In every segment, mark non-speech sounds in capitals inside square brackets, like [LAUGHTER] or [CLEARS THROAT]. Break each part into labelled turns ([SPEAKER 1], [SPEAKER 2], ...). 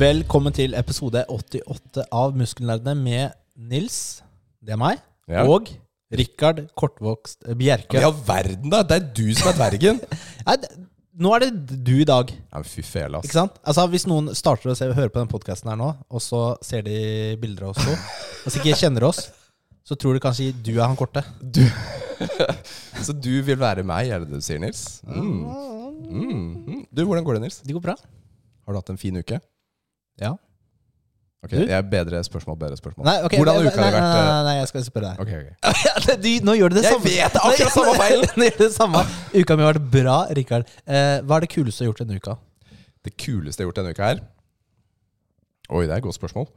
[SPEAKER 1] Velkommen til episode 88 av Muskelnerdene med Nils, det er meg,
[SPEAKER 2] Ja.
[SPEAKER 1] og Rikard Kortvokst eh, Bjerke.
[SPEAKER 2] Ja, verden, da! Det er du som er dvergen!
[SPEAKER 1] Nei, det- nå er det du i dag,
[SPEAKER 2] [LAUGHS] ja, men fy fele,
[SPEAKER 1] ikke
[SPEAKER 2] ass.
[SPEAKER 1] sant? Altså, hvis noen starter å se, høre på den podcasten her nå, og så ser de bilder av oss
[SPEAKER 2] [LAUGHS]
[SPEAKER 1] to, hvis de ikke kjenner oss, så tror de kanskje du er han korte.
[SPEAKER 2] Du, så du vil være meg, er det det du sier, Nils? Mm. Mm. mm. Du, hvordan går det, Nils?
[SPEAKER 1] Det går bra.
[SPEAKER 2] Har du hatt en fin uke?
[SPEAKER 1] Ja.
[SPEAKER 2] Ok,
[SPEAKER 1] Du?
[SPEAKER 2] jeg er bedre spørsmål, bedre spørsmål.
[SPEAKER 1] Nei, ok,
[SPEAKER 2] hvordan har
[SPEAKER 1] nei,
[SPEAKER 2] uka
[SPEAKER 1] nei,
[SPEAKER 2] har vært?
[SPEAKER 1] Nei,
[SPEAKER 2] eh?
[SPEAKER 1] nei, nei, jeg skal spørre [LAUGHS] deg.
[SPEAKER 2] Ok, ok.
[SPEAKER 1] Du, nå gjør du det
[SPEAKER 2] Jeg
[SPEAKER 1] samme. [LAUGHS]
[SPEAKER 2] vet det, akkurat
[SPEAKER 1] Nei,
[SPEAKER 2] samme feil.
[SPEAKER 1] Nå gjør du det samme. Uka mi har vært bra, Rikard. Eh, hva er det kuleste du har gjort denne uka?
[SPEAKER 2] Det kuleste jeg har gjort denne uka her? Oi, det er et godt spørsmål.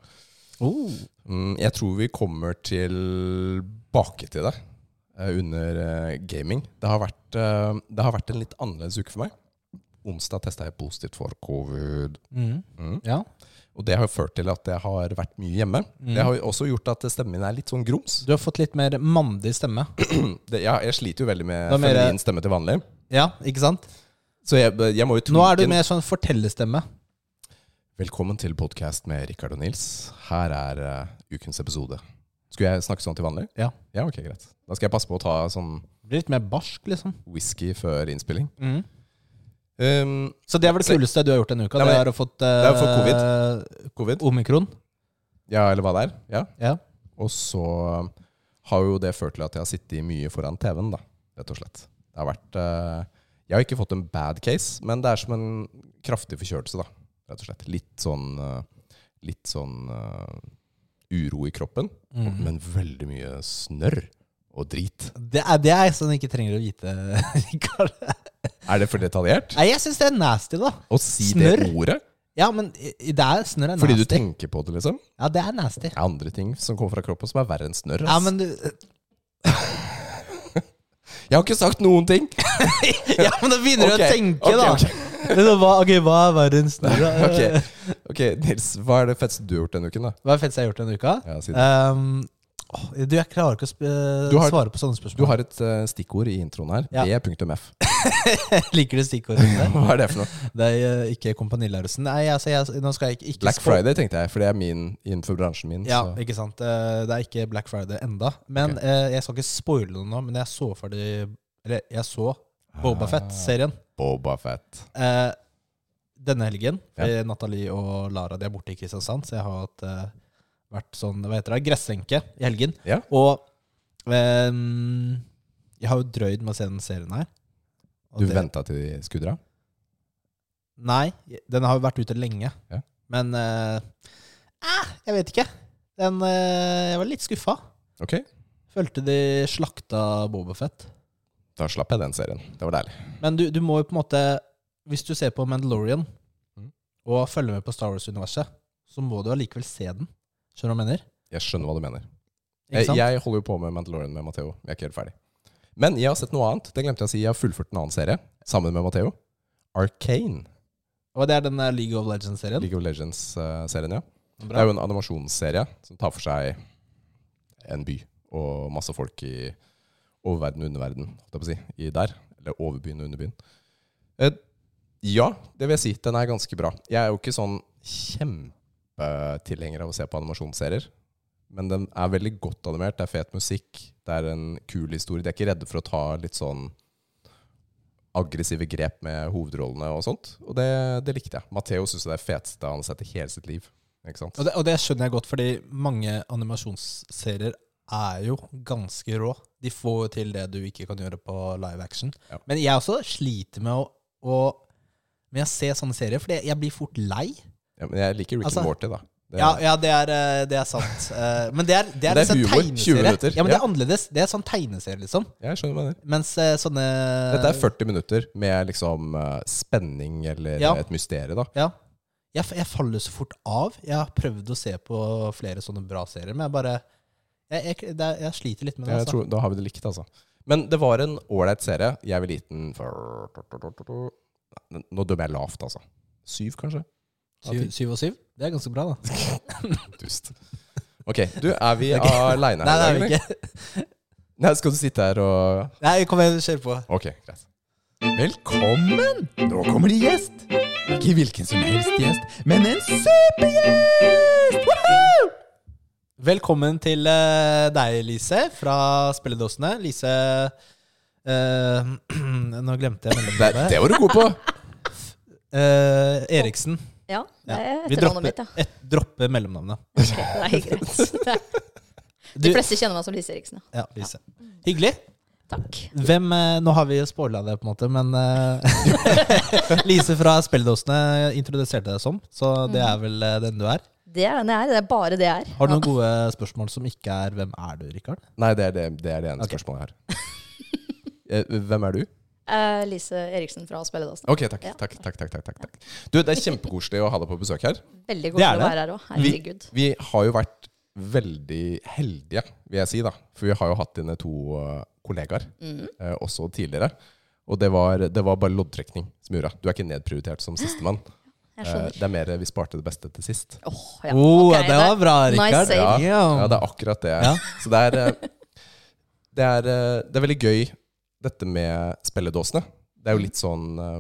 [SPEAKER 1] Oh.
[SPEAKER 2] Mm, jeg tror vi kommer tilbake til det eh, under eh, gaming. Det har, vært, eh, det har vært en litt annerledes uke for meg. Onsdag testa jeg positivt for covid.
[SPEAKER 1] Mhm.
[SPEAKER 2] Mm.
[SPEAKER 1] Ja.
[SPEAKER 2] Og det har jo ført til at jeg har vært mye hjemme.
[SPEAKER 1] Mm.
[SPEAKER 2] Det har jo også gjort at stemmen min er litt sånn grums.
[SPEAKER 1] Du har fått litt mer mandig stemme.
[SPEAKER 2] Det, jeg, jeg sliter jo veldig med
[SPEAKER 1] Da mer-
[SPEAKER 2] feminin stemme til vanlig.
[SPEAKER 1] Ja, ikke sant?
[SPEAKER 2] Så jeg, jeg må jo
[SPEAKER 1] Nå er du
[SPEAKER 2] tweake den.
[SPEAKER 1] mer sånn fortellerstemme.
[SPEAKER 2] Velkommen til podkast med Rikard og Nils. Her er eh, ukens episode. Skulle jeg snakke sånn til vanlig?
[SPEAKER 1] Ja.
[SPEAKER 2] Ja, ok, greit. Da skal jeg passe på å ta sånn
[SPEAKER 1] Blir litt mer barsk, liksom.
[SPEAKER 2] whisky før innspilling. Um,
[SPEAKER 1] Så det er vel det
[SPEAKER 2] Se-
[SPEAKER 1] kuleste du har gjort denne uka?
[SPEAKER 2] Nei,
[SPEAKER 1] det
[SPEAKER 2] men-
[SPEAKER 1] er å fått,
[SPEAKER 2] det er å
[SPEAKER 1] covid.
[SPEAKER 2] covid?
[SPEAKER 1] Omikron.
[SPEAKER 2] Ja, eller hva det er. Ja.
[SPEAKER 1] Ja.
[SPEAKER 2] Og så har jo det ført til at jeg har sittet mye foran TV-en, da, rett og slett. Det har vært eh, Jeg har ikke fått en bad case, men det er som en kraftig forkjølelse, da, rett og slett. Litt sånn eh, Litt sånn eh, uro i kroppen,
[SPEAKER 1] Mhm.
[SPEAKER 2] men veldig mye snørr og drit.
[SPEAKER 1] Det er det er jeg som ikke trenger å vite, [LAUGHS] Rikard.
[SPEAKER 2] Er det for detaljert?
[SPEAKER 1] Nei, jeg syns det er nasty, da.
[SPEAKER 2] Å si det
[SPEAKER 1] Snørr?
[SPEAKER 2] ordet?
[SPEAKER 1] Ja, men i- i- det er snørr er nasty.
[SPEAKER 2] Fordi du tenker på det, liksom?
[SPEAKER 1] Ja, det er nasty.
[SPEAKER 2] Det er andre ting som kommer fra kroppen som er verre enn snørr.
[SPEAKER 1] Ja,
[SPEAKER 2] ass.
[SPEAKER 1] men du [LAUGHS]
[SPEAKER 2] Jeg har ikke sagt noen ting! [LAUGHS]
[SPEAKER 1] Ja, men da begynner du
[SPEAKER 2] Ok,
[SPEAKER 1] å tenke,
[SPEAKER 2] ok,
[SPEAKER 1] da.
[SPEAKER 2] ok.
[SPEAKER 1] [LAUGHS] Så Hva, ok, hva er verre enn snørr? da?
[SPEAKER 2] [LAUGHS] Ok. ok, Nils, hva er det feteste du har gjort denne uken? da?
[SPEAKER 1] Hva er det feteste jeg har gjort denne uka?
[SPEAKER 2] Ja, siden.
[SPEAKER 1] Ehm, åh, du, jeg klarer ikke å sp eh,
[SPEAKER 2] Du har-
[SPEAKER 1] svare på sånne
[SPEAKER 2] Du
[SPEAKER 1] spørsmål.
[SPEAKER 2] har et eh, stikkord i introen her.
[SPEAKER 1] Ja.
[SPEAKER 2] Det er punktum F.
[SPEAKER 1] [LAUGHS]
[SPEAKER 2] [LAUGHS]
[SPEAKER 1] Jeg liker det stikkordet. der.
[SPEAKER 2] Hva er det for noe?
[SPEAKER 1] Det er eh, ikke Kompani Lauritzen. Nei, altså, jeg, nå skal jeg ikke, ikke
[SPEAKER 2] Black
[SPEAKER 1] spå-
[SPEAKER 2] Friday, tenkte jeg, for det er min innenfor bransjen min.
[SPEAKER 1] Ja,
[SPEAKER 2] så.
[SPEAKER 1] ikke sant. Eh, Det er ikke Black Friday enda. Men
[SPEAKER 2] Ok.
[SPEAKER 1] eh, jeg skal ikke spoile det nå, men jeg så ferdig Eller jeg så Boba Fett-serien
[SPEAKER 2] Boba Fett.
[SPEAKER 1] eh, denne helgen.
[SPEAKER 2] Ja.
[SPEAKER 1] Fordi Nathalie og Lara de er borte i Kristiansand, så jeg har hatt, eh, vært sånn hva heter det, gressenke i helgen.
[SPEAKER 2] Ja.
[SPEAKER 1] Og ehm, jeg har jo drøyd med å se den serien her. Og
[SPEAKER 2] Du
[SPEAKER 1] det-
[SPEAKER 2] venta til de skulle dra?
[SPEAKER 1] Nei, den har jo vært ute lenge.
[SPEAKER 2] Ja.
[SPEAKER 1] Men eh, eh, jeg vet ikke. Den, eh, jeg var litt skuffa.
[SPEAKER 2] Ok,
[SPEAKER 1] Følte de slakta Bobafett.
[SPEAKER 2] da slapp jeg den serien. Det var deilig.
[SPEAKER 1] Men du, du må jo på en måte Hvis du ser på Mandalorian
[SPEAKER 2] Mhm.
[SPEAKER 1] og følger med på Star Wars-universet, så må du allikevel se den. Skjønner du hva jeg mener?
[SPEAKER 2] Jeg skjønner hva du mener.
[SPEAKER 1] Ikke
[SPEAKER 2] Eh, Jeg,
[SPEAKER 1] sant?
[SPEAKER 2] jeg holder jo på med Mandalorian med Matheo. Jeg er ikke helt ferdig. Men jeg har sett noe annet. Det glemte jeg å si. Jeg har fullført en annen serie sammen med Matheo. Arcane.
[SPEAKER 1] Og det er den der League of Legends-serien.
[SPEAKER 2] League of Legends-serien, ja. Det
[SPEAKER 1] Bra.
[SPEAKER 2] er jo en animasjonsserie som tar for seg en by og masse folk i oververden og underverden, holdt jeg på å si, i der. Eller overbyen og underbyen. Eh, ja, det vil jeg si. Den er ganske bra. Jeg er jo ikke sånn kjempetilhenger av å se på animasjonsserier. Men den er veldig godt animert. Det er fet musikk. Det er en kul historie. De er ikke redde for å ta litt sånn aggressive grep med hovedrollene og sånt. Og det, det likte jeg. Matheo syns det er det feteste han har sett i hele sitt liv. Ikke sant?
[SPEAKER 1] Og, det, og det skjønner jeg godt, fordi mange animasjonsserier er jo ganske rå. De får jo til det du ikke kan gjøre på live action.
[SPEAKER 2] Ja.
[SPEAKER 1] Men jeg også sliter med å, å med å se sånne serier, for jeg blir fort lei.
[SPEAKER 2] Ja, men jeg liker Rick
[SPEAKER 1] Altså-
[SPEAKER 2] and Morty, da. Det,
[SPEAKER 1] Ja, ja det, er, eh, det er sant. Eh, Men det er, det er,
[SPEAKER 2] Men det er
[SPEAKER 1] liksom
[SPEAKER 2] humor, 20
[SPEAKER 1] tegneserie.
[SPEAKER 2] minutter.
[SPEAKER 1] Ja, men det er
[SPEAKER 2] Ja.
[SPEAKER 1] annerledes. Det er sånn tegneserie, liksom.
[SPEAKER 2] Jeg skjønner hva du mener.
[SPEAKER 1] Mens eh, sånne
[SPEAKER 2] Dette er 40 minutter med liksom eh, spenning eller
[SPEAKER 1] Ja.
[SPEAKER 2] et mysterium, da.
[SPEAKER 1] Ja. Jeg, f- jeg faller så fort av. Jeg har prøvd å se på flere sånne bra serier, men jeg bare Jeg, jeg, det er- jeg sliter litt med det.
[SPEAKER 2] Jeg
[SPEAKER 1] Altså.
[SPEAKER 2] tror, da har vi det likt, altså. Men det var en ålreit serie. Jeg ville gitt den for Nå dømmer jeg lavt, altså. Syv, kanskje? Av
[SPEAKER 1] Syv, syv og syv? Det er ganske bra, da.
[SPEAKER 2] ti? Dust. Ok, du, er
[SPEAKER 1] [LAUGHS]
[SPEAKER 2] vi aleine
[SPEAKER 1] Nei,
[SPEAKER 2] her
[SPEAKER 1] det
[SPEAKER 2] i
[SPEAKER 1] er
[SPEAKER 2] dag,
[SPEAKER 1] vi
[SPEAKER 2] eller?
[SPEAKER 1] ikke.
[SPEAKER 2] Nei, skal du sitte her og
[SPEAKER 1] Nei, kom igjen, kjør på.
[SPEAKER 2] Ok, greit.
[SPEAKER 3] Velkommen! Nå kommer det gjest. Ikke hvilken som helst gjest, men en supergjest! Woohoo!
[SPEAKER 1] Velkommen til eh, deg, Lise, fra Spilledåsene. Lise eh, [CLEARS THROAT] Nå glemte jeg
[SPEAKER 2] Det,
[SPEAKER 1] mellomnavnet.
[SPEAKER 2] det var du god på!
[SPEAKER 1] Eh, Eriksen.
[SPEAKER 4] Ja,
[SPEAKER 1] Ja.
[SPEAKER 4] det er
[SPEAKER 1] Vi
[SPEAKER 4] etternavnet
[SPEAKER 1] dropper,
[SPEAKER 4] mitt, ja.
[SPEAKER 1] et, dropper mellomnavnet.
[SPEAKER 4] Det
[SPEAKER 1] [LAUGHS]
[SPEAKER 4] er greit. Det er-
[SPEAKER 1] Du,
[SPEAKER 4] [LAUGHS] De fleste kjenner meg som Lise Eriksen. ja.
[SPEAKER 1] ja, Lise. Hyggelig.
[SPEAKER 4] Takk.
[SPEAKER 1] Hvem, eh, Nå har vi spoila det, på en måte, men eh, [LAUGHS] Lise fra Spelledåsene introduserte deg som, så det er vel eh, den du er.
[SPEAKER 4] Det er den jeg er. Det er bare det jeg er.
[SPEAKER 1] Har du noen gode spørsmål som ikke er 'Hvem er du', Rikard?
[SPEAKER 2] [LAUGHS] Nei, det er det, det, er det ene
[SPEAKER 1] Ok.
[SPEAKER 2] spørsmålet jeg har. Eh, Hvem er du?
[SPEAKER 4] Eh, Lise Eriksen fra Spelledåsen.
[SPEAKER 2] Ok, takk. Takk, takk, takk, takk, takk, takk. Du, det er kjempekoselig å ha deg på besøk her.
[SPEAKER 4] Veldig
[SPEAKER 1] Det
[SPEAKER 4] god
[SPEAKER 1] er
[SPEAKER 4] til å være her òg. Herregud.
[SPEAKER 2] Vi har jo vært veldig heldige, vil jeg si, da. For vi har jo hatt dine to eh, kollegaer
[SPEAKER 4] Mm.
[SPEAKER 2] eh, også tidligere. Og det var, det var bare loddtrekning som gjorde at du er ikke nedprioritert som sistemann. Eh,
[SPEAKER 4] Jeg skjønner.
[SPEAKER 2] det er mer vi sparte det beste til sist.
[SPEAKER 4] Åh, ja.
[SPEAKER 1] oh,
[SPEAKER 4] Ok,
[SPEAKER 1] det var bra,
[SPEAKER 4] nice
[SPEAKER 1] Rikard.
[SPEAKER 4] save.
[SPEAKER 2] Ja,
[SPEAKER 1] Damn.
[SPEAKER 2] ja, det er akkurat det.
[SPEAKER 1] Ja.
[SPEAKER 2] Så det er, eh, det, er, eh, det er veldig gøy, dette med spilledåsene. Det er jo litt sånn eh,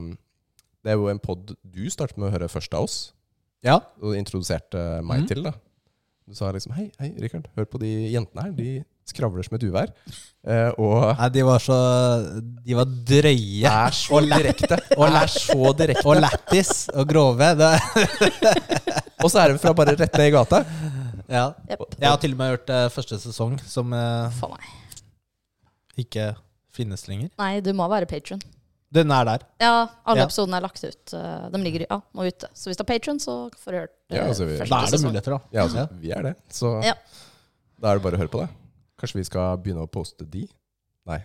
[SPEAKER 2] Det er jo en pod du startet med å høre først av oss,
[SPEAKER 1] Ja.
[SPEAKER 2] og introduserte meg
[SPEAKER 1] Mhm.
[SPEAKER 2] til. da. Du sa liksom Hei, hei, Rikard, hør på de jentene her. De skravler som et uvær. Eh,
[SPEAKER 1] [LAUGHS]
[SPEAKER 2] og
[SPEAKER 1] Nei, de var så De var drøye.
[SPEAKER 2] er så direkte.
[SPEAKER 1] [LAUGHS] Og
[SPEAKER 2] er så direkte.
[SPEAKER 1] Og lættis og grove. Det,
[SPEAKER 2] Og så er det fra bare rett ned i gata.
[SPEAKER 1] ja.
[SPEAKER 4] Jepp.
[SPEAKER 1] Jeg har til og med hørt eh, første sesong, som eh,
[SPEAKER 4] Faen meg.
[SPEAKER 1] ikke finnes lenger.
[SPEAKER 4] Nei, du må være patron.
[SPEAKER 1] Den er der.
[SPEAKER 4] Ja, alle
[SPEAKER 1] Ja.
[SPEAKER 4] episodene er lagt ut. Eh, De ligger ja, nå ute. Så hvis du er patron, så får du hørt eh,
[SPEAKER 2] Ja, altså, vi-
[SPEAKER 1] Da
[SPEAKER 4] første
[SPEAKER 1] er det
[SPEAKER 4] sesong.
[SPEAKER 1] muligheter, da.
[SPEAKER 2] Ja, altså, vi er det. Så
[SPEAKER 4] Ja.
[SPEAKER 2] da er det bare å høre på det. Kanskje vi skal begynne å poste de? Nei.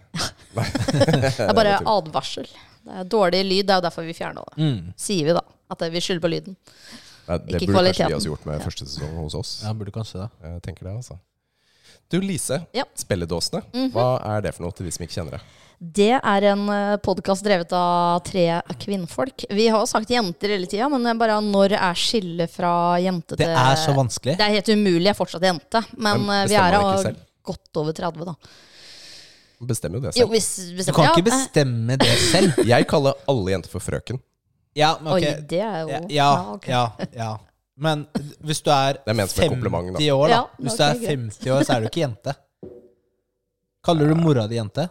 [SPEAKER 2] Nei.
[SPEAKER 4] Det er bare advarsel. Det er dårlig lyd. Det er jo derfor vi fjerna det.
[SPEAKER 1] Mm.
[SPEAKER 4] Sier vi, da. At det- vi skylder på lyden.
[SPEAKER 2] Nei, det
[SPEAKER 4] Ikke
[SPEAKER 2] burde kanskje
[SPEAKER 4] kvaliteten.
[SPEAKER 2] vi også gjort med
[SPEAKER 4] Ja.
[SPEAKER 2] første sesong hos oss.
[SPEAKER 1] Ja, burde kanskje det.
[SPEAKER 2] Jeg tenker det, altså. Du, Lise.
[SPEAKER 4] Ja. Mhm.
[SPEAKER 2] Spelledåsene. Hva er det for noe til de som ikke kjenner det?
[SPEAKER 4] Det er en podkast drevet av tre kvinnfolk. Vi har jo sagt jenter hele tida, men det er bare når er skillet fra jente til
[SPEAKER 1] Det er så vanskelig.
[SPEAKER 4] Det er helt umulig. Jeg er fortsatt jente. Men,
[SPEAKER 2] Men
[SPEAKER 4] eh, vi er
[SPEAKER 2] bestemmer dere ikke
[SPEAKER 4] av
[SPEAKER 2] selv?
[SPEAKER 4] godt over 30, da.
[SPEAKER 2] Man Bestemmer jo det
[SPEAKER 4] Jo, [LAUGHS]
[SPEAKER 2] selv.
[SPEAKER 4] hvis, eh,
[SPEAKER 1] Du kan ikke bestemme
[SPEAKER 4] bestemme
[SPEAKER 1] det selv.
[SPEAKER 2] [LAUGHS] Jeg kaller alle jenter for frøken.
[SPEAKER 1] Ja, men ok.
[SPEAKER 4] Oi, det er jo
[SPEAKER 1] Ja,
[SPEAKER 4] Ja,
[SPEAKER 1] ja,
[SPEAKER 4] ok.
[SPEAKER 1] ja, ja. Men hvis du er,
[SPEAKER 2] Det er ment som et kompliment, da.
[SPEAKER 1] 50 år, da.
[SPEAKER 4] Ja,
[SPEAKER 1] Hvis
[SPEAKER 4] ok,
[SPEAKER 1] du er
[SPEAKER 4] greit.
[SPEAKER 1] 50 år, så er du ikke jente. Kaller du mora di jente?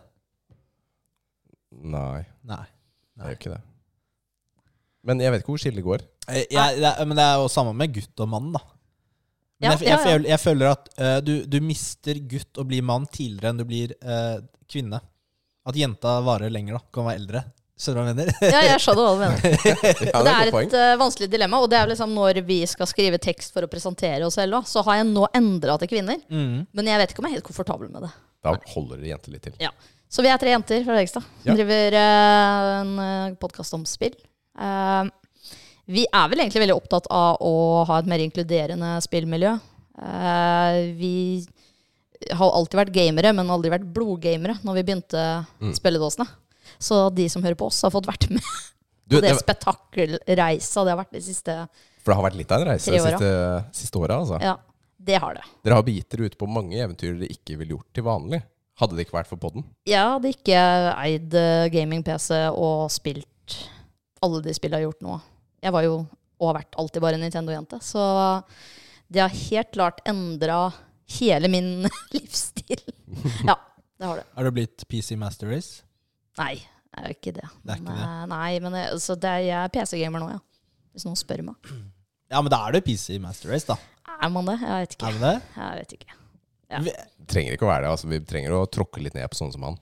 [SPEAKER 2] Nei,
[SPEAKER 1] Nei.
[SPEAKER 2] det er jo ikke det. Men jeg vet ikke hvor skillet
[SPEAKER 4] [LAUGHS]
[SPEAKER 2] går.
[SPEAKER 1] Eh, Jeg, det er, men det er jo samme med gutt og mann, da. Men
[SPEAKER 4] Ja,
[SPEAKER 1] jeg, jeg,
[SPEAKER 4] ja, ja.
[SPEAKER 1] føler, jeg føler at eh, du, du mister gutt og blir mann tidligere enn du blir eh, kvinne. At jenta varer lenger, da. Kan være eldre. Skjønner du hva jeg mener? [LAUGHS]
[SPEAKER 4] Ja, jeg skjønner hva du mener.
[SPEAKER 2] Ja,
[SPEAKER 4] Det er
[SPEAKER 2] et godt poeng.
[SPEAKER 4] et eh, vanskelig dilemma. Og det er liksom når vi skal skrive tekst for å presentere oss selv, da, så har jeg nå endra til kvinner.
[SPEAKER 1] Mm.
[SPEAKER 4] Men jeg vet ikke om jeg er helt komfortabel med det.
[SPEAKER 2] Da
[SPEAKER 4] eh,
[SPEAKER 2] holder det jenter litt til.
[SPEAKER 4] Ja. Så vi er tre jenter fra Rekstad som
[SPEAKER 2] Ja.
[SPEAKER 4] driver eh, en podkast om spill. Eh, vi er vel egentlig veldig opptatt av å ha et mer inkluderende spillmiljø. Eh, vi har alltid vært gamere, men aldri vært blodgamere når vi begynte spilledåsene. Så de som hører på oss, har fått vært med
[SPEAKER 2] Du,
[SPEAKER 4] på det
[SPEAKER 2] det,
[SPEAKER 4] spetakkelreisa det har vært de siste
[SPEAKER 2] for det har vært litt av en reise
[SPEAKER 4] Tre
[SPEAKER 2] de
[SPEAKER 4] år,
[SPEAKER 2] siste, siste åra, altså.
[SPEAKER 4] Ja, det har det.
[SPEAKER 2] Dere har begitt dere ut på mange eventyr dere ikke ville gjort til vanlig. Hadde det ikke vært for podden.
[SPEAKER 4] Jeg hadde ikke eid eh, gaming-PC og spilt alle de spillene jeg har gjort nå. Jeg var jo, og har vært alltid bare en Nintendo-jente, så det har helt klart endra hele min [LAUGHS]
[SPEAKER 1] [LAUGHS]
[SPEAKER 4] livsstil. Ja, det har det.
[SPEAKER 1] Er du blitt PC Master Race?
[SPEAKER 4] Nei, jeg er jo ikke det.
[SPEAKER 1] Det er ikke
[SPEAKER 4] Men,
[SPEAKER 1] det.
[SPEAKER 4] eh, Nei, men jeg, så det, er- jeg er PC-gamer nå, ja. Hvis noen spør meg.
[SPEAKER 1] Ja, men da er du PC Master Race, da.
[SPEAKER 4] Er man det? Jeg vet ikke.
[SPEAKER 1] Er du det?
[SPEAKER 4] Jeg vet ikke.
[SPEAKER 2] Trenger ikke å være det. altså Vi trenger å tråkke litt ned på sånne som han.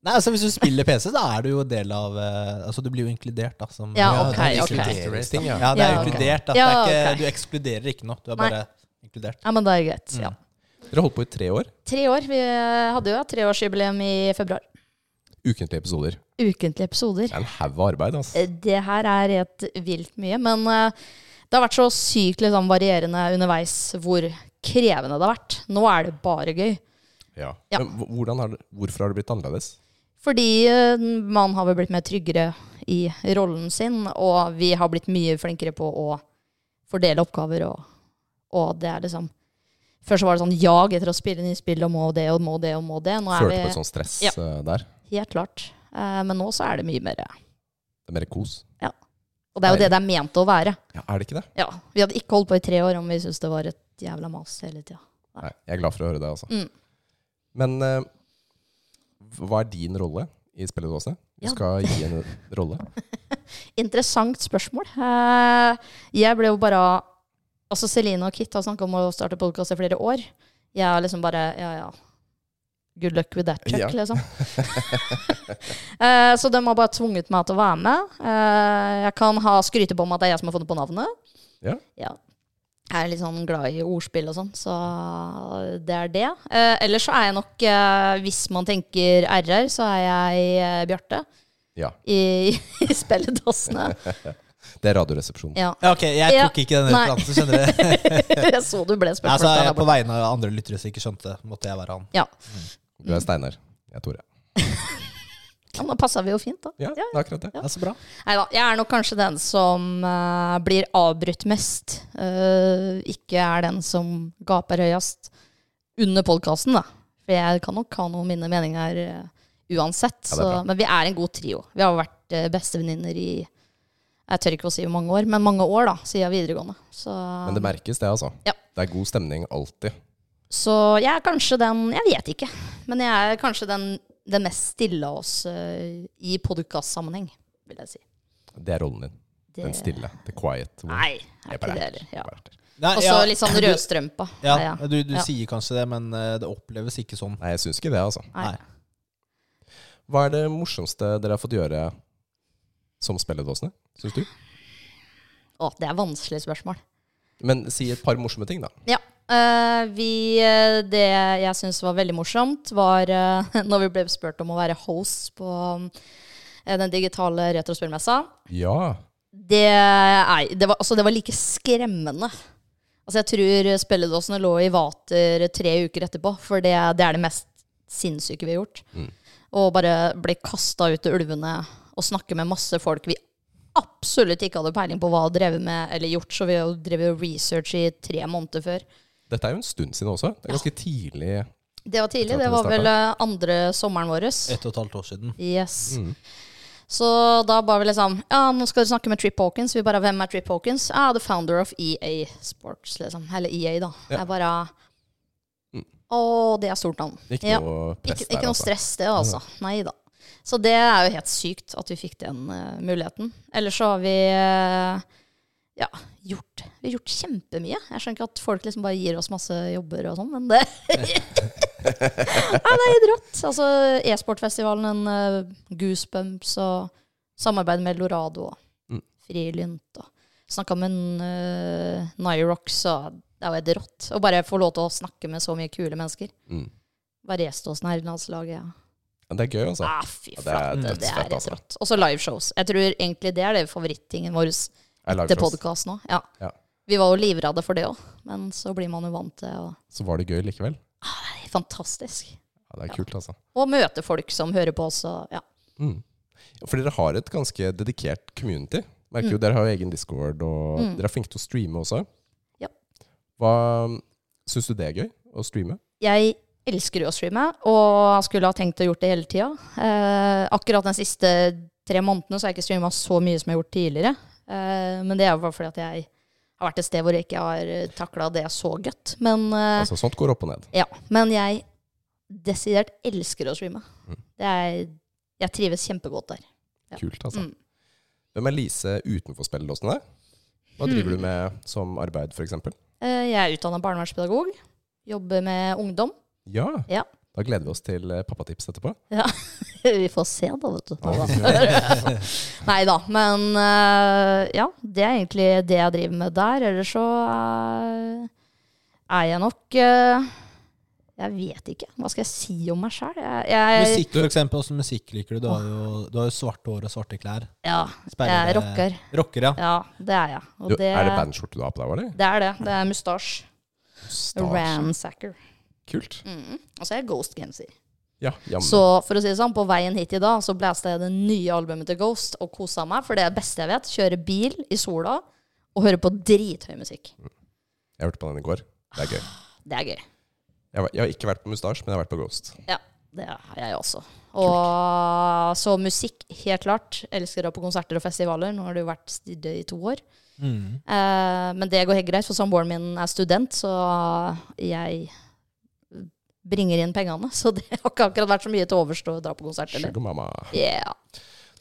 [SPEAKER 1] Nei, altså Hvis du spiller PC, da er du jo del av eh, Altså Du blir jo inkludert, da. Som,
[SPEAKER 4] Ja, ok,
[SPEAKER 1] det er
[SPEAKER 4] ok.
[SPEAKER 1] inkluderingsting,
[SPEAKER 2] Ja.
[SPEAKER 1] Ja, det er
[SPEAKER 4] Ja, ok.
[SPEAKER 1] inkludert. Da.
[SPEAKER 4] Ja,
[SPEAKER 1] det er ikke,
[SPEAKER 4] ok.
[SPEAKER 1] Du ekskluderer ikke noe. Du er
[SPEAKER 4] Nei.
[SPEAKER 1] bare inkludert.
[SPEAKER 4] Ja, men det er greit.
[SPEAKER 1] Mm.
[SPEAKER 4] Ja.
[SPEAKER 2] Dere holdt på i tre år.
[SPEAKER 4] Tre år. Vi hadde jo ja, treårsjubileum i februar.
[SPEAKER 2] Ukentlige episoder.
[SPEAKER 4] Ukentlige episoder. Eh,
[SPEAKER 2] Det er en haug av arbeid, altså.
[SPEAKER 4] Det her er helt vilt mye, men eh, Det har vært så sykt liksom, varierende underveis hvor krevende det har vært. Nå er det bare gøy.
[SPEAKER 2] Ja.
[SPEAKER 4] Ja.
[SPEAKER 2] Men hv- hvordan har det, hvorfor har det blitt annerledes?
[SPEAKER 4] Fordi eh, man har vel blitt mer tryggere i rollen sin, og vi har blitt mye flinkere på å fordele oppgaver, og, og det er liksom Før så var det sånn jag etter å spille inn i spill, og må det, og må det, og må det. Nå er
[SPEAKER 2] Følte på et
[SPEAKER 4] vi
[SPEAKER 2] sånt stress
[SPEAKER 4] Ja.
[SPEAKER 2] eh, der?
[SPEAKER 4] helt klart. Eh, Men nå så er det mye mer
[SPEAKER 2] Det er mer kos?
[SPEAKER 4] Og det er jo det det er ment å være.
[SPEAKER 2] Ja, er det ikke det?
[SPEAKER 4] Ja, Vi hadde ikke holdt på i tre år om vi syntes det var et jævla mas hele tida. Nei.
[SPEAKER 2] Nei, jeg er glad for å høre det, altså.
[SPEAKER 4] Mm.
[SPEAKER 2] Men eh, hva er din rolle i spilledåsene? Du
[SPEAKER 4] Ja.
[SPEAKER 2] skal gi en [LAUGHS] rolle.
[SPEAKER 4] Interessant spørsmål. Eh, Jeg ble jo bare Altså Celine og Kit har snakka om å starte podkast i flere år. Jeg er liksom bare Ja, ja. Good luck with that, Chuck,
[SPEAKER 2] Ja.
[SPEAKER 4] liksom. Eh, Så de har bare tvunget meg til å være med. Eh, Jeg kan ha skryte på meg at det er jeg som har funnet på navnet.
[SPEAKER 2] Ja.
[SPEAKER 4] Jeg er litt sånn glad i ordspill og sånn, så det er det. Eh, Ellers så er jeg nok, eh, hvis man tenker RR, så er jeg eh, Bjarte
[SPEAKER 2] Ja.
[SPEAKER 4] i, [LAUGHS] i
[SPEAKER 1] [LAUGHS]
[SPEAKER 4] spilledåsene.
[SPEAKER 2] Det er Radioresepsjonen.
[SPEAKER 4] Ja.
[SPEAKER 1] Ja, ok, jeg
[SPEAKER 4] Ja.
[SPEAKER 1] tok ikke den
[SPEAKER 4] Nei.
[SPEAKER 1] referansen,
[SPEAKER 4] [LAUGHS]
[SPEAKER 1] skjønner du.
[SPEAKER 4] Jeg så du ble
[SPEAKER 1] Nei,
[SPEAKER 4] spurt.
[SPEAKER 1] altså,
[SPEAKER 4] for
[SPEAKER 1] jeg, på
[SPEAKER 4] dette der borte.
[SPEAKER 1] vegne av andre lyttere som ikke skjønte, måtte jeg være han.
[SPEAKER 4] Ja.
[SPEAKER 2] Du er Steinar. Jeg er Tore.
[SPEAKER 4] ja, nå passa vi jo fint, da.
[SPEAKER 2] Ja, det er akkurat det.
[SPEAKER 1] Ja, så bra.
[SPEAKER 4] Nei da, jeg er nok kanskje den som eh, blir avbrutt mest. Eh, ikke er den som gaper høyest under podkasten, da. For jeg kan nok ha noen mine meninger eh, uansett.
[SPEAKER 2] Ja, det
[SPEAKER 4] Så,
[SPEAKER 2] er bra.
[SPEAKER 4] men vi er en god trio. Vi har vært eh, bestevenninner i jeg tør ikke å si hvor mange år, men mange år da, siden videregående. Så,
[SPEAKER 2] Men det merkes, det, altså.
[SPEAKER 4] Ja.
[SPEAKER 2] Det er god stemning alltid.
[SPEAKER 4] Så jeg er kanskje den Jeg vet ikke. Men jeg er kanskje den, den mest stille av oss eh, i podkast-sammenheng, vil jeg si.
[SPEAKER 2] Det er rollen din.
[SPEAKER 4] Det-
[SPEAKER 2] Den stille. The quiet. one.
[SPEAKER 4] Nei, er
[SPEAKER 2] Jeg bare
[SPEAKER 4] ikke det
[SPEAKER 2] er.
[SPEAKER 4] heller. Ja.
[SPEAKER 2] Bare er.
[SPEAKER 1] Nei,
[SPEAKER 4] Og så
[SPEAKER 1] ja,
[SPEAKER 4] litt
[SPEAKER 1] [LAUGHS]
[SPEAKER 4] sånn
[SPEAKER 1] du-
[SPEAKER 4] rødstrømpa.
[SPEAKER 1] Ja,
[SPEAKER 4] er jeg.
[SPEAKER 1] du, du
[SPEAKER 4] Ja.
[SPEAKER 1] sier kanskje det, men eh, det oppleves ikke sånn.
[SPEAKER 2] Nei, jeg syns ikke det, altså.
[SPEAKER 4] Nei.
[SPEAKER 1] Nei.
[SPEAKER 2] Hva er det morsomste dere har fått gjøre som spilledåsene, syns du?
[SPEAKER 4] Å, det er vanskelig spørsmål.
[SPEAKER 2] Men si et par morsomme ting, da.
[SPEAKER 4] Ja. eh, vi, eh, det jeg syns var veldig morsomt, var uh, [LAUGHS] når vi ble spurt om å være host på eh, den digitale retrospillmessa.
[SPEAKER 2] Ja.
[SPEAKER 4] Det, nei, det, var, altså, det var like skremmende. Altså, jeg tror spilledåsene lå i vater tre uker etterpå, for det, det er det mest sinnssyke vi har gjort. Og bare bli kasta ut til ulvene og snakke med masse folk vi absolutt ikke hadde peiling på hva hadde drevet med eller gjort, så vi har jo drevet og research i tre måneder før.
[SPEAKER 2] Dette er jo en stund siden også. Det er ganske tidlig.
[SPEAKER 4] Det var tidlig.
[SPEAKER 2] Etter at
[SPEAKER 4] Det
[SPEAKER 2] det
[SPEAKER 4] var
[SPEAKER 2] startet.
[SPEAKER 4] vel eh, andre sommeren vår.
[SPEAKER 1] Ett og et halvt år siden.
[SPEAKER 4] Yes. Så da ba vi liksom Ja, nå skal du snakke med Trip Hawkins. Vi bare Hvem er Trip Hawkins? Ja, the founder of EA Sports, liksom. Eller EA, da. Jeg bare Å, det er stort navn.
[SPEAKER 2] Ikke
[SPEAKER 4] Ja.
[SPEAKER 2] noe press
[SPEAKER 4] Ikke, ikke
[SPEAKER 2] der,
[SPEAKER 4] noe
[SPEAKER 2] altså.
[SPEAKER 4] stress, det, altså. Nei da. Så det er jo helt sykt at vi fikk den eh, muligheten. Ellers så har vi eh, ja, gjort, vi har gjort kjempemye. Jeg skjønner ikke at folk liksom bare gir oss masse jobber og sånn, men det [LAUGHS] Nei, det er helt rått. Altså e-sportfestivalen, eh, Goosebumps og samarbeid med Lorado og
[SPEAKER 2] Mm.
[SPEAKER 4] Frilynt og snakka med uh, Nyrox og det er jo helt rått. Å bare få lov til å snakke med så mye kule mennesker.
[SPEAKER 2] Mm.
[SPEAKER 4] Bare gjeste hos herrelandslaget.
[SPEAKER 2] Ja, det er gøy, altså.
[SPEAKER 4] Ah, fy
[SPEAKER 2] Ja, det er
[SPEAKER 4] flate, det er
[SPEAKER 2] dødsfett,
[SPEAKER 4] helt
[SPEAKER 2] altså.
[SPEAKER 4] rått. Og så liveshows. Jeg tror egentlig det er det favorittingen vår
[SPEAKER 2] Jeg lager
[SPEAKER 4] til
[SPEAKER 2] shows.
[SPEAKER 4] podkast nå. Ja.
[SPEAKER 2] Ja.
[SPEAKER 4] Vi var jo livredde for det òg, men så blir man jo vant til å
[SPEAKER 2] Så var det gøy likevel.
[SPEAKER 4] Det er fantastisk.
[SPEAKER 2] Ja, det er kult, altså.
[SPEAKER 4] Og møte folk som hører på oss og ja.
[SPEAKER 2] Mm. For dere har et ganske dedikert community. Merker jo,
[SPEAKER 4] Mm.
[SPEAKER 2] Dere har jo egen Discord, og dere er flinke til å streame også.
[SPEAKER 4] Ja.
[SPEAKER 2] Hva Syns du det er gøy å streame?
[SPEAKER 4] Jeg elsker jo å streame, og skulle ha tenkt å gjort det hele tida. Eh, akkurat den siste tre månedene så har jeg ikke streama så mye som jeg har gjort tidligere. Eh, men det er jo bare fordi at jeg har vært et sted hvor jeg ikke har takla det så godt. Men eh,
[SPEAKER 2] Altså, Sånt går opp og ned.
[SPEAKER 4] Ja, men jeg desidert elsker å streame. Det er, jeg trives kjempegodt der. Ja.
[SPEAKER 2] Kult, altså.
[SPEAKER 4] Mm.
[SPEAKER 2] Hvem er Lise utenfor spilledåsene? Hva driver du med som arbeid, f.eks.?
[SPEAKER 4] Eh, Jeg er utdanna barnevernspedagog. Jobber med ungdom.
[SPEAKER 2] Ja.
[SPEAKER 4] Ja. [LAUGHS]
[SPEAKER 2] Da gleder vi oss til eh, pappatips etterpå.
[SPEAKER 4] Ja. Vi får se, da, vet du.
[SPEAKER 2] [LAUGHS] Ja.
[SPEAKER 4] Nei da, men eh, ja. Det er egentlig det jeg driver med der. Ellers så eh, er jeg nok eh, Jeg vet ikke. Hva skal jeg si om meg sjæl? Jeg, jeg,
[SPEAKER 1] Musikk, for eksempel. Åssen musikk liker du? Du har jo, du har jo svart hår og svarte klær.
[SPEAKER 4] ja, jeg
[SPEAKER 1] Speiler-
[SPEAKER 4] er rocker.
[SPEAKER 1] Rocker, ja.
[SPEAKER 4] Ja, det er jeg. Og
[SPEAKER 2] Du,
[SPEAKER 4] [LAUGHS] det,
[SPEAKER 2] Er det bandskjorte du har på deg, eller?
[SPEAKER 4] det er det. Det er mustasje.
[SPEAKER 2] Stas.
[SPEAKER 4] Ransacker.
[SPEAKER 2] Kult.
[SPEAKER 4] Mm. Og så er jeg ghost-genser.
[SPEAKER 2] Ja, jammen.
[SPEAKER 4] Så for å si det sånn, på veien hit i dag så blæste jeg det nye albumet til Ghost og kosa meg, for det er det beste jeg vet. Kjøre bil i sola og høre på drithøy musikk.
[SPEAKER 2] Jeg hørte på den i går. Det er gøy.
[SPEAKER 4] Det er gøy.
[SPEAKER 2] Jeg, var- jeg har ikke vært på Mustasj, men jeg har vært på Ghost.
[SPEAKER 4] Det har jeg også. Og så musikk, helt klart. Elsker å dra på konserter og festivaler. Nå har det jo vært stille i to år.
[SPEAKER 1] Mm.
[SPEAKER 4] Eh, men det går helt greit, for samboeren min er student, så jeg bringer inn pengene. [LAUGHS] Så det har ikke akkurat vært så mye til overs til å dra på konsert. Eller?
[SPEAKER 2] Sugar mama.
[SPEAKER 4] Yeah.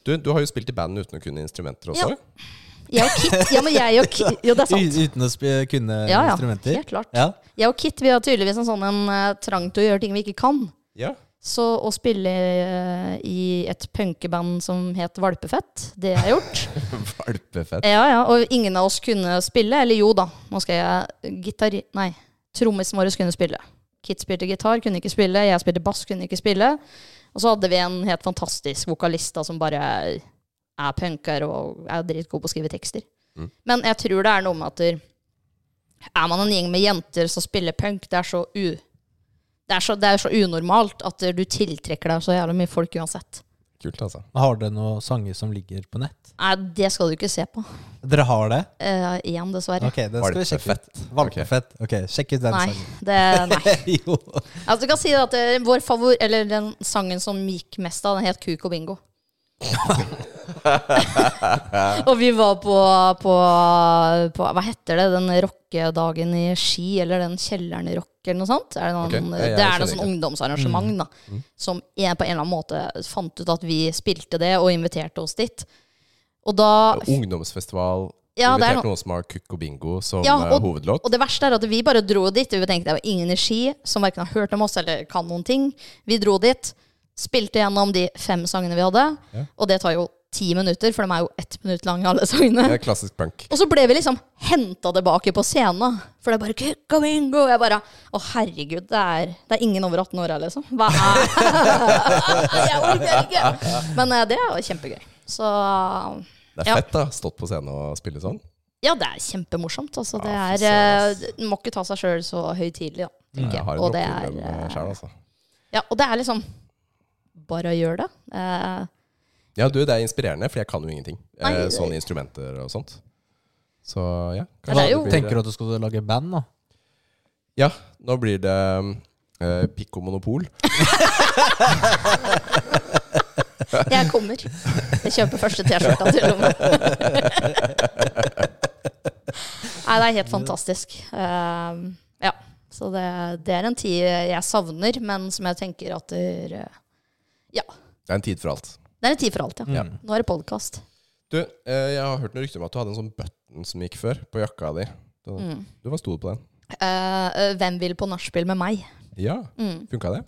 [SPEAKER 2] Du, du har jo spilt i band uten å kunne instrumenter også.
[SPEAKER 4] Ja. Jeg og Kit, ja, men jeg og Kit, jo, det er sant.
[SPEAKER 1] U- Uten å sp- kunne
[SPEAKER 4] Ja, ja,
[SPEAKER 1] instrumenter.
[SPEAKER 4] helt klart.
[SPEAKER 1] Ja.
[SPEAKER 4] Jeg og Kit vi har tydeligvis en sånn en, eh, trang til å gjøre ting vi ikke kan.
[SPEAKER 2] Ja. [LAUGHS]
[SPEAKER 4] Så å spille eh, i et punkeband som het Valpefett, det har jeg gjort.
[SPEAKER 2] Valpefett.
[SPEAKER 4] Ja, ja, og ingen av oss kunne spille. Eller jo da, nå skal jeg gitar... Nei, trommisen vår kunne spille. Kit spilte gitar, kunne ikke spille. Jeg spilte bass, kunne ikke spille. Og så hadde vi en helt fantastisk vokalist da, som bare er punker og er dritgod på å skrive tekster.
[SPEAKER 2] Mm.
[SPEAKER 4] Men jeg tror det er noe med at der- er man en gjeng med jenter som spiller punk, det er så u... Det er så, det er så unormalt at du tiltrekker deg så jævlig mye folk uansett.
[SPEAKER 2] Kult, altså.
[SPEAKER 1] Har dere noen sanger som ligger på nett?
[SPEAKER 4] Nei, det skal du ikke se på.
[SPEAKER 1] Dere har det?
[SPEAKER 4] Eh, igjen, dessverre.
[SPEAKER 1] Ok, den skal vi sjekke ut. Valpefett. Ok, sjekk ut den
[SPEAKER 4] Nei,
[SPEAKER 1] sangen.
[SPEAKER 4] det, nei.
[SPEAKER 1] [LAUGHS] jo.
[SPEAKER 4] Altså, du kan si at eh, vår favor, eller den sangen som gikk mest av, den het Kuk
[SPEAKER 2] [LAUGHS]
[SPEAKER 4] og bingo. og vi var på, på, på Hva heter det? Den rockedagen i Ski, eller den kjelleren i rock, eller noe sånt? Er det, noen,
[SPEAKER 2] Ok, jeg- jeg
[SPEAKER 4] det er noe
[SPEAKER 2] kjenner
[SPEAKER 4] sånn
[SPEAKER 2] ikke. Mm.
[SPEAKER 4] ungdomsarrangement da, som en, på en eller annen måte fant ut at vi spilte det, og inviterte oss dit. Og da
[SPEAKER 2] Ungdomsfestival.
[SPEAKER 4] Ja, det er
[SPEAKER 2] Invitert
[SPEAKER 4] noe-
[SPEAKER 2] noen som har kukk og bingo som
[SPEAKER 4] Ja,
[SPEAKER 2] eh,
[SPEAKER 4] og-
[SPEAKER 2] hovedlåt.
[SPEAKER 4] Og det verste er at vi bare dro dit. og Vi tenkte det var ingen i Ski som verken har hørt om oss eller kan noen ting. Vi dro dit, spilte gjennom de fem sangene vi hadde,
[SPEAKER 2] Ja.
[SPEAKER 4] og det tar jo ti minutter, for de er jo ett minutt lange, alle sangene.
[SPEAKER 2] Det er klassisk punk.
[SPEAKER 4] Og så ble vi liksom henta tilbake på scenen. For det er bare «Kukk og bingo. Jeg bare Å, herregud, det er, det er ingen over 18 år her, liksom. Hva er [LAUGHS] Jeg orker ikke! Men eh, det var kjempegøy. Så
[SPEAKER 2] Det er
[SPEAKER 4] Ja.
[SPEAKER 2] fett, da. Stått på scenen og spille sånn.
[SPEAKER 4] ja, det er kjempemorsomt. Altså, det
[SPEAKER 2] Ja, fy
[SPEAKER 4] er,
[SPEAKER 2] søren, ass. Mm.
[SPEAKER 4] eh, du må ikke ta seg sjøl så høytidelig, da. tenker
[SPEAKER 2] Jeg
[SPEAKER 4] jeg.
[SPEAKER 2] har
[SPEAKER 4] Og
[SPEAKER 2] en
[SPEAKER 4] det er,
[SPEAKER 2] rockeproblem
[SPEAKER 4] eh,
[SPEAKER 2] sjøl, altså.
[SPEAKER 4] ja, og det er liksom Bare gjør det. Eh,
[SPEAKER 2] Ja, du, det er inspirerende, for jeg kan jo ingenting. Eh,
[SPEAKER 4] Nei, det-
[SPEAKER 2] Sånne instrumenter og sånt. Så ja.
[SPEAKER 4] Ja, det er jo-
[SPEAKER 2] blir-
[SPEAKER 1] Tenker du at du skal lage band nå?
[SPEAKER 2] Ja, nå blir det eh, Pikk og monopol.
[SPEAKER 4] jeg kommer. Jeg kjøper første T-skjorta til
[SPEAKER 2] [LAUGHS]
[SPEAKER 4] og med. Nei, det er helt fantastisk. Eh, ja. Så det, det er en tid jeg savner, men som jeg tenker at det er, eh,
[SPEAKER 2] Det er en tid for alt.
[SPEAKER 4] Det er en tid for alt, ja.
[SPEAKER 1] Ja.
[SPEAKER 4] Nå er det podkast.
[SPEAKER 2] Du, eh, jeg har hørt noen rykter om at du hadde en sånn button som gikk før, på jakka di. Du,
[SPEAKER 4] Mm.
[SPEAKER 2] du Hva sto det på den?
[SPEAKER 4] Eh, hvem vil på nachspiel med meg?
[SPEAKER 2] Ja,
[SPEAKER 4] Mm.
[SPEAKER 2] funka det?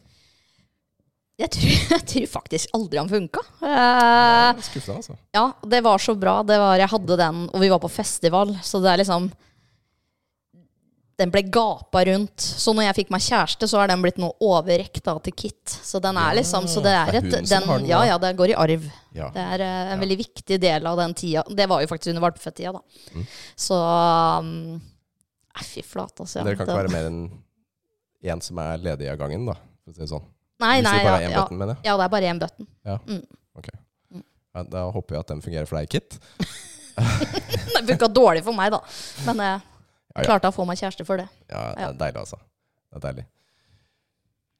[SPEAKER 4] Jeg tror, [LAUGHS] jeg tror faktisk aldri han funka.
[SPEAKER 2] Jeg
[SPEAKER 4] Eh,
[SPEAKER 2] er Skuffa, altså.
[SPEAKER 4] ja, det var så bra. Det var, jeg hadde den, og vi var på festival, så det er liksom Den ble gapa rundt. Så når jeg fikk meg kjæreste, så er den blitt noe overrekt da, til Kit. Så den er liksom Så det er
[SPEAKER 2] Det er
[SPEAKER 4] et
[SPEAKER 2] hun som
[SPEAKER 4] den,
[SPEAKER 2] har den,
[SPEAKER 4] Ja,
[SPEAKER 2] da.
[SPEAKER 4] ja, det går i arv.
[SPEAKER 2] Ja.
[SPEAKER 4] Det er eh,
[SPEAKER 2] Ja.
[SPEAKER 4] en veldig viktig del av den tida. Det var jo faktisk under valpefødt-tida, da.
[SPEAKER 2] Mm.
[SPEAKER 4] Så um, eh, Fy flate, altså. ja.
[SPEAKER 2] Dere kan ikke være
[SPEAKER 4] Den-
[SPEAKER 2] mer enn én som er ledig av gangen, da. For å si det sånn.
[SPEAKER 4] Nei,
[SPEAKER 2] Hvis
[SPEAKER 4] nei,
[SPEAKER 2] det
[SPEAKER 4] ja,
[SPEAKER 2] bare er én
[SPEAKER 4] ja,
[SPEAKER 2] button, mener jeg.
[SPEAKER 4] ja, det er bare én button.
[SPEAKER 2] Ja, da håper jeg at den fungerer for deg, Kit.
[SPEAKER 4] Det funka dårlig for meg, da. Men jeg
[SPEAKER 2] Ja, ja.
[SPEAKER 4] klarte å få meg kjæreste for det.
[SPEAKER 2] Ja, det
[SPEAKER 4] Ja.
[SPEAKER 2] er deilig, altså. Det er deilig.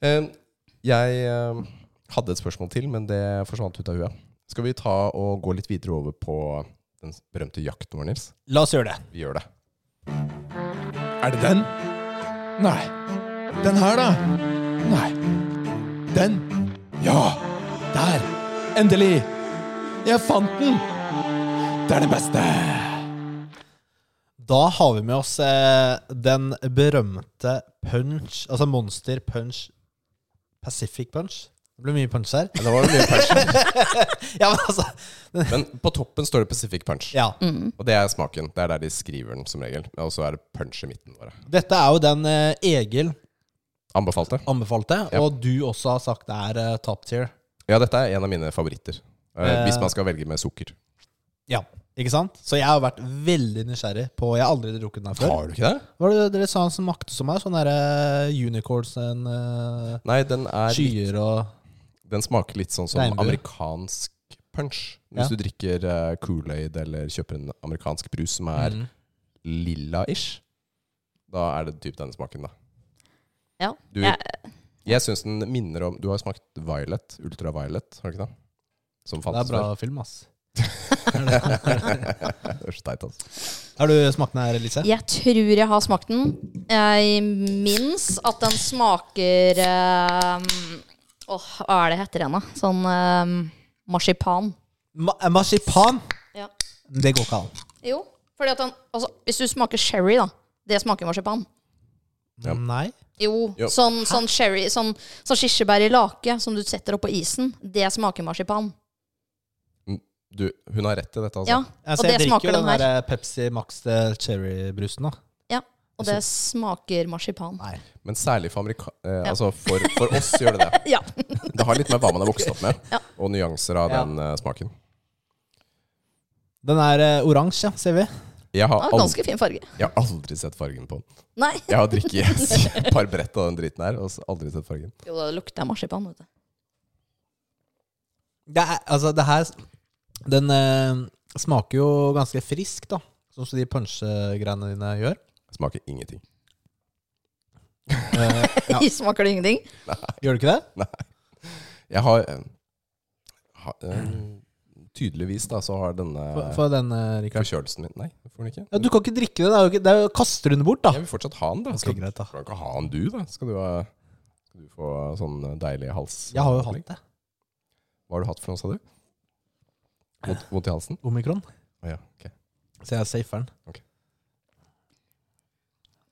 [SPEAKER 2] Eh, jeg eh, hadde et spørsmål til, men det forsvant ut av huet. Skal vi ta og gå litt videre over på den berømte jakten vår, Nils?
[SPEAKER 1] La oss gjøre det.
[SPEAKER 2] Vi gjør det.
[SPEAKER 3] Er det den? Nei. Den her, da? Nei. Den? Ja! Der! Endelig! Jeg fant den! Det er det beste!
[SPEAKER 1] Da har vi med oss eh, den berømte punch, altså Monster Punch Pacific Punch. Det ble mye punch her.
[SPEAKER 2] Men, da var det mye punch.
[SPEAKER 1] Ja, men altså
[SPEAKER 2] men på toppen står det Pacific Punch.
[SPEAKER 1] Ja.
[SPEAKER 2] Og det er smaken. Det er der de skriver den, som regel. Og så er det punch i midten. Bare.
[SPEAKER 1] Dette er jo den eh, Egil
[SPEAKER 2] Anbefalte.
[SPEAKER 1] anbefalt det,
[SPEAKER 2] Ja.
[SPEAKER 1] og du også har sagt det er eh, top tier.
[SPEAKER 2] Ja, dette er en av mine favoritter. Eh,
[SPEAKER 1] Eh.
[SPEAKER 2] hvis man skal velge med sukker.
[SPEAKER 1] Ja, ikke sant? Så jeg har vært veldig nysgjerrig på Jeg har aldri drukket den her før.
[SPEAKER 2] du ikke det?
[SPEAKER 1] Hva var det dere sa han smakte som meg? Sånn derre unicorns og eh,
[SPEAKER 2] Nei, den, er litt,
[SPEAKER 1] skyer og
[SPEAKER 2] den smaker litt sånn som
[SPEAKER 1] Regnbue.
[SPEAKER 2] amerikansk punch.
[SPEAKER 1] Ja.
[SPEAKER 2] Hvis du drikker eh, Kool-Aid eller kjøper en amerikansk brus som er
[SPEAKER 1] Mm.
[SPEAKER 2] lilla-ish, da er det typ denne smaken, da.
[SPEAKER 4] Ja.
[SPEAKER 2] Du,
[SPEAKER 4] Jeg,
[SPEAKER 2] Jeg syns den minner om Du har smakt Violet, Ultraviolet, har du ikke det? Som
[SPEAKER 1] Det er
[SPEAKER 2] fantes
[SPEAKER 1] bra
[SPEAKER 2] før.
[SPEAKER 1] film, ass.
[SPEAKER 2] det er så teit, altså.
[SPEAKER 1] Har du smakt den her, Elise?
[SPEAKER 4] jeg tror jeg har smakt den. Jeg minnes at den smaker eh, Åh, hva er det heter den, da? Sånn eh, marsipan.
[SPEAKER 1] Ma eh, marsipan!
[SPEAKER 4] Ja.
[SPEAKER 1] Det går ikke an.
[SPEAKER 4] Jo, fordi at den altså, Hvis du smaker sherry, da. Det smaker marsipan.
[SPEAKER 2] Ja.
[SPEAKER 1] Nei.
[SPEAKER 4] Jo,
[SPEAKER 2] Jo.
[SPEAKER 4] Sånn, sånn sherry sånn, sånn kirsebær i lake som du setter oppå isen. Det smaker marsipan.
[SPEAKER 2] Du, hun har rett til dette, altså.
[SPEAKER 4] Ja,
[SPEAKER 1] Altså,
[SPEAKER 4] og det
[SPEAKER 1] jeg drikker
[SPEAKER 4] smaker
[SPEAKER 1] jo
[SPEAKER 4] den
[SPEAKER 1] den
[SPEAKER 4] her.
[SPEAKER 1] der Pepsi Max eh, cherrybrusen, da.
[SPEAKER 4] Og
[SPEAKER 2] altså.
[SPEAKER 4] det smaker marsipan.
[SPEAKER 1] Nei.
[SPEAKER 2] Men særlig for, amerika eh,
[SPEAKER 4] Ja.
[SPEAKER 2] altså for, for oss gjør det det.
[SPEAKER 4] Ja.
[SPEAKER 2] Det har litt med hva man har vokst opp med,
[SPEAKER 4] Ja.
[SPEAKER 2] og nyanser av
[SPEAKER 1] Ja.
[SPEAKER 2] den eh, smaken.
[SPEAKER 1] Den er eh, oransje, ja, ser vi.
[SPEAKER 2] Jeg har,
[SPEAKER 4] Ja,
[SPEAKER 2] aldri,
[SPEAKER 4] ganske fin farge.
[SPEAKER 2] jeg har aldri sett fargen på den.
[SPEAKER 4] Nei.
[SPEAKER 2] Jeg har drikket et par brett av den driten her, og s- aldri sett fargen.
[SPEAKER 4] Jo, det lukter marsipan. Vet du.
[SPEAKER 1] Det er, altså, det her Den eh, smaker jo ganske frisk, da. Sånn som de punchgreiene dine gjør.
[SPEAKER 2] Smaker ingenting.
[SPEAKER 4] [LAUGHS]
[SPEAKER 1] Eh, ja.
[SPEAKER 4] Smaker det ingenting?
[SPEAKER 1] Gjør det ikke det?
[SPEAKER 2] Jeg har, eh, ha, eh, Tydeligvis da, så har denne
[SPEAKER 1] Få få den, eh, Rikard.
[SPEAKER 2] forkjølelsen min Nei, det får den ikke.
[SPEAKER 1] Ja, du kan ikke drikke det. Det er jo ikke, det er jo, kaster du den bort, da.
[SPEAKER 2] Jeg vil fortsatt ha den, da.
[SPEAKER 1] Ok,
[SPEAKER 2] Skal,
[SPEAKER 1] greit, da.
[SPEAKER 2] skal du ikke ha den, du, da? Skal du, ha- skal du få sånn deilig hals...
[SPEAKER 1] Jeg har jo hatt det.
[SPEAKER 2] Hva har du hatt for noe, sa du? Vondt- Vondt i halsen?
[SPEAKER 1] Omikron.
[SPEAKER 2] Å ja, ok.
[SPEAKER 1] Så jeg safer den.
[SPEAKER 2] Ok.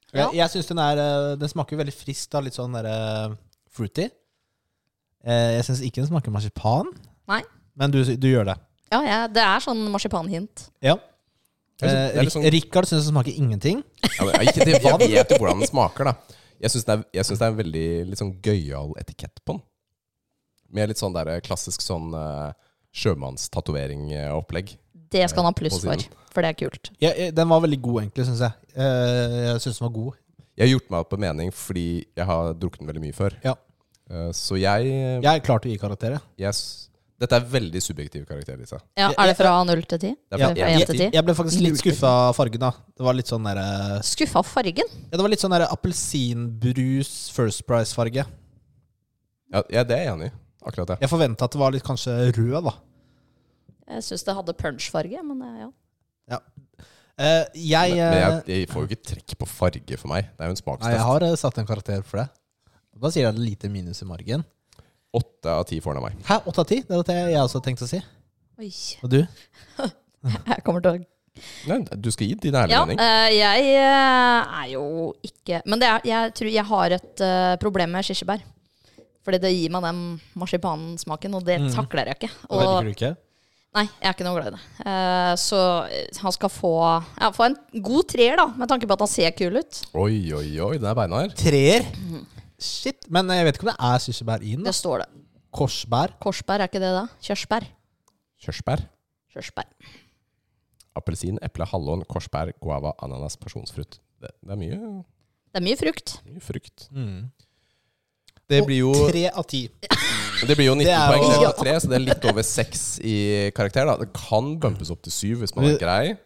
[SPEAKER 1] Jeg,
[SPEAKER 4] Ja.
[SPEAKER 1] jeg syns den er eh, Den smaker jo veldig frisk, da. Litt sånn derre fruity. Eh, Jeg syns ikke den smaker marsipan.
[SPEAKER 4] Nei.
[SPEAKER 1] Men du, du gjør det.
[SPEAKER 4] Ja, ja, det er sånn marsipanhint.
[SPEAKER 1] Ja.
[SPEAKER 2] Jeg synes- det er
[SPEAKER 1] Eh,
[SPEAKER 2] litt sånn-
[SPEAKER 1] Rik- Rikard syns den smaker ingenting.
[SPEAKER 2] Ja, men, ikke det, jeg vet jo hvordan den smaker, da. Jeg syns det, er- jeg synes det er en veldig litt sånn gøyal etikett på den. Med litt sånn der klassisk sånn uh, sjømannstatoveringsopplegg.
[SPEAKER 4] Det skal han ha
[SPEAKER 2] På
[SPEAKER 4] pluss for,
[SPEAKER 2] siden.
[SPEAKER 4] for det er kult.
[SPEAKER 1] Jeg, jeg, eh, den var veldig god, egentlig, syns jeg. Eh, Jeg syns den var god.
[SPEAKER 2] Jeg har gjort meg opp en mening fordi jeg har drukket den veldig mye før.
[SPEAKER 1] Ja.
[SPEAKER 2] Eh, så jeg,
[SPEAKER 1] Jeg er klar til å gi karakter. jeg.
[SPEAKER 2] jeg s- Dette er veldig subjektiv karakter, Lisa.
[SPEAKER 4] Ja,
[SPEAKER 1] Ja,
[SPEAKER 4] Er det
[SPEAKER 1] ja,
[SPEAKER 4] fra null til ti?
[SPEAKER 2] Det er
[SPEAKER 1] Ja,
[SPEAKER 2] fra
[SPEAKER 4] Fra
[SPEAKER 2] en-
[SPEAKER 4] én til
[SPEAKER 1] Jeg,
[SPEAKER 4] ti?
[SPEAKER 1] jeg ble faktisk litt skuffa av fargen, da. Det var litt sånn der, eh,
[SPEAKER 4] Skuffa fargen?
[SPEAKER 1] ja, Det var litt sånn der appelsinbrus First Price-farge.
[SPEAKER 2] Ja, ja, det er jeg enig i. Akkurat det.
[SPEAKER 1] Jeg forventa at det var litt kanskje rød, da.
[SPEAKER 4] Jeg syns det hadde punchfarge, men eh, ja.
[SPEAKER 1] Eh, jeg,
[SPEAKER 2] Men,
[SPEAKER 1] eh,
[SPEAKER 2] men jeg, jeg får jo ikke trekk på farge for meg. Det er
[SPEAKER 1] nei,
[SPEAKER 2] jo en
[SPEAKER 1] jeg
[SPEAKER 2] smakstest.
[SPEAKER 1] har eh, satt en karakter for det. Da sier jeg et lite minus i margen.
[SPEAKER 2] Åtte av ti får den av meg.
[SPEAKER 1] Hæ, åtte av ti? Det var det jeg også tenkte å si.
[SPEAKER 4] Oi, [LAUGHS]
[SPEAKER 1] Og du?
[SPEAKER 4] jeg kommer til å
[SPEAKER 2] Nei, du skal gi din ærlige
[SPEAKER 4] Ja,
[SPEAKER 2] mening.
[SPEAKER 4] eh, jeg eh, er jo ikke Men det er, jeg tror jeg har et eh, problem med kirsebær. Fordi det gir meg den marsipansmaken, og det
[SPEAKER 1] Mm.
[SPEAKER 4] takler jeg ikke. Og,
[SPEAKER 1] du ikke?
[SPEAKER 4] nei, jeg er ikke noe glad i det. Eh, så eh, han skal få, ja, få en god treer, da, med tanke på at han ser kul ut.
[SPEAKER 2] Oi, oi, oi, den er beinhard.
[SPEAKER 1] Treer. Shit. Men eh, jeg vet ikke om det er kirsebær i den. da.
[SPEAKER 4] Det står det.
[SPEAKER 1] Korsbær.
[SPEAKER 4] Korsbær, er ikke det da? Kjørsbær.
[SPEAKER 2] Kjørsbær,
[SPEAKER 4] Kjørsbær.
[SPEAKER 2] appelsin, eple, hallon, korsbær, guava, ananas, pasjonsfrukt. Det, det er mye,
[SPEAKER 4] Det er mye frukt.
[SPEAKER 2] mye frukt.
[SPEAKER 1] Mm.
[SPEAKER 2] Det
[SPEAKER 1] Og
[SPEAKER 2] blir jo,
[SPEAKER 1] Tre av ti.
[SPEAKER 2] det blir jo 19
[SPEAKER 1] Det er
[SPEAKER 2] poeng
[SPEAKER 1] jo-
[SPEAKER 2] delt på tre, så det er litt over seks i karakter. Da. Det kan bumpes opp til syv hvis man er
[SPEAKER 1] Vi-
[SPEAKER 2] grei.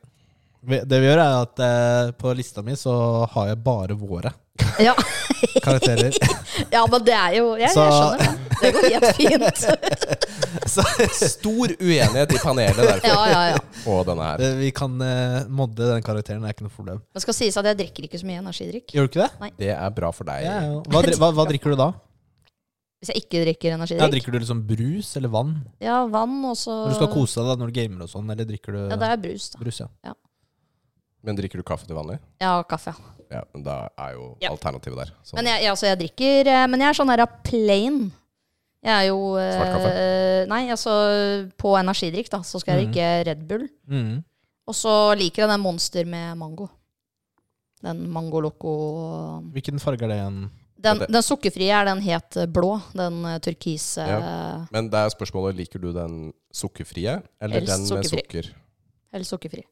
[SPEAKER 1] Vi- Det vi gjør, er at eh, på lista mi så har jeg bare våre
[SPEAKER 4] [LAUGHS] Ja,
[SPEAKER 2] [LAUGHS]
[SPEAKER 1] karakterer. [LAUGHS]
[SPEAKER 4] ja men det er jo Jeg, jeg
[SPEAKER 1] Så-
[SPEAKER 4] skjønner det. Det går
[SPEAKER 1] [LAUGHS]
[SPEAKER 4] helt fint. [LAUGHS]
[SPEAKER 1] så
[SPEAKER 2] Stor uenighet i
[SPEAKER 1] [LAUGHS]
[SPEAKER 2] panelet derfor.
[SPEAKER 4] Ja, ja, ja.
[SPEAKER 2] Og denne her.
[SPEAKER 1] eh, vi kan eh, modde den karakteren. Det er ikke noe problem.
[SPEAKER 4] Det skal sies at jeg drikker ikke så mye energidrikk.
[SPEAKER 1] Gjør du ikke det?
[SPEAKER 2] Det er bra for deg.
[SPEAKER 1] Ja, ja. Hva, dri- hva, hva drikker du da?
[SPEAKER 4] Hvis jeg ikke drikker
[SPEAKER 1] Ja,
[SPEAKER 4] energidrikk
[SPEAKER 1] drikker du liksom brus eller vann?
[SPEAKER 4] Ja, vann og så
[SPEAKER 1] Når du skal kose deg da, når du gamer og sånn, eller drikker du
[SPEAKER 4] Ja, det er brus, da.
[SPEAKER 1] brus? ja
[SPEAKER 2] Men drikker du kaffe til vanlig?
[SPEAKER 4] Ja, og kaffe. ja.
[SPEAKER 2] Ja, men da er jo
[SPEAKER 4] Ja.
[SPEAKER 2] alternativet der. Sånn.
[SPEAKER 4] Men jeg, jeg, altså, jeg drikker eh, Men jeg er sånn her plain. Jeg er jo eh,
[SPEAKER 2] Svart
[SPEAKER 4] Nei, altså på energidrikk, da, så skal jeg
[SPEAKER 1] Mhm.
[SPEAKER 4] drikke Red Bull.
[SPEAKER 1] Mm.
[SPEAKER 4] Og så liker jeg den Monster med mango. Den Mango Loco
[SPEAKER 1] Hvilken farge er det igjen?
[SPEAKER 4] Den,
[SPEAKER 2] Dette-
[SPEAKER 4] den sukkerfrie er den helt eh, blå. Den eh, turkise eh,
[SPEAKER 2] Men det er spørsmålet liker du den sukkerfrie eller
[SPEAKER 4] Helst
[SPEAKER 2] den med
[SPEAKER 4] sukkerfri.
[SPEAKER 2] sukker.
[SPEAKER 4] Eller sukkerfri.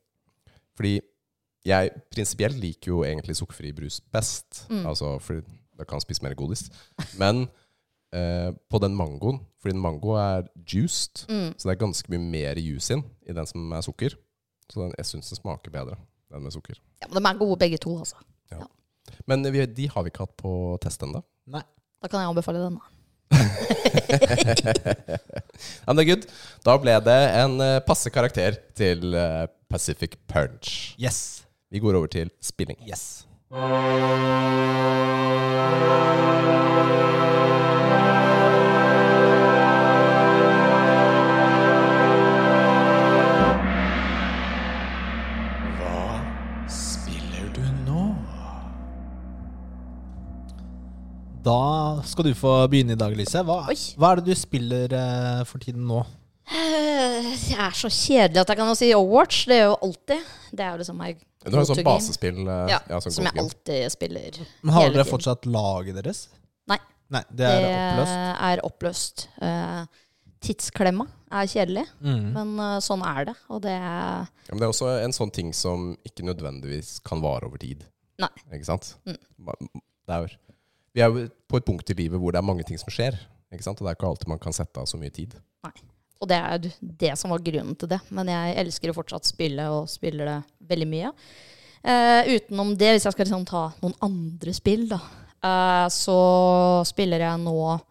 [SPEAKER 2] Fordi jeg prinsipielt liker jo egentlig sukkerfri brus best.
[SPEAKER 4] Mm.
[SPEAKER 2] Altså, fordi da kan jeg spise mer godis. Men eh, på den mangoen, fordi en mango er juiced,
[SPEAKER 4] Mm.
[SPEAKER 2] så det er ganske mye mer juice inn i den som er sukker. Så den, jeg syns den smaker bedre, den med sukker.
[SPEAKER 4] Ja, men de er gode begge to, altså.
[SPEAKER 2] Men vi, de har vi ikke hatt på test [LAUGHS] ennå.
[SPEAKER 1] Nei.
[SPEAKER 4] Da kan jeg anbefale den. da. [SIGHS]
[SPEAKER 2] Men det er good. Da ble det en eh, passe karakter til eh, Pacific Punch.
[SPEAKER 1] Yes.
[SPEAKER 2] Vi går over til spilling.
[SPEAKER 1] Yes.
[SPEAKER 3] Hva spiller du nå?
[SPEAKER 1] Da skal du få begynne i dag, Lise. Hva,
[SPEAKER 4] Oi.
[SPEAKER 1] hva er det du spiller eh, for tiden nå?
[SPEAKER 4] Eh, Det er så kjedelig at jeg kan jo si Overwatch. Det er jo alltid. Det er jo liksom meg.
[SPEAKER 2] Du har jo sånn
[SPEAKER 4] go-to game.
[SPEAKER 2] basespill eh,
[SPEAKER 4] Ja,
[SPEAKER 2] ja, sånn
[SPEAKER 4] som jeg
[SPEAKER 2] go-to game.
[SPEAKER 4] alltid spiller.
[SPEAKER 1] Men har
[SPEAKER 4] hele
[SPEAKER 1] dere
[SPEAKER 4] tiden.
[SPEAKER 1] fortsatt laget deres?
[SPEAKER 4] Nei.
[SPEAKER 1] Nei, det er oppløst.
[SPEAKER 4] er oppløst. Eh, tidsklemma er kjedelig,
[SPEAKER 1] Mm.
[SPEAKER 4] men eh, sånn er det. Og det er
[SPEAKER 2] Ja, men det er også en sånn ting som ikke nødvendigvis kan vare over tid.
[SPEAKER 4] Nei.
[SPEAKER 2] Ikke sant?
[SPEAKER 4] Mm.
[SPEAKER 2] Ma- Det er, jo- vi er jo på et punkt i livet hvor det er mange ting som skjer. Ikke sant? Og det er ikke alltid man kan sette av så mye tid.
[SPEAKER 4] Og det er det som var grunnen til det. Men jeg elsker å fortsatt spille, og spiller det veldig mye. Eh, utenom det, hvis jeg skal liksom ta noen andre spill, da, eh, så spiller jeg nå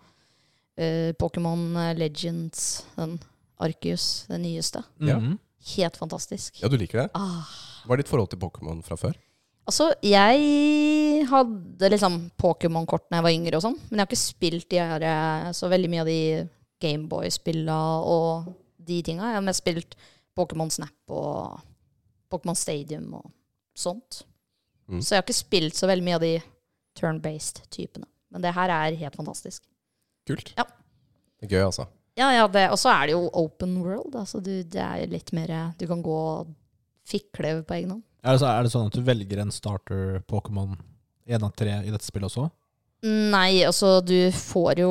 [SPEAKER 4] eh, Pokémon Legends, den Arcus, den nyeste.
[SPEAKER 2] Ja.
[SPEAKER 1] Mhm.
[SPEAKER 4] Helt fantastisk.
[SPEAKER 2] ja, du liker det?
[SPEAKER 4] Ah.
[SPEAKER 2] Hva er ditt forhold til Pokémon fra før?
[SPEAKER 4] Altså, jeg hadde liksom Pokémon-kort da jeg var yngre og sånn, men jeg har ikke spilt de her, eh, så veldig mye av de Gameboy-spilla og de tinga. Jeg har mest spilt Pokémon Snap og Pokémon Stadium og sånt.
[SPEAKER 2] Mm.
[SPEAKER 4] Så jeg har ikke spilt så veldig mye av de turn-based-typene. Men det her er helt fantastisk.
[SPEAKER 2] Kult.
[SPEAKER 4] Ja.
[SPEAKER 2] Det er gøy, altså.
[SPEAKER 4] Ja, ja, det, og så er det jo open world. Altså du, det er litt mer eh, Du kan gå og fikle på egen hånd.
[SPEAKER 1] Er, det så, er det sånn at du velger en starter Pokémon én av tre i dette spillet også?
[SPEAKER 4] Nei, altså du får jo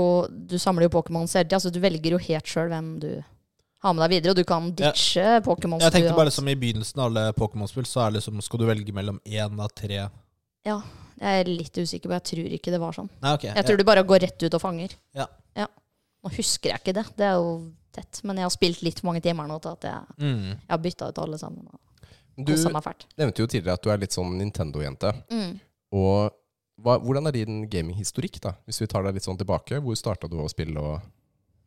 [SPEAKER 4] Du samler jo Pokémon selv. Altså, du velger jo helt sjøl hvem du har med deg videre. Og du kan ditche Pokémon.
[SPEAKER 1] Jeg tenkte bare som I begynnelsen av alle Pokémon-spill så er det liksom, skal du velge mellom én av tre
[SPEAKER 4] Jeg er litt usikker, men jeg tror ikke det var sånn.
[SPEAKER 1] Nei, ok.
[SPEAKER 4] Jeg tror du bare går rett ut og fanger.
[SPEAKER 1] Ja.
[SPEAKER 4] Nå husker jeg ikke det. Det er jo tett. Men jeg har spilt litt for mange timer nå til at jeg,
[SPEAKER 1] Mm.
[SPEAKER 4] jeg har bytta ut alle sammen. Og
[SPEAKER 2] Du
[SPEAKER 4] kosa meg fælt.
[SPEAKER 2] nevnte jo tidligere at du er litt sånn Nintendo-jente.
[SPEAKER 4] Mm.
[SPEAKER 2] Og hva, hvordan er din gaminghistorikk, da? Hvis vi tar deg litt sånn tilbake. Hvor starta du å spille og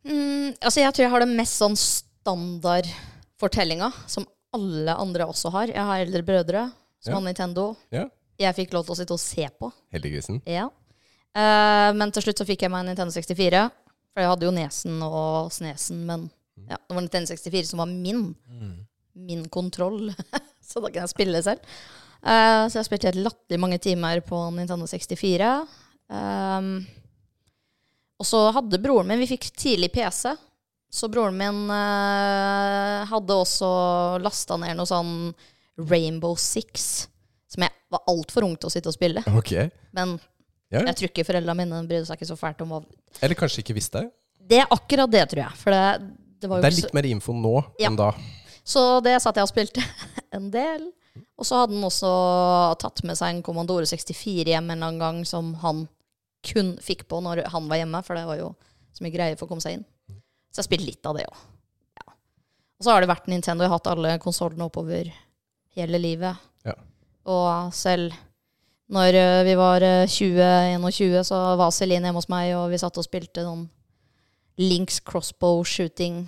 [SPEAKER 4] Mm, altså jeg tror jeg har den mest sånn standardfortellinga som alle andre også har. Jeg har eldre brødre som
[SPEAKER 2] Ja.
[SPEAKER 4] har Nintendo.
[SPEAKER 2] Ja.
[SPEAKER 4] Jeg fikk lov til å sitte og se på.
[SPEAKER 2] Heldiggrisen?
[SPEAKER 4] Ja. Eh, men til slutt så fikk jeg meg en Nintendo 64. For jeg hadde jo Nesen og Snesen, men ja, det var Nintendo 64 som var min. Min kontroll. [LAUGHS] så da kan jeg spille selv. Eh, så jeg spilte helt latterlig mange timer på Nintendo 64. Ehm, og så hadde broren min Vi fikk tidlig PC. Så broren min eh, hadde også lasta ned noe sånn Rainbow Six, som jeg var altfor ung til å sitte og spille.
[SPEAKER 2] Ok.
[SPEAKER 4] Men
[SPEAKER 2] Ja, ja.
[SPEAKER 4] jeg tror ikke foreldrene mine brydde seg ikke så fælt om hva
[SPEAKER 2] Eller kanskje ikke visste?
[SPEAKER 4] Det er akkurat det, tror jeg. For det, det var jo
[SPEAKER 2] Det er
[SPEAKER 4] ikke
[SPEAKER 2] litt mer info nå
[SPEAKER 4] Ja.
[SPEAKER 2] enn da.
[SPEAKER 4] så, så det satt jeg og spilte [LAUGHS] en del. Og så hadde han også tatt med seg en Commandore 64 hjem en eller annen gang som han kun fikk på når han var hjemme, for det var jo så mye greier for å komme seg inn. Så jeg spilte litt av det òg. Ja. Og så har det vært Nintendo. Jeg har hatt alle konsollene oppover hele livet.
[SPEAKER 2] Ja.
[SPEAKER 4] Og selv når eh, vi var 20-21, så var Celine hjemme hos meg, og vi satt og spilte noen Links crossbow shooting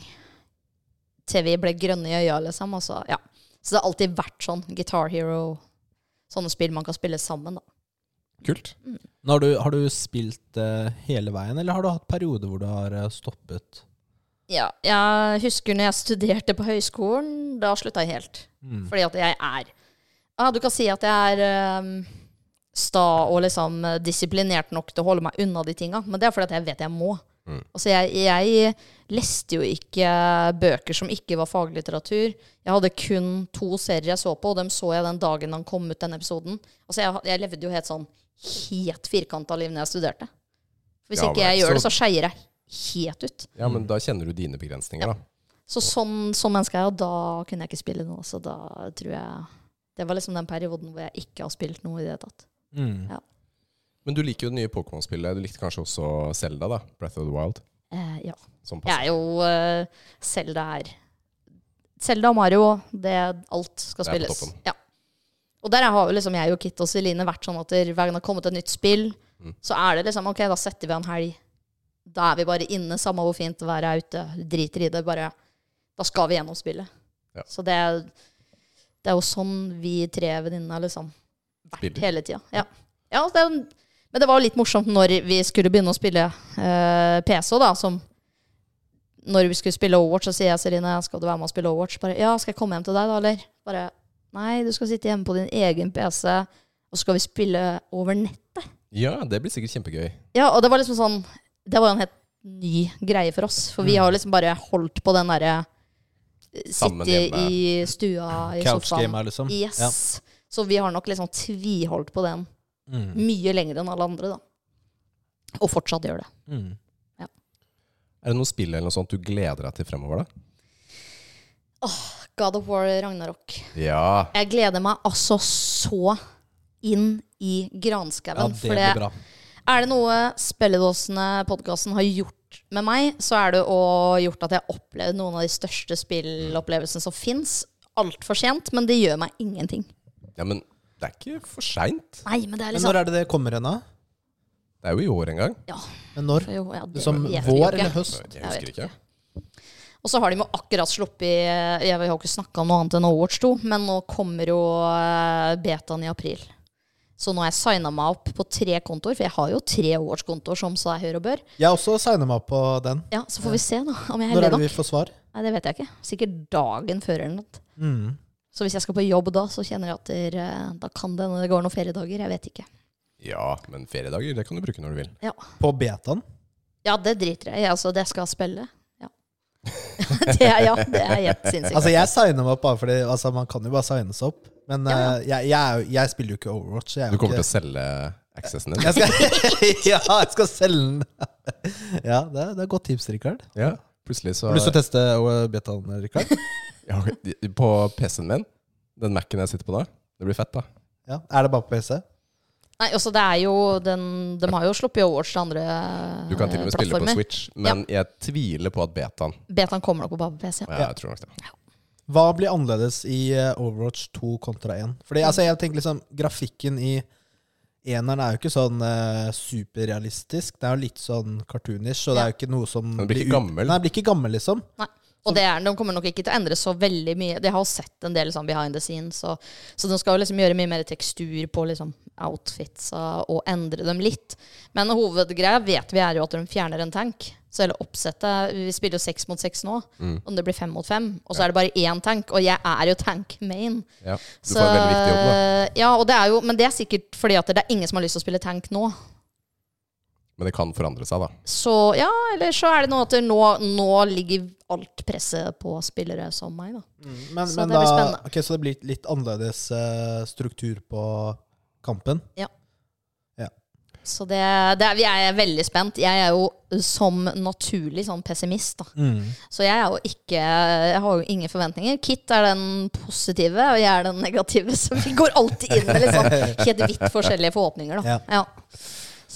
[SPEAKER 4] til vi ble grønne i øya, liksom. Og så, ja. så det har alltid vært sånn. Guitar Hero. Sånne spill man kan spille sammen, da.
[SPEAKER 2] Kult.
[SPEAKER 1] Men Har, du, har du spilt eh, hele veien, eller har du hatt perioder hvor du har eh, stoppet?
[SPEAKER 4] Ja, jeg husker når jeg studerte på høyskolen, da slutta jeg helt. Fordi at jeg er ah, Du kan si at jeg er ehm, sta og liksom eh, disiplinert nok til å holde meg unna de tinga, men det er fordi at jeg vet jeg må.
[SPEAKER 2] Mm.
[SPEAKER 4] Altså, jeg, jeg leste jo ikke bøker som ikke var faglitteratur. Jeg hadde kun to serier jeg så på, og dem så jeg den dagen han kom ut, den episoden. Altså, jeg, jeg levde jo helt sånn helt firkanta liv når jeg studerte. Hvis
[SPEAKER 2] Ja, men
[SPEAKER 4] ikke jeg
[SPEAKER 2] så-
[SPEAKER 4] gjør det, så skeier jeg helt ut.
[SPEAKER 2] Ja, men da kjenner du dine begrensninger, da.
[SPEAKER 4] Så sånn, sånn menneske er jeg, og da kunne jeg ikke spille noe. Så da tror jeg Det var liksom den perioden hvor jeg ikke har spilt noe i det hele tatt.
[SPEAKER 1] Mm.
[SPEAKER 2] Men du liker jo det nye Pokémon-spillet. Du likte kanskje også Selda, da. Breath of the Wild.
[SPEAKER 4] Eh, ja.
[SPEAKER 2] Sånn
[SPEAKER 4] Jeg
[SPEAKER 2] passe.
[SPEAKER 4] er jo eh, Selda er Selda og Mario, det alt skal
[SPEAKER 2] Det er på
[SPEAKER 4] spilles.
[SPEAKER 2] toppen.
[SPEAKER 4] Ja. Og der har jo liksom jeg og Kit og Celine vært sånn at der, hver gang det har kommet et nytt spill,
[SPEAKER 2] Mm.
[SPEAKER 4] så er det liksom OK, da setter vi av en helg. Da er vi bare inne, samme hvor fint været er ute. Driter i det. Bare Da skal vi gjennom spillet.
[SPEAKER 2] Ja.
[SPEAKER 4] Så det, er- det er jo sånn vi tre venninnene har liksom
[SPEAKER 2] Spiller.
[SPEAKER 4] vært hele tida. Ja. Ja, det er jo, en- men det var jo litt morsomt når vi skulle begynne å spille eh, PC, da, som når vi skulle spille Overwatch, så sier jeg Celine, skal du være med og spille Overwatch? Bare, ja, skal jeg komme hjem til deg da, eller? Bare, nei, du skal sitte hjemme på din egen PC, og så skal vi spille over nett.
[SPEAKER 2] Ja, det blir sikkert kjempegøy.
[SPEAKER 4] Ja, og det var liksom sånn, det var jo en helt ny greie for oss, for
[SPEAKER 2] Mm.
[SPEAKER 4] vi har liksom bare holdt på den der,
[SPEAKER 2] Sammen
[SPEAKER 4] sitte
[SPEAKER 2] hjemme.
[SPEAKER 4] i stua, i sofaen.
[SPEAKER 1] Couchgame, liksom.
[SPEAKER 4] Yes.
[SPEAKER 1] Ja.
[SPEAKER 4] Så vi har nok liksom tviholdt på den
[SPEAKER 1] Mm.
[SPEAKER 4] mye lenger enn alle andre da. Og fortsatt gjør det.
[SPEAKER 1] Mm.
[SPEAKER 2] Er det noe spill eller noe sånt du gleder deg til fremover, da?
[SPEAKER 4] God of War Ragnarok.
[SPEAKER 2] Ja.
[SPEAKER 4] Jeg gleder meg altså så inn i
[SPEAKER 1] ja,
[SPEAKER 4] granskauen.
[SPEAKER 1] det
[SPEAKER 4] for
[SPEAKER 1] blir
[SPEAKER 4] det,
[SPEAKER 1] bra.
[SPEAKER 4] er liksom- det noe Spelledåsene-podkasten har gjort med meg, så er det å gjort at jeg har opplevd noen av de største spillopplevelsene som fins. Altfor sent, men det gjør meg ingenting.
[SPEAKER 2] ja, men det er ikke for seint.
[SPEAKER 4] Nei, men det er
[SPEAKER 1] Men
[SPEAKER 4] liksom
[SPEAKER 1] når er det det kommer hen, da?
[SPEAKER 2] Det er jo i år en gang.
[SPEAKER 1] Men når?
[SPEAKER 4] Jo, ja, det
[SPEAKER 1] Som
[SPEAKER 4] vet vi jo
[SPEAKER 1] vår
[SPEAKER 4] ikke.
[SPEAKER 1] eller høst?
[SPEAKER 2] Jeg
[SPEAKER 4] Jeg
[SPEAKER 2] husker
[SPEAKER 4] vet
[SPEAKER 2] ikke.
[SPEAKER 4] Og så har de jo akkurat sluppet eh, Jeg har jo ikke snakka om noe annet enn Overwatch 2, men nå kommer jo eh, betaen i april. Så nå har jeg signa meg opp på tre kontoer, for jeg har jo tre Overwatch-kontoer, som så jeg hører og bør.
[SPEAKER 1] Jeg også signer meg opp på den.
[SPEAKER 4] Ja, Så får vi se, da, om jeg er
[SPEAKER 1] Når er det
[SPEAKER 4] heldig
[SPEAKER 1] vi
[SPEAKER 4] nok.
[SPEAKER 1] får svar?
[SPEAKER 4] Nei, det vet jeg ikke. Sikkert dagen før eller noe.
[SPEAKER 1] Mm.
[SPEAKER 4] Så hvis jeg skal på jobb da, så kjenner jeg at der, eh, da kan det hende det går noen feriedager. Jeg vet ikke.
[SPEAKER 2] Ja, men feriedager det kan du bruke når du vil.
[SPEAKER 1] På betaen?
[SPEAKER 4] Ja, det driter jeg i. Altså, det skal jeg spille. Ja. [LAUGHS] det er, ja, det er helt sinnssykt.
[SPEAKER 1] Altså, jeg signer meg opp bare fordi altså, man kan jo bare signes opp. Men
[SPEAKER 4] Ja, ja.
[SPEAKER 1] eh, Jeg, jeg, er jo- jeg spiller jo ikke Overwatch. så Jeg er
[SPEAKER 2] Du
[SPEAKER 1] jo
[SPEAKER 2] kommer til
[SPEAKER 1] ikke,
[SPEAKER 2] å selge accessen din.
[SPEAKER 1] jeg skal, [LAUGHS] Ja, jeg skal selge den. [LAUGHS] ja, det, er- det er et godt tips, Rikard.
[SPEAKER 2] Ja, plutselig så
[SPEAKER 1] Har du lyst til å teste eh, betaen, Rikard?
[SPEAKER 2] ja, På PC-en min, den Mac-en jeg sitter på da, det blir fett, da.
[SPEAKER 1] [LAUGHS] Ja. Er det bare på PC?
[SPEAKER 4] Nei, også det er jo den, De har jo sluppet Overwatch til andre
[SPEAKER 2] Du kan til og med spille på
[SPEAKER 4] Ah, plattformer.
[SPEAKER 2] Switch, men jeg tviler på at betaen
[SPEAKER 4] Betaen kommer nok på bare på PC.
[SPEAKER 2] Ja, jeg tror nok det.
[SPEAKER 1] Hva blir annerledes i eh, Overwatch 2 kontra 1? Fordi altså, jeg tenker liksom, Grafikken i eneren er jo ikke sånn eh, superrealistisk. Det er jo litt sånn cartoonish, og det er jo ikke noe som
[SPEAKER 2] Den blir ikke
[SPEAKER 1] ut-
[SPEAKER 2] gammel.
[SPEAKER 1] Nei, den blir ikke gammel, liksom.
[SPEAKER 4] Nei. Og det er, de kommer nok ikke til å endre så veldig mye. De har jo sett en del sånn behind the scenes, så, så de skal jo liksom gjøre mye mer tekstur på liksom outfits og, og endre dem litt. Men hovedgreia vet vi er jo at de fjerner en tank. Så hele oppsettet Vi spiller jo seks mot seks nå,
[SPEAKER 2] Mm.
[SPEAKER 4] om det blir fem mot fem. Og så er det bare én tank, og jeg er jo tank main.
[SPEAKER 2] Ja, du får en veldig viktig jobb, da.
[SPEAKER 4] Ja, og det er jo, men det er sikkert fordi at det er ingen som har lyst til å spille tank nå.
[SPEAKER 2] Men det kan forandre seg, da.
[SPEAKER 4] Så ja, eller så er det noe at det nå, nå ligger alt presset på spillere som meg, da.
[SPEAKER 1] Mm. Men,
[SPEAKER 4] Så
[SPEAKER 1] men
[SPEAKER 4] det blir
[SPEAKER 1] da,
[SPEAKER 4] spennende.
[SPEAKER 1] ok, så det blir litt annerledes eh, struktur på kampen.
[SPEAKER 4] Så det, det er, vi er veldig spent. Jeg er jo som naturlig sånn pessimist, da.
[SPEAKER 2] Mm.
[SPEAKER 4] Så jeg er jo ikke Jeg har jo ingen forventninger. Kit er den positive, og jeg er den negative. Så vi går alltid inn med liksom helt vidt forskjellige forhåpninger, da. Ja.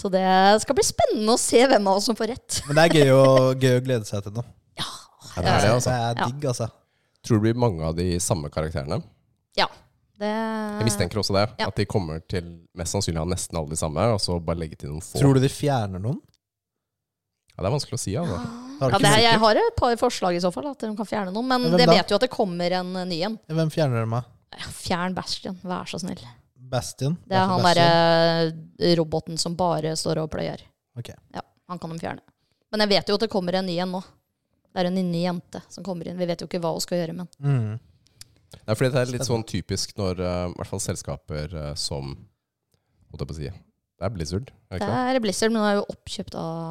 [SPEAKER 4] Så det skal bli spennende å se hvem av oss som får rett.
[SPEAKER 1] Men det er gøy å, gøy å glede seg til nå.
[SPEAKER 2] Ja, det er det, altså.
[SPEAKER 1] Det er
[SPEAKER 4] Ja.
[SPEAKER 1] digg, altså.
[SPEAKER 2] Tror du det blir mange av de samme karakterene?
[SPEAKER 4] Ja. Det,
[SPEAKER 2] Jeg mistenker også det.
[SPEAKER 4] Ja.
[SPEAKER 2] At de kommer til mest sannsynlig å ha nesten alle de samme, og så bare legge til noen få.
[SPEAKER 1] Tror du de fjerner noen?
[SPEAKER 2] Ja, det er vanskelig å si, altså.
[SPEAKER 1] Har du ikke
[SPEAKER 4] Ja, det her,
[SPEAKER 1] merket?
[SPEAKER 4] jeg har et par forslag i så fall, at de kan fjerne noen. Men
[SPEAKER 1] Ja, hvem
[SPEAKER 4] det
[SPEAKER 1] da?
[SPEAKER 4] vet jo at det kommer en eh, ny en.
[SPEAKER 1] Hvem fjerner dem? av?
[SPEAKER 4] Ja, Fjern Bastion, vær så snill.
[SPEAKER 1] Bastion?
[SPEAKER 4] Det er
[SPEAKER 1] Bastion,
[SPEAKER 4] han
[SPEAKER 1] Bastion.
[SPEAKER 4] derre eh, roboten som bare står og pløyer.
[SPEAKER 1] Ok.
[SPEAKER 4] Ja, han kan de fjerne. Men jeg vet jo at det kommer en ny en nå. Det er en ny jente som kommer inn. Vi vet jo ikke hva hun skal gjøre, men
[SPEAKER 1] Mm. [CLEARS THROAT]
[SPEAKER 2] Nei, fordi det er litt sånn typisk når eh, i hvert fall selskaper eh, som Holdt jeg på å si Det er Blizzard, er det
[SPEAKER 4] det
[SPEAKER 2] ikke det?
[SPEAKER 4] er Blizzard, men hun er jo oppkjøpt av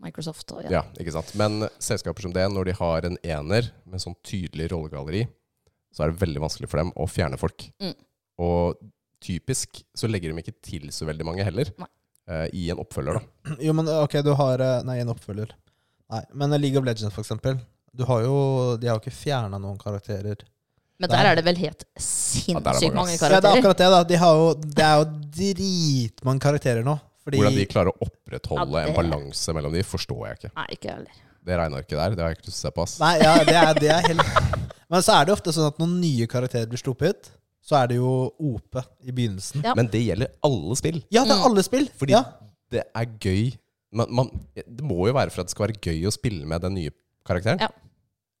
[SPEAKER 4] Microsoft og ja.
[SPEAKER 2] Ja, ikke sant? Men selskaper som det, når de har en ener med sånn tydelig rollegalleri, så er det veldig vanskelig for dem å fjerne folk.
[SPEAKER 4] Mm.
[SPEAKER 2] Og typisk så legger de ikke til så veldig mange heller,
[SPEAKER 4] Nei.
[SPEAKER 2] eh, i en oppfølger. da.
[SPEAKER 1] Jo, men ok, du har eh, Nei, en oppfølger. Nei, men eh, League of Legends, for eksempel. Du har jo, de har jo ikke fjerna noen karakterer.
[SPEAKER 4] Men
[SPEAKER 1] Der.
[SPEAKER 4] der er det vel helt
[SPEAKER 2] der er det mange,
[SPEAKER 4] sinnssykt mange
[SPEAKER 2] ass.
[SPEAKER 1] Ja, det er
[SPEAKER 4] karakterer.
[SPEAKER 1] akkurat det, da. De har jo, det er jo dritmange karakterer nå. Fordi
[SPEAKER 2] Hvordan de klarer å opprettholde
[SPEAKER 4] Ja, det-
[SPEAKER 2] en balanse mellom de, forstår jeg ikke.
[SPEAKER 4] Nei, ikke jeg heller.
[SPEAKER 2] Det regnearket der, det har jeg ikke lyst til å se på. ass.
[SPEAKER 1] Nei, ja, det er, det er helt Men så er det jo ofte sånn at når nye karakterer blir sluppet, så er det jo OP i begynnelsen.
[SPEAKER 4] Ja.
[SPEAKER 2] Men det gjelder alle spill.
[SPEAKER 1] Ja, det er
[SPEAKER 4] Mm.
[SPEAKER 1] alle spill!
[SPEAKER 2] Fordi
[SPEAKER 1] ja.
[SPEAKER 2] det er gøy man, man, Det må jo være for at det skal være gøy å spille med den nye karakteren.
[SPEAKER 4] Ja.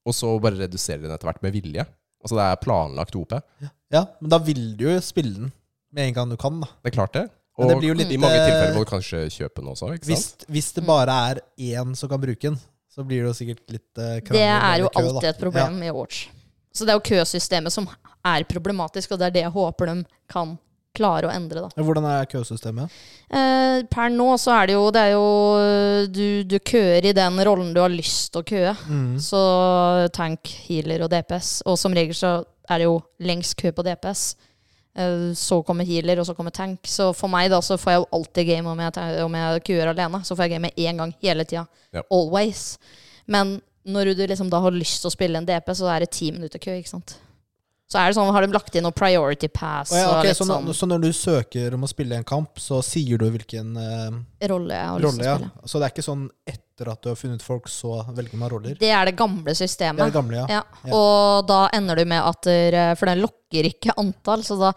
[SPEAKER 2] Og så bare redusere den etter hvert med vilje. Altså det er planlagt OP.
[SPEAKER 1] ja, men da vil du jo spille den med en gang du kan, da.
[SPEAKER 2] Det er klart det.
[SPEAKER 1] Men
[SPEAKER 2] Og
[SPEAKER 1] det blir jo litt,
[SPEAKER 2] i mange
[SPEAKER 1] eh,
[SPEAKER 2] tilfeller må du kanskje kjøpe den også. ikke
[SPEAKER 1] Hvis,
[SPEAKER 2] sant?
[SPEAKER 1] hvis det bare er én som kan bruke den, så blir det jo sikkert litt uh, krangel.
[SPEAKER 4] Det er jo
[SPEAKER 1] eller kø, da.
[SPEAKER 4] alltid et problem i Watch. Så det er jo køsystemet som er problematisk, og det er det jeg håper de kan klare å endre, da.
[SPEAKER 1] Ja. Hvordan er køsystemet?
[SPEAKER 4] Eh, per nå så er det jo, det er jo eh, du, du køer i den rollen du har lyst til å køe.
[SPEAKER 1] Mm.
[SPEAKER 4] Så tank, healer og DPS. Og som regel så er det jo lengst kø på DPS. Eh, så kommer healer, og så kommer tank. Så for meg da så får jeg jo alltid game om jeg, ta- om jeg køer alene. Så får jeg game én gang hele tida.
[SPEAKER 2] Ja.
[SPEAKER 4] Always. Men når du liksom da har lyst til å spille en DPS, så er det ti minutter kø, ikke sant. Så er det sånn, har de lagt inn noe priority pass
[SPEAKER 1] Å ja,
[SPEAKER 4] og
[SPEAKER 1] ok,
[SPEAKER 4] litt sånn
[SPEAKER 1] så, når, så når du søker om å spille en kamp, så sier du hvilken eh,
[SPEAKER 4] sånn rolle jeg har lyst
[SPEAKER 1] rolle?
[SPEAKER 4] til å
[SPEAKER 1] Ja.
[SPEAKER 4] spille.
[SPEAKER 1] Så det er ikke sånn etter at du har funnet folk, så velger man roller?
[SPEAKER 4] Det er det gamle
[SPEAKER 1] Det er
[SPEAKER 4] systemet.
[SPEAKER 1] det gamle, ja.
[SPEAKER 4] Ja, og da ender du med at der, eh, For den lokker ikke antall, så da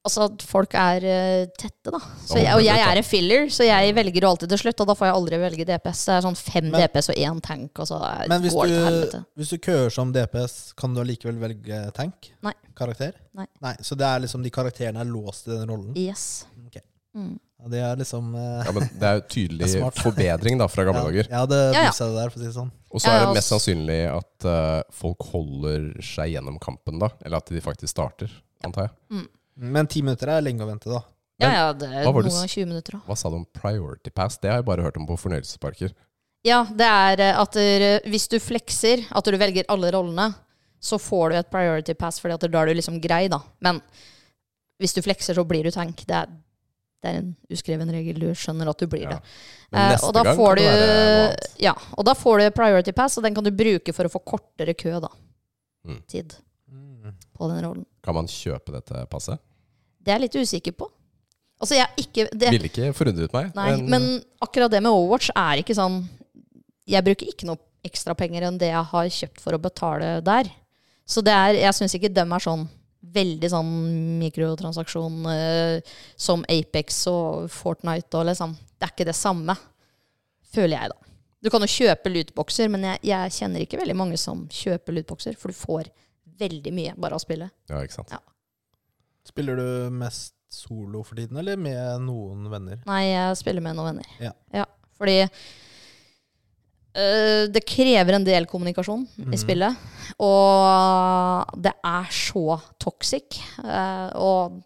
[SPEAKER 4] Altså, at folk er eh, tette, da. Så jeg, og jeg er en filler, så jeg velger jo alltid til slutt, og da får jeg aldri velge DPS. Det er sånn fem
[SPEAKER 1] Men-
[SPEAKER 4] DPS og én tank, og så er-
[SPEAKER 1] Men hvis
[SPEAKER 4] går det til
[SPEAKER 1] du,
[SPEAKER 4] helvete.
[SPEAKER 1] hvis du køer som DPS, kan du allikevel velge tank?
[SPEAKER 4] Nei.
[SPEAKER 1] Karakter?
[SPEAKER 4] Nei.
[SPEAKER 1] Så det er liksom de karakterene er låst i den rollen?
[SPEAKER 4] Yes.
[SPEAKER 1] Ok.
[SPEAKER 4] Mm.
[SPEAKER 1] Ja, det er liksom eh,
[SPEAKER 2] Ja, men det er jo tydelig
[SPEAKER 1] Det er smart.
[SPEAKER 2] forbedring da, fra gamle
[SPEAKER 1] ja,
[SPEAKER 2] dager.
[SPEAKER 1] Jeg hadde
[SPEAKER 4] Ja, ja.
[SPEAKER 1] bussa det der, for å si det sånn.
[SPEAKER 2] Og så er
[SPEAKER 4] Ja,
[SPEAKER 2] det
[SPEAKER 4] og
[SPEAKER 2] mest
[SPEAKER 4] s-
[SPEAKER 2] sannsynlig at eh, folk holder seg gjennom kampen da. Eller at de faktisk starter, antar jeg.
[SPEAKER 1] Men ti minutter er lenge å vente, da.
[SPEAKER 4] Ja, ja, det er
[SPEAKER 2] hva var
[SPEAKER 4] noen
[SPEAKER 2] det s-
[SPEAKER 4] ganger 20 minutter òg.
[SPEAKER 2] Hva sa du om priority pass? Det har jeg bare hørt om på fornøyelsesparker.
[SPEAKER 4] Ja, det er eh, at der, eh, hvis du flekser, at du velger alle rollene, så får du et priority pass, fordi at da er du liksom grei, da. Men hvis du flekser, så blir du tank. Det er, det er en uskreven regel. Du skjønner at du blir
[SPEAKER 2] Ja.
[SPEAKER 4] det.
[SPEAKER 2] Men
[SPEAKER 4] Eh,
[SPEAKER 2] neste
[SPEAKER 4] og da
[SPEAKER 2] gang kan
[SPEAKER 4] får du,
[SPEAKER 2] det være noe annet.
[SPEAKER 4] ja, og da får du priority pass, og den kan du bruke for å få kortere kø, da.
[SPEAKER 2] Mm.
[SPEAKER 4] Tid
[SPEAKER 1] Mm.
[SPEAKER 4] på den rollen.
[SPEAKER 2] Kan man kjøpe dette passet?
[SPEAKER 4] Det er jeg litt usikker på. Altså, jeg er ikke det,
[SPEAKER 2] Ville ikke forundret meg.
[SPEAKER 4] Nei, men akkurat det med Overwatch er ikke sånn Jeg bruker ikke noe ekstra penger enn det jeg har kjøpt for å betale der. Så det er, jeg syns ikke dem er sånn veldig sånn mikrotransaksjon eh, som Apex og Fortnite og liksom. Det er ikke det samme, føler jeg, da. Du kan jo kjøpe lootboxer, men jeg, jeg kjenner ikke veldig mange som kjøper lootboxer, for du får veldig mye bare av spillet.
[SPEAKER 2] Ja, ikke sant.
[SPEAKER 4] Ja.
[SPEAKER 1] Spiller du mest solo for tiden, eller med noen venner?
[SPEAKER 4] Nei, jeg spiller med noen venner.
[SPEAKER 1] Ja.
[SPEAKER 4] fordi øh, det krever en del kommunikasjon
[SPEAKER 1] Mhm.
[SPEAKER 4] i spillet. Og det er så toxic. eh, og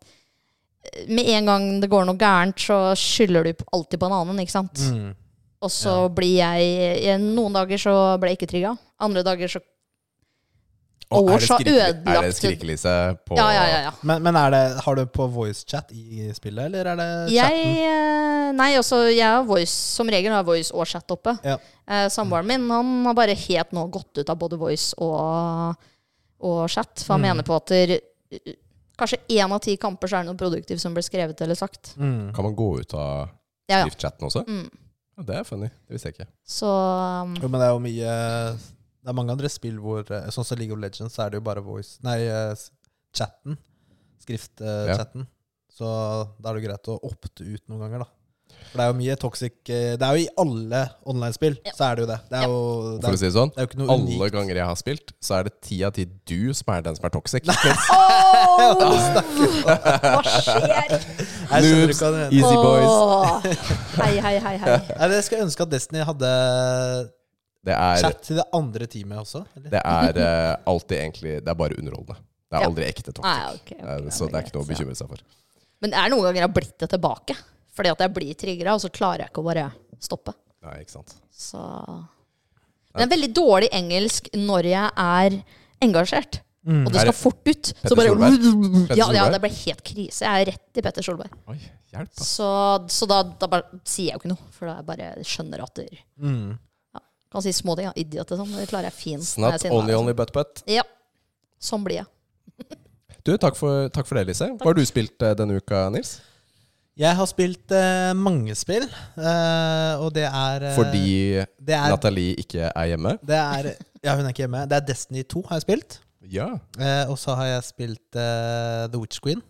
[SPEAKER 4] med en gang det går noe gærent, så skylder du alltid på en annen, ikke sant?
[SPEAKER 1] Mm.
[SPEAKER 4] Og så blir jeg i- Noen dager så ble jeg ikke trigga. Andre dager så
[SPEAKER 2] Og er
[SPEAKER 4] Overwatch
[SPEAKER 2] det
[SPEAKER 4] har
[SPEAKER 2] skrikeli- Er det
[SPEAKER 4] ødelagt-
[SPEAKER 2] skrikelise på
[SPEAKER 4] Ja, ja, ja. ja.
[SPEAKER 1] Men, men er det, har du på voicechat i spillet, eller er det
[SPEAKER 4] Jeg,
[SPEAKER 1] chatten?
[SPEAKER 4] eh, nei, altså, jeg har voice, som regel har jeg voice og chat oppe.
[SPEAKER 1] Ja.
[SPEAKER 4] Eh, Samboeren min han har bare helt nå gått ut av både voice og, og chat. For han
[SPEAKER 2] Mm.
[SPEAKER 4] mener på at der, eh, kanskje én av ti kamper så er det noe produktivt som blir skrevet eller sagt.
[SPEAKER 1] Mm.
[SPEAKER 2] Kan man gå ut av
[SPEAKER 4] Ja, ja.
[SPEAKER 2] skriftchatten også?
[SPEAKER 4] Mm.
[SPEAKER 2] Ja, det er funny. Det visste jeg ikke.
[SPEAKER 4] Så um,
[SPEAKER 1] Jo, men det er jo mye Det er mange andre spill hvor eh, Sånn som League of Legends, så er det jo bare voice Nei, eh, s- chatten.
[SPEAKER 2] Ja.
[SPEAKER 1] Skriftchatten. Så da er det jo greit å opte ut noen ganger, da. For det er jo mye toxic eh, Det er jo i alle online-spill, så er det jo det. Det er jo, det
[SPEAKER 2] For
[SPEAKER 1] er,
[SPEAKER 2] å si det sånn,
[SPEAKER 1] det er jo ikke noe
[SPEAKER 2] alle
[SPEAKER 1] unikt.
[SPEAKER 2] ganger jeg har spilt, så er det ti av ti du som er den som er toxic. Mens
[SPEAKER 4] hva skjer?
[SPEAKER 1] Jeg skjønner ikke hva du mener.
[SPEAKER 2] Easy boys.
[SPEAKER 4] Åh. Hei, hei, hei, hei.
[SPEAKER 1] Nei, Jeg skulle ønske at Destiny hadde
[SPEAKER 2] Det er,
[SPEAKER 1] chat til det andre teamet også. Eller?
[SPEAKER 2] det er eh, alltid egentlig Det er bare underholdende. Det er
[SPEAKER 4] Ja.
[SPEAKER 2] aldri ekte
[SPEAKER 1] Ah,
[SPEAKER 2] toxic.
[SPEAKER 4] Nei, ok, ok,
[SPEAKER 2] Eh,
[SPEAKER 4] ja,
[SPEAKER 2] så det er ikke noe å
[SPEAKER 4] greit, ja.
[SPEAKER 2] bekymre seg for.
[SPEAKER 4] Men det er noen ganger jeg har blitt det tilbake. Fordi at jeg blir trigga, og så klarer jeg ikke å bare stoppe.
[SPEAKER 2] Nei, ikke sant.
[SPEAKER 4] Så Men jeg er veldig dårlig i engelsk når jeg er engasjert.
[SPEAKER 2] Mm.
[SPEAKER 4] Og det
[SPEAKER 2] Er
[SPEAKER 4] skal
[SPEAKER 2] det
[SPEAKER 4] fort ut.
[SPEAKER 2] Petter
[SPEAKER 4] Så bare
[SPEAKER 2] Solberg?
[SPEAKER 4] ja, ja,
[SPEAKER 2] Solberg?
[SPEAKER 4] det ble helt krise. Jeg er rett i Petter Solberg.
[SPEAKER 2] Oi, hjelp.
[SPEAKER 1] Sånn
[SPEAKER 2] ass.
[SPEAKER 4] Så, så da, da bare sier jeg jo ikke noe, for da jeg bare skjønner at du
[SPEAKER 1] Mm.
[SPEAKER 4] kan si småting. Ja, idiot og sånn. Det klarer jeg fint.
[SPEAKER 2] It's
[SPEAKER 4] når
[SPEAKER 2] not
[SPEAKER 4] jeg sier
[SPEAKER 1] liksom.
[SPEAKER 2] only
[SPEAKER 4] nei. altså.
[SPEAKER 2] only but but.
[SPEAKER 4] Ja. Sånn blir jeg.
[SPEAKER 2] Du, takk for, takk for det, Lise. Hva har du spilt eh, denne uka, Nils?
[SPEAKER 1] Jeg har spilt eh, mange spill, eh, og det er eh,
[SPEAKER 2] Fordi
[SPEAKER 1] det er,
[SPEAKER 2] Nathalie ikke er hjemme?
[SPEAKER 1] det er Ja, hun er ikke hjemme. Det er Destiny 2 har jeg spilt.
[SPEAKER 2] Ja.
[SPEAKER 1] Eh, og så har jeg spilt eh, The Witch Queen.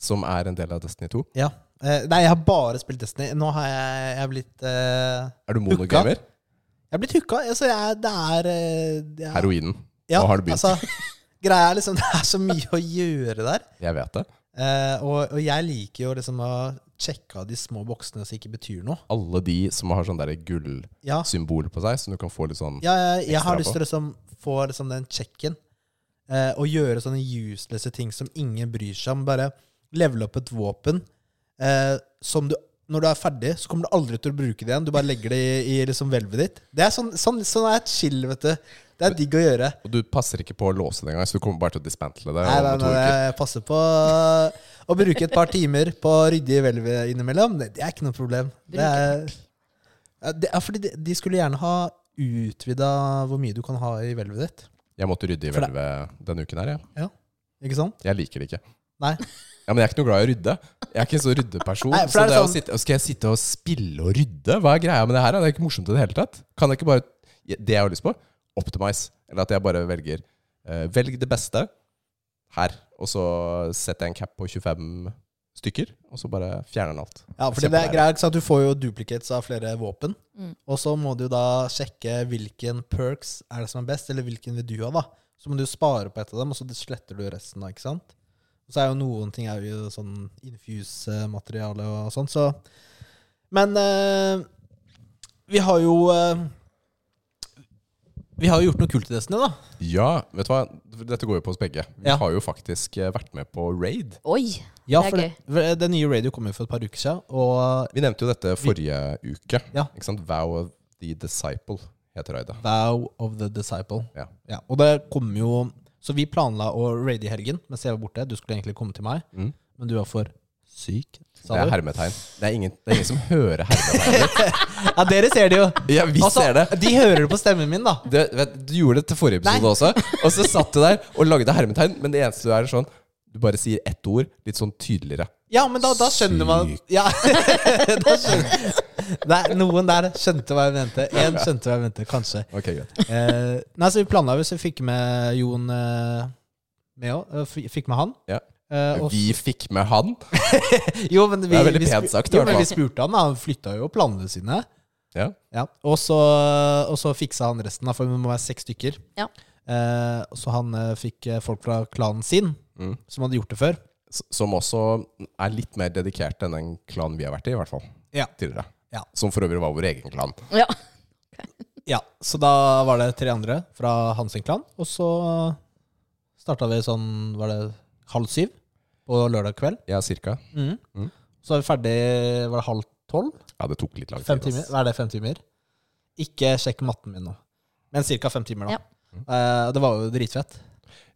[SPEAKER 2] Som er en del av Destiny 2?
[SPEAKER 1] Ja. Eh, nei, jeg har bare spilt Destiny. Nå har jeg, jeg har blitt eh,
[SPEAKER 2] Er du monogamer?
[SPEAKER 1] Jeg har blitt hooka. Altså, jeg, det er eh, det er-
[SPEAKER 2] Heroinen.
[SPEAKER 1] Ja,
[SPEAKER 2] Nå har du begynt.
[SPEAKER 1] Altså, greia er liksom, det er så mye å gjøre der.
[SPEAKER 2] Jeg vet det.
[SPEAKER 1] Eh, og, og jeg liker jo liksom å sjekke av de små boksene som ikke betyr noe.
[SPEAKER 2] Alle de som har sånn derre gullsymbol
[SPEAKER 1] Ja,
[SPEAKER 2] på seg, som du kan få litt sånn
[SPEAKER 1] ja jeg, jeg har
[SPEAKER 2] Ekstra
[SPEAKER 1] lyst til å liksom, få liksom den checken. eh, og gjøre sånne uselesse ting som ingen bryr seg om. Bare levele opp et våpen eh, som du når du er ferdig, så kommer du aldri til å bruke det igjen. Du bare legger det i, i liksom hvelvet ditt. Det er sånn, sånn, sånn er et chill, vet du. Det er digg å gjøre.
[SPEAKER 2] Og du passer ikke på å låse det engang, så du kommer bare til å dismantle det.
[SPEAKER 1] Nei,
[SPEAKER 2] om
[SPEAKER 1] nei,
[SPEAKER 2] to
[SPEAKER 1] nei,
[SPEAKER 2] uker.
[SPEAKER 1] jeg passer på eh, å bruke et par timer på å rydde i hvelvet innimellom. Det, det er ikke noe problem. Det er, Ja, det er fordi de, de skulle gjerne ha utvida hvor mye du kan ha i hvelvet ditt.
[SPEAKER 2] Jeg måtte rydde i
[SPEAKER 1] For det-
[SPEAKER 2] hvelvet denne uken her, jeg.
[SPEAKER 1] Ikke sant?
[SPEAKER 2] Jeg liker det ikke.
[SPEAKER 1] Nei.
[SPEAKER 2] Ja, Men jeg er ikke noe glad i å rydde. Jeg er ikke en sånn ryddeperson.
[SPEAKER 1] Nei, for
[SPEAKER 2] så
[SPEAKER 1] det er
[SPEAKER 2] det å
[SPEAKER 1] sånn-
[SPEAKER 2] sitte, skal jeg sitte og spille og rydde? Hva er greia med det her? da? Det er ikke morsomt i det hele tatt. Kan jeg ikke bare Det jeg har lyst på, optimize. Eller at jeg bare velger eh, Velg det beste her, og så setter jeg en cap på 25 stykker, og så bare fjerner den alt.
[SPEAKER 1] Ja, fordi det er greit ikke sant? Du får jo duplicates av flere våpen.
[SPEAKER 4] Mm.
[SPEAKER 1] Og så må du da sjekke hvilken perks er det som er best, eller hvilken vil du ha. da. Så må du spare på et av dem, og så sletter du resten. da, ikke sant? Og så er jo noen ting er jo sånn infuse-materiale og sånn, så Men eh, vi har jo eh, Vi har jo gjort noe kult i Destiny, da.
[SPEAKER 2] Ja, vet du hva? Dette går jo på oss begge. Vi
[SPEAKER 1] Ja.
[SPEAKER 2] har jo faktisk eh, vært med på raid.
[SPEAKER 4] Oi!
[SPEAKER 1] Ja,
[SPEAKER 4] Det er
[SPEAKER 1] for det, for det nye radio kom jo for et par uker siden, og
[SPEAKER 2] Vi nevnte jo dette forrige uke.
[SPEAKER 1] Ja.
[SPEAKER 2] Ikke sant? Vow of the Disciple heter raidet.
[SPEAKER 1] Vow of the Disciple.
[SPEAKER 2] Ja.
[SPEAKER 1] Og det kom jo Så vi planla å raide i helgen, mens jeg var borte. Du skulle egentlig komme til meg,
[SPEAKER 2] Mm.
[SPEAKER 1] men du var for syk,
[SPEAKER 2] Det
[SPEAKER 1] sa
[SPEAKER 2] er
[SPEAKER 1] du.
[SPEAKER 2] hermetegn. Det er ingen, det er ingen som hører hermetegn.
[SPEAKER 1] Ja, dere ser
[SPEAKER 2] [LAUGHS]
[SPEAKER 1] det jo.
[SPEAKER 2] Ja, vi
[SPEAKER 1] Altså,
[SPEAKER 2] ser det.
[SPEAKER 1] De hører det på stemmen min, da.
[SPEAKER 2] Du, vet, du gjorde det til forrige episode
[SPEAKER 1] Nei.
[SPEAKER 2] også, og så satt du der og lagde hermetegn, men det eneste du er, er sånn Du bare sier ett ord litt sånn tydeligere.
[SPEAKER 1] Ja, men da, da skjønner man
[SPEAKER 2] Syk.
[SPEAKER 1] ja. [LAUGHS] da skjønner. Nei, Noen der skjønte hva jeg mente. Én skjønte hva jeg mente, kanskje.
[SPEAKER 2] Ok, greit.
[SPEAKER 1] Eh, nei, så vi planla hvis vi fikk med Jon eh, med òg. eh, f- Fikk med han.
[SPEAKER 2] Ja.
[SPEAKER 1] Eh, og-
[SPEAKER 2] Vi fikk med han.
[SPEAKER 1] jo, men vi,
[SPEAKER 2] Det er veldig
[SPEAKER 1] vi spu-
[SPEAKER 2] pent sagt, i
[SPEAKER 1] Jo,
[SPEAKER 2] hvert
[SPEAKER 1] men
[SPEAKER 2] fall.
[SPEAKER 1] vi spurte han, da. Han flytta jo planene sine.
[SPEAKER 2] Ja.
[SPEAKER 1] Ja. Og, så, og så fiksa han resten, da, for det må være seks stykker.
[SPEAKER 4] Ja.
[SPEAKER 1] Eh, så han eh, fikk eh, folk fra klanen sin,
[SPEAKER 2] Mm.
[SPEAKER 1] som hadde gjort det før.
[SPEAKER 2] S- Som også er litt mer dedikert enn den klanen vi har vært i, i hvert fall.
[SPEAKER 1] Ja.
[SPEAKER 2] Tidligere.
[SPEAKER 1] Ja.
[SPEAKER 2] Som for øvrig var vår egen klan.
[SPEAKER 4] Ja.
[SPEAKER 1] Ja, Så da var det tre andre fra hans sin klan. Og så starta vi sånn, var det halv syv på lørdag kveld.
[SPEAKER 2] Ja, cirka. Mm.
[SPEAKER 1] Så var vi ferdig, var det halv tolv?
[SPEAKER 2] Ja, det tok litt lang
[SPEAKER 1] Fem
[SPEAKER 2] tid.
[SPEAKER 1] timer?
[SPEAKER 2] ass.
[SPEAKER 1] Hva er det, fem timer? Ikke sjekk matten min nå. Men ca. fem timer, da.
[SPEAKER 4] Ja.
[SPEAKER 1] Eh, det var jo dritfett.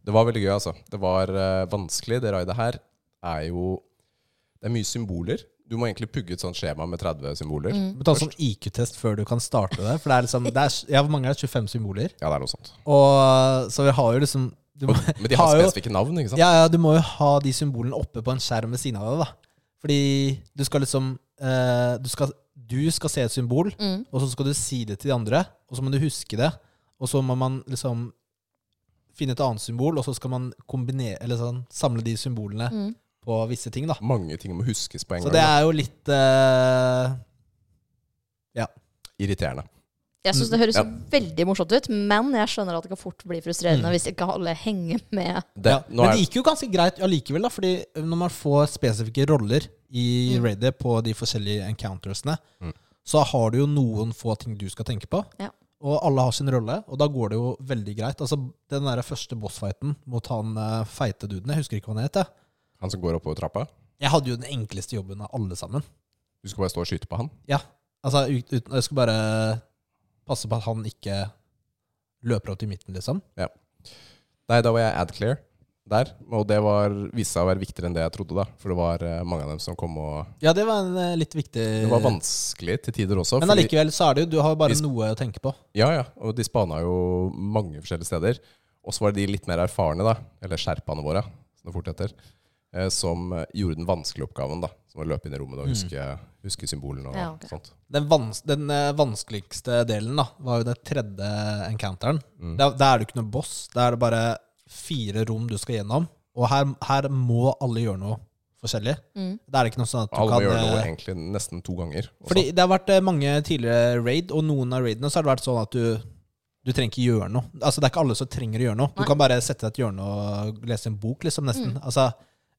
[SPEAKER 2] Det var veldig gøy, altså. Det var eh, vanskelig. Det raidet her er jo Det er mye symboler. Du må egentlig pugge et sånt skjema med 30 symboler.
[SPEAKER 4] Mm.
[SPEAKER 1] Du må ta sånn IQ-test før du kan starte det. For det er liksom, det er, ja, hvor mange er det? 25 symboler?
[SPEAKER 2] Ja, det er noe
[SPEAKER 1] [LAUGHS]
[SPEAKER 2] sånt.
[SPEAKER 1] Og så vi har jo liksom du
[SPEAKER 2] [LAUGHS]
[SPEAKER 1] må,
[SPEAKER 2] Men de har
[SPEAKER 1] har jo-
[SPEAKER 2] spesifikke navn, ikke sant?
[SPEAKER 1] ja, ja, du må jo ha de symbolene oppe på en skjerm ved siden av deg, da. Fordi du skal liksom eh, du, skal, du skal se et symbol,
[SPEAKER 4] Mm.
[SPEAKER 1] og så skal du si det til de andre, og så må du huske det. Og så må man liksom finne et annet symbol, og så skal man kombinere, eller sånn, samle de symbolene
[SPEAKER 4] Mm.
[SPEAKER 1] på visse ting, da.
[SPEAKER 2] Mange ting må huskes på en
[SPEAKER 1] Så
[SPEAKER 2] gang.
[SPEAKER 1] det
[SPEAKER 2] da.
[SPEAKER 1] er jo litt eh,
[SPEAKER 2] Irriterende.
[SPEAKER 4] Jeg syns det høres
[SPEAKER 2] Ja.
[SPEAKER 4] veldig morsomt ut, men jeg skjønner at det kan fort bli frustrerende
[SPEAKER 2] Mm.
[SPEAKER 4] hvis ikke alle henger med.
[SPEAKER 2] Det,
[SPEAKER 1] ja.
[SPEAKER 2] nå
[SPEAKER 1] Men
[SPEAKER 2] er,
[SPEAKER 1] det gikk jo ganske greit allikevel, da, fordi når man får spesifikke roller i
[SPEAKER 4] Mm.
[SPEAKER 1] raidet på de forskjellige encountersene,
[SPEAKER 2] Mm.
[SPEAKER 1] så har du jo noen få ting du skal tenke på.
[SPEAKER 4] Ja.
[SPEAKER 1] Og alle har sin rolle, og da går det jo veldig greit. Altså, Den der første bossfighten mot han eh, feite duden, jeg husker ikke hva han het. jeg.
[SPEAKER 2] han som går oppover trappa.
[SPEAKER 1] Jeg hadde jo den enkleste jobben av alle sammen.
[SPEAKER 2] Du skal bare stå og skyte på han.
[SPEAKER 1] Ja. Altså, ut, ut, jeg skal bare passe på at han ikke løper opp til midten, liksom.
[SPEAKER 2] Nei, da var jeg AdClear der, og det var, viste seg å være viktigere enn det jeg trodde, da. For det var eh, mange av dem som kom og
[SPEAKER 1] Ja, det var en eh, litt viktig
[SPEAKER 2] Det var vanskelig til tider også.
[SPEAKER 1] Men
[SPEAKER 2] fordi-
[SPEAKER 1] allikevel så er det jo Du har bare
[SPEAKER 2] Hvis-
[SPEAKER 1] noe å tenke på.
[SPEAKER 2] Ja, ja. Og de spana jo mange forskjellige steder. Og så var det de litt mer erfarne, da. Eller sherpaene våre, som det fort heter. eh, Som eh, gjorde den vanskelige oppgaven, da. Som å løpe inn i rommet
[SPEAKER 1] Mm.
[SPEAKER 2] og huske, huske symbolene og
[SPEAKER 4] Ja, ok.
[SPEAKER 2] sånt.
[SPEAKER 1] Den, vans den eh, vanskeligste delen da var jo det tredje encounteren.
[SPEAKER 2] Mm.
[SPEAKER 1] Der, der er det ikke noe boss. Der er det bare fire rom du skal gjennom. Og her, her må alle gjøre noe forskjellig.
[SPEAKER 4] Mm.
[SPEAKER 1] Det er ikke noe sånn at du
[SPEAKER 2] Alle må
[SPEAKER 1] kan
[SPEAKER 2] gjøre noe
[SPEAKER 1] eh,
[SPEAKER 2] egentlig nesten to ganger. og
[SPEAKER 1] Fordi
[SPEAKER 2] sånt.
[SPEAKER 1] det har vært eh, mange tidligere raid, og noen av raidene så har det vært sånn at du du trenger ikke gjøre noe. Altså Det er ikke alle som trenger å gjøre noe. Du
[SPEAKER 4] Nei.
[SPEAKER 1] kan bare sette deg i et hjørne og lese en bok, liksom, nesten.
[SPEAKER 2] Mm.
[SPEAKER 1] Altså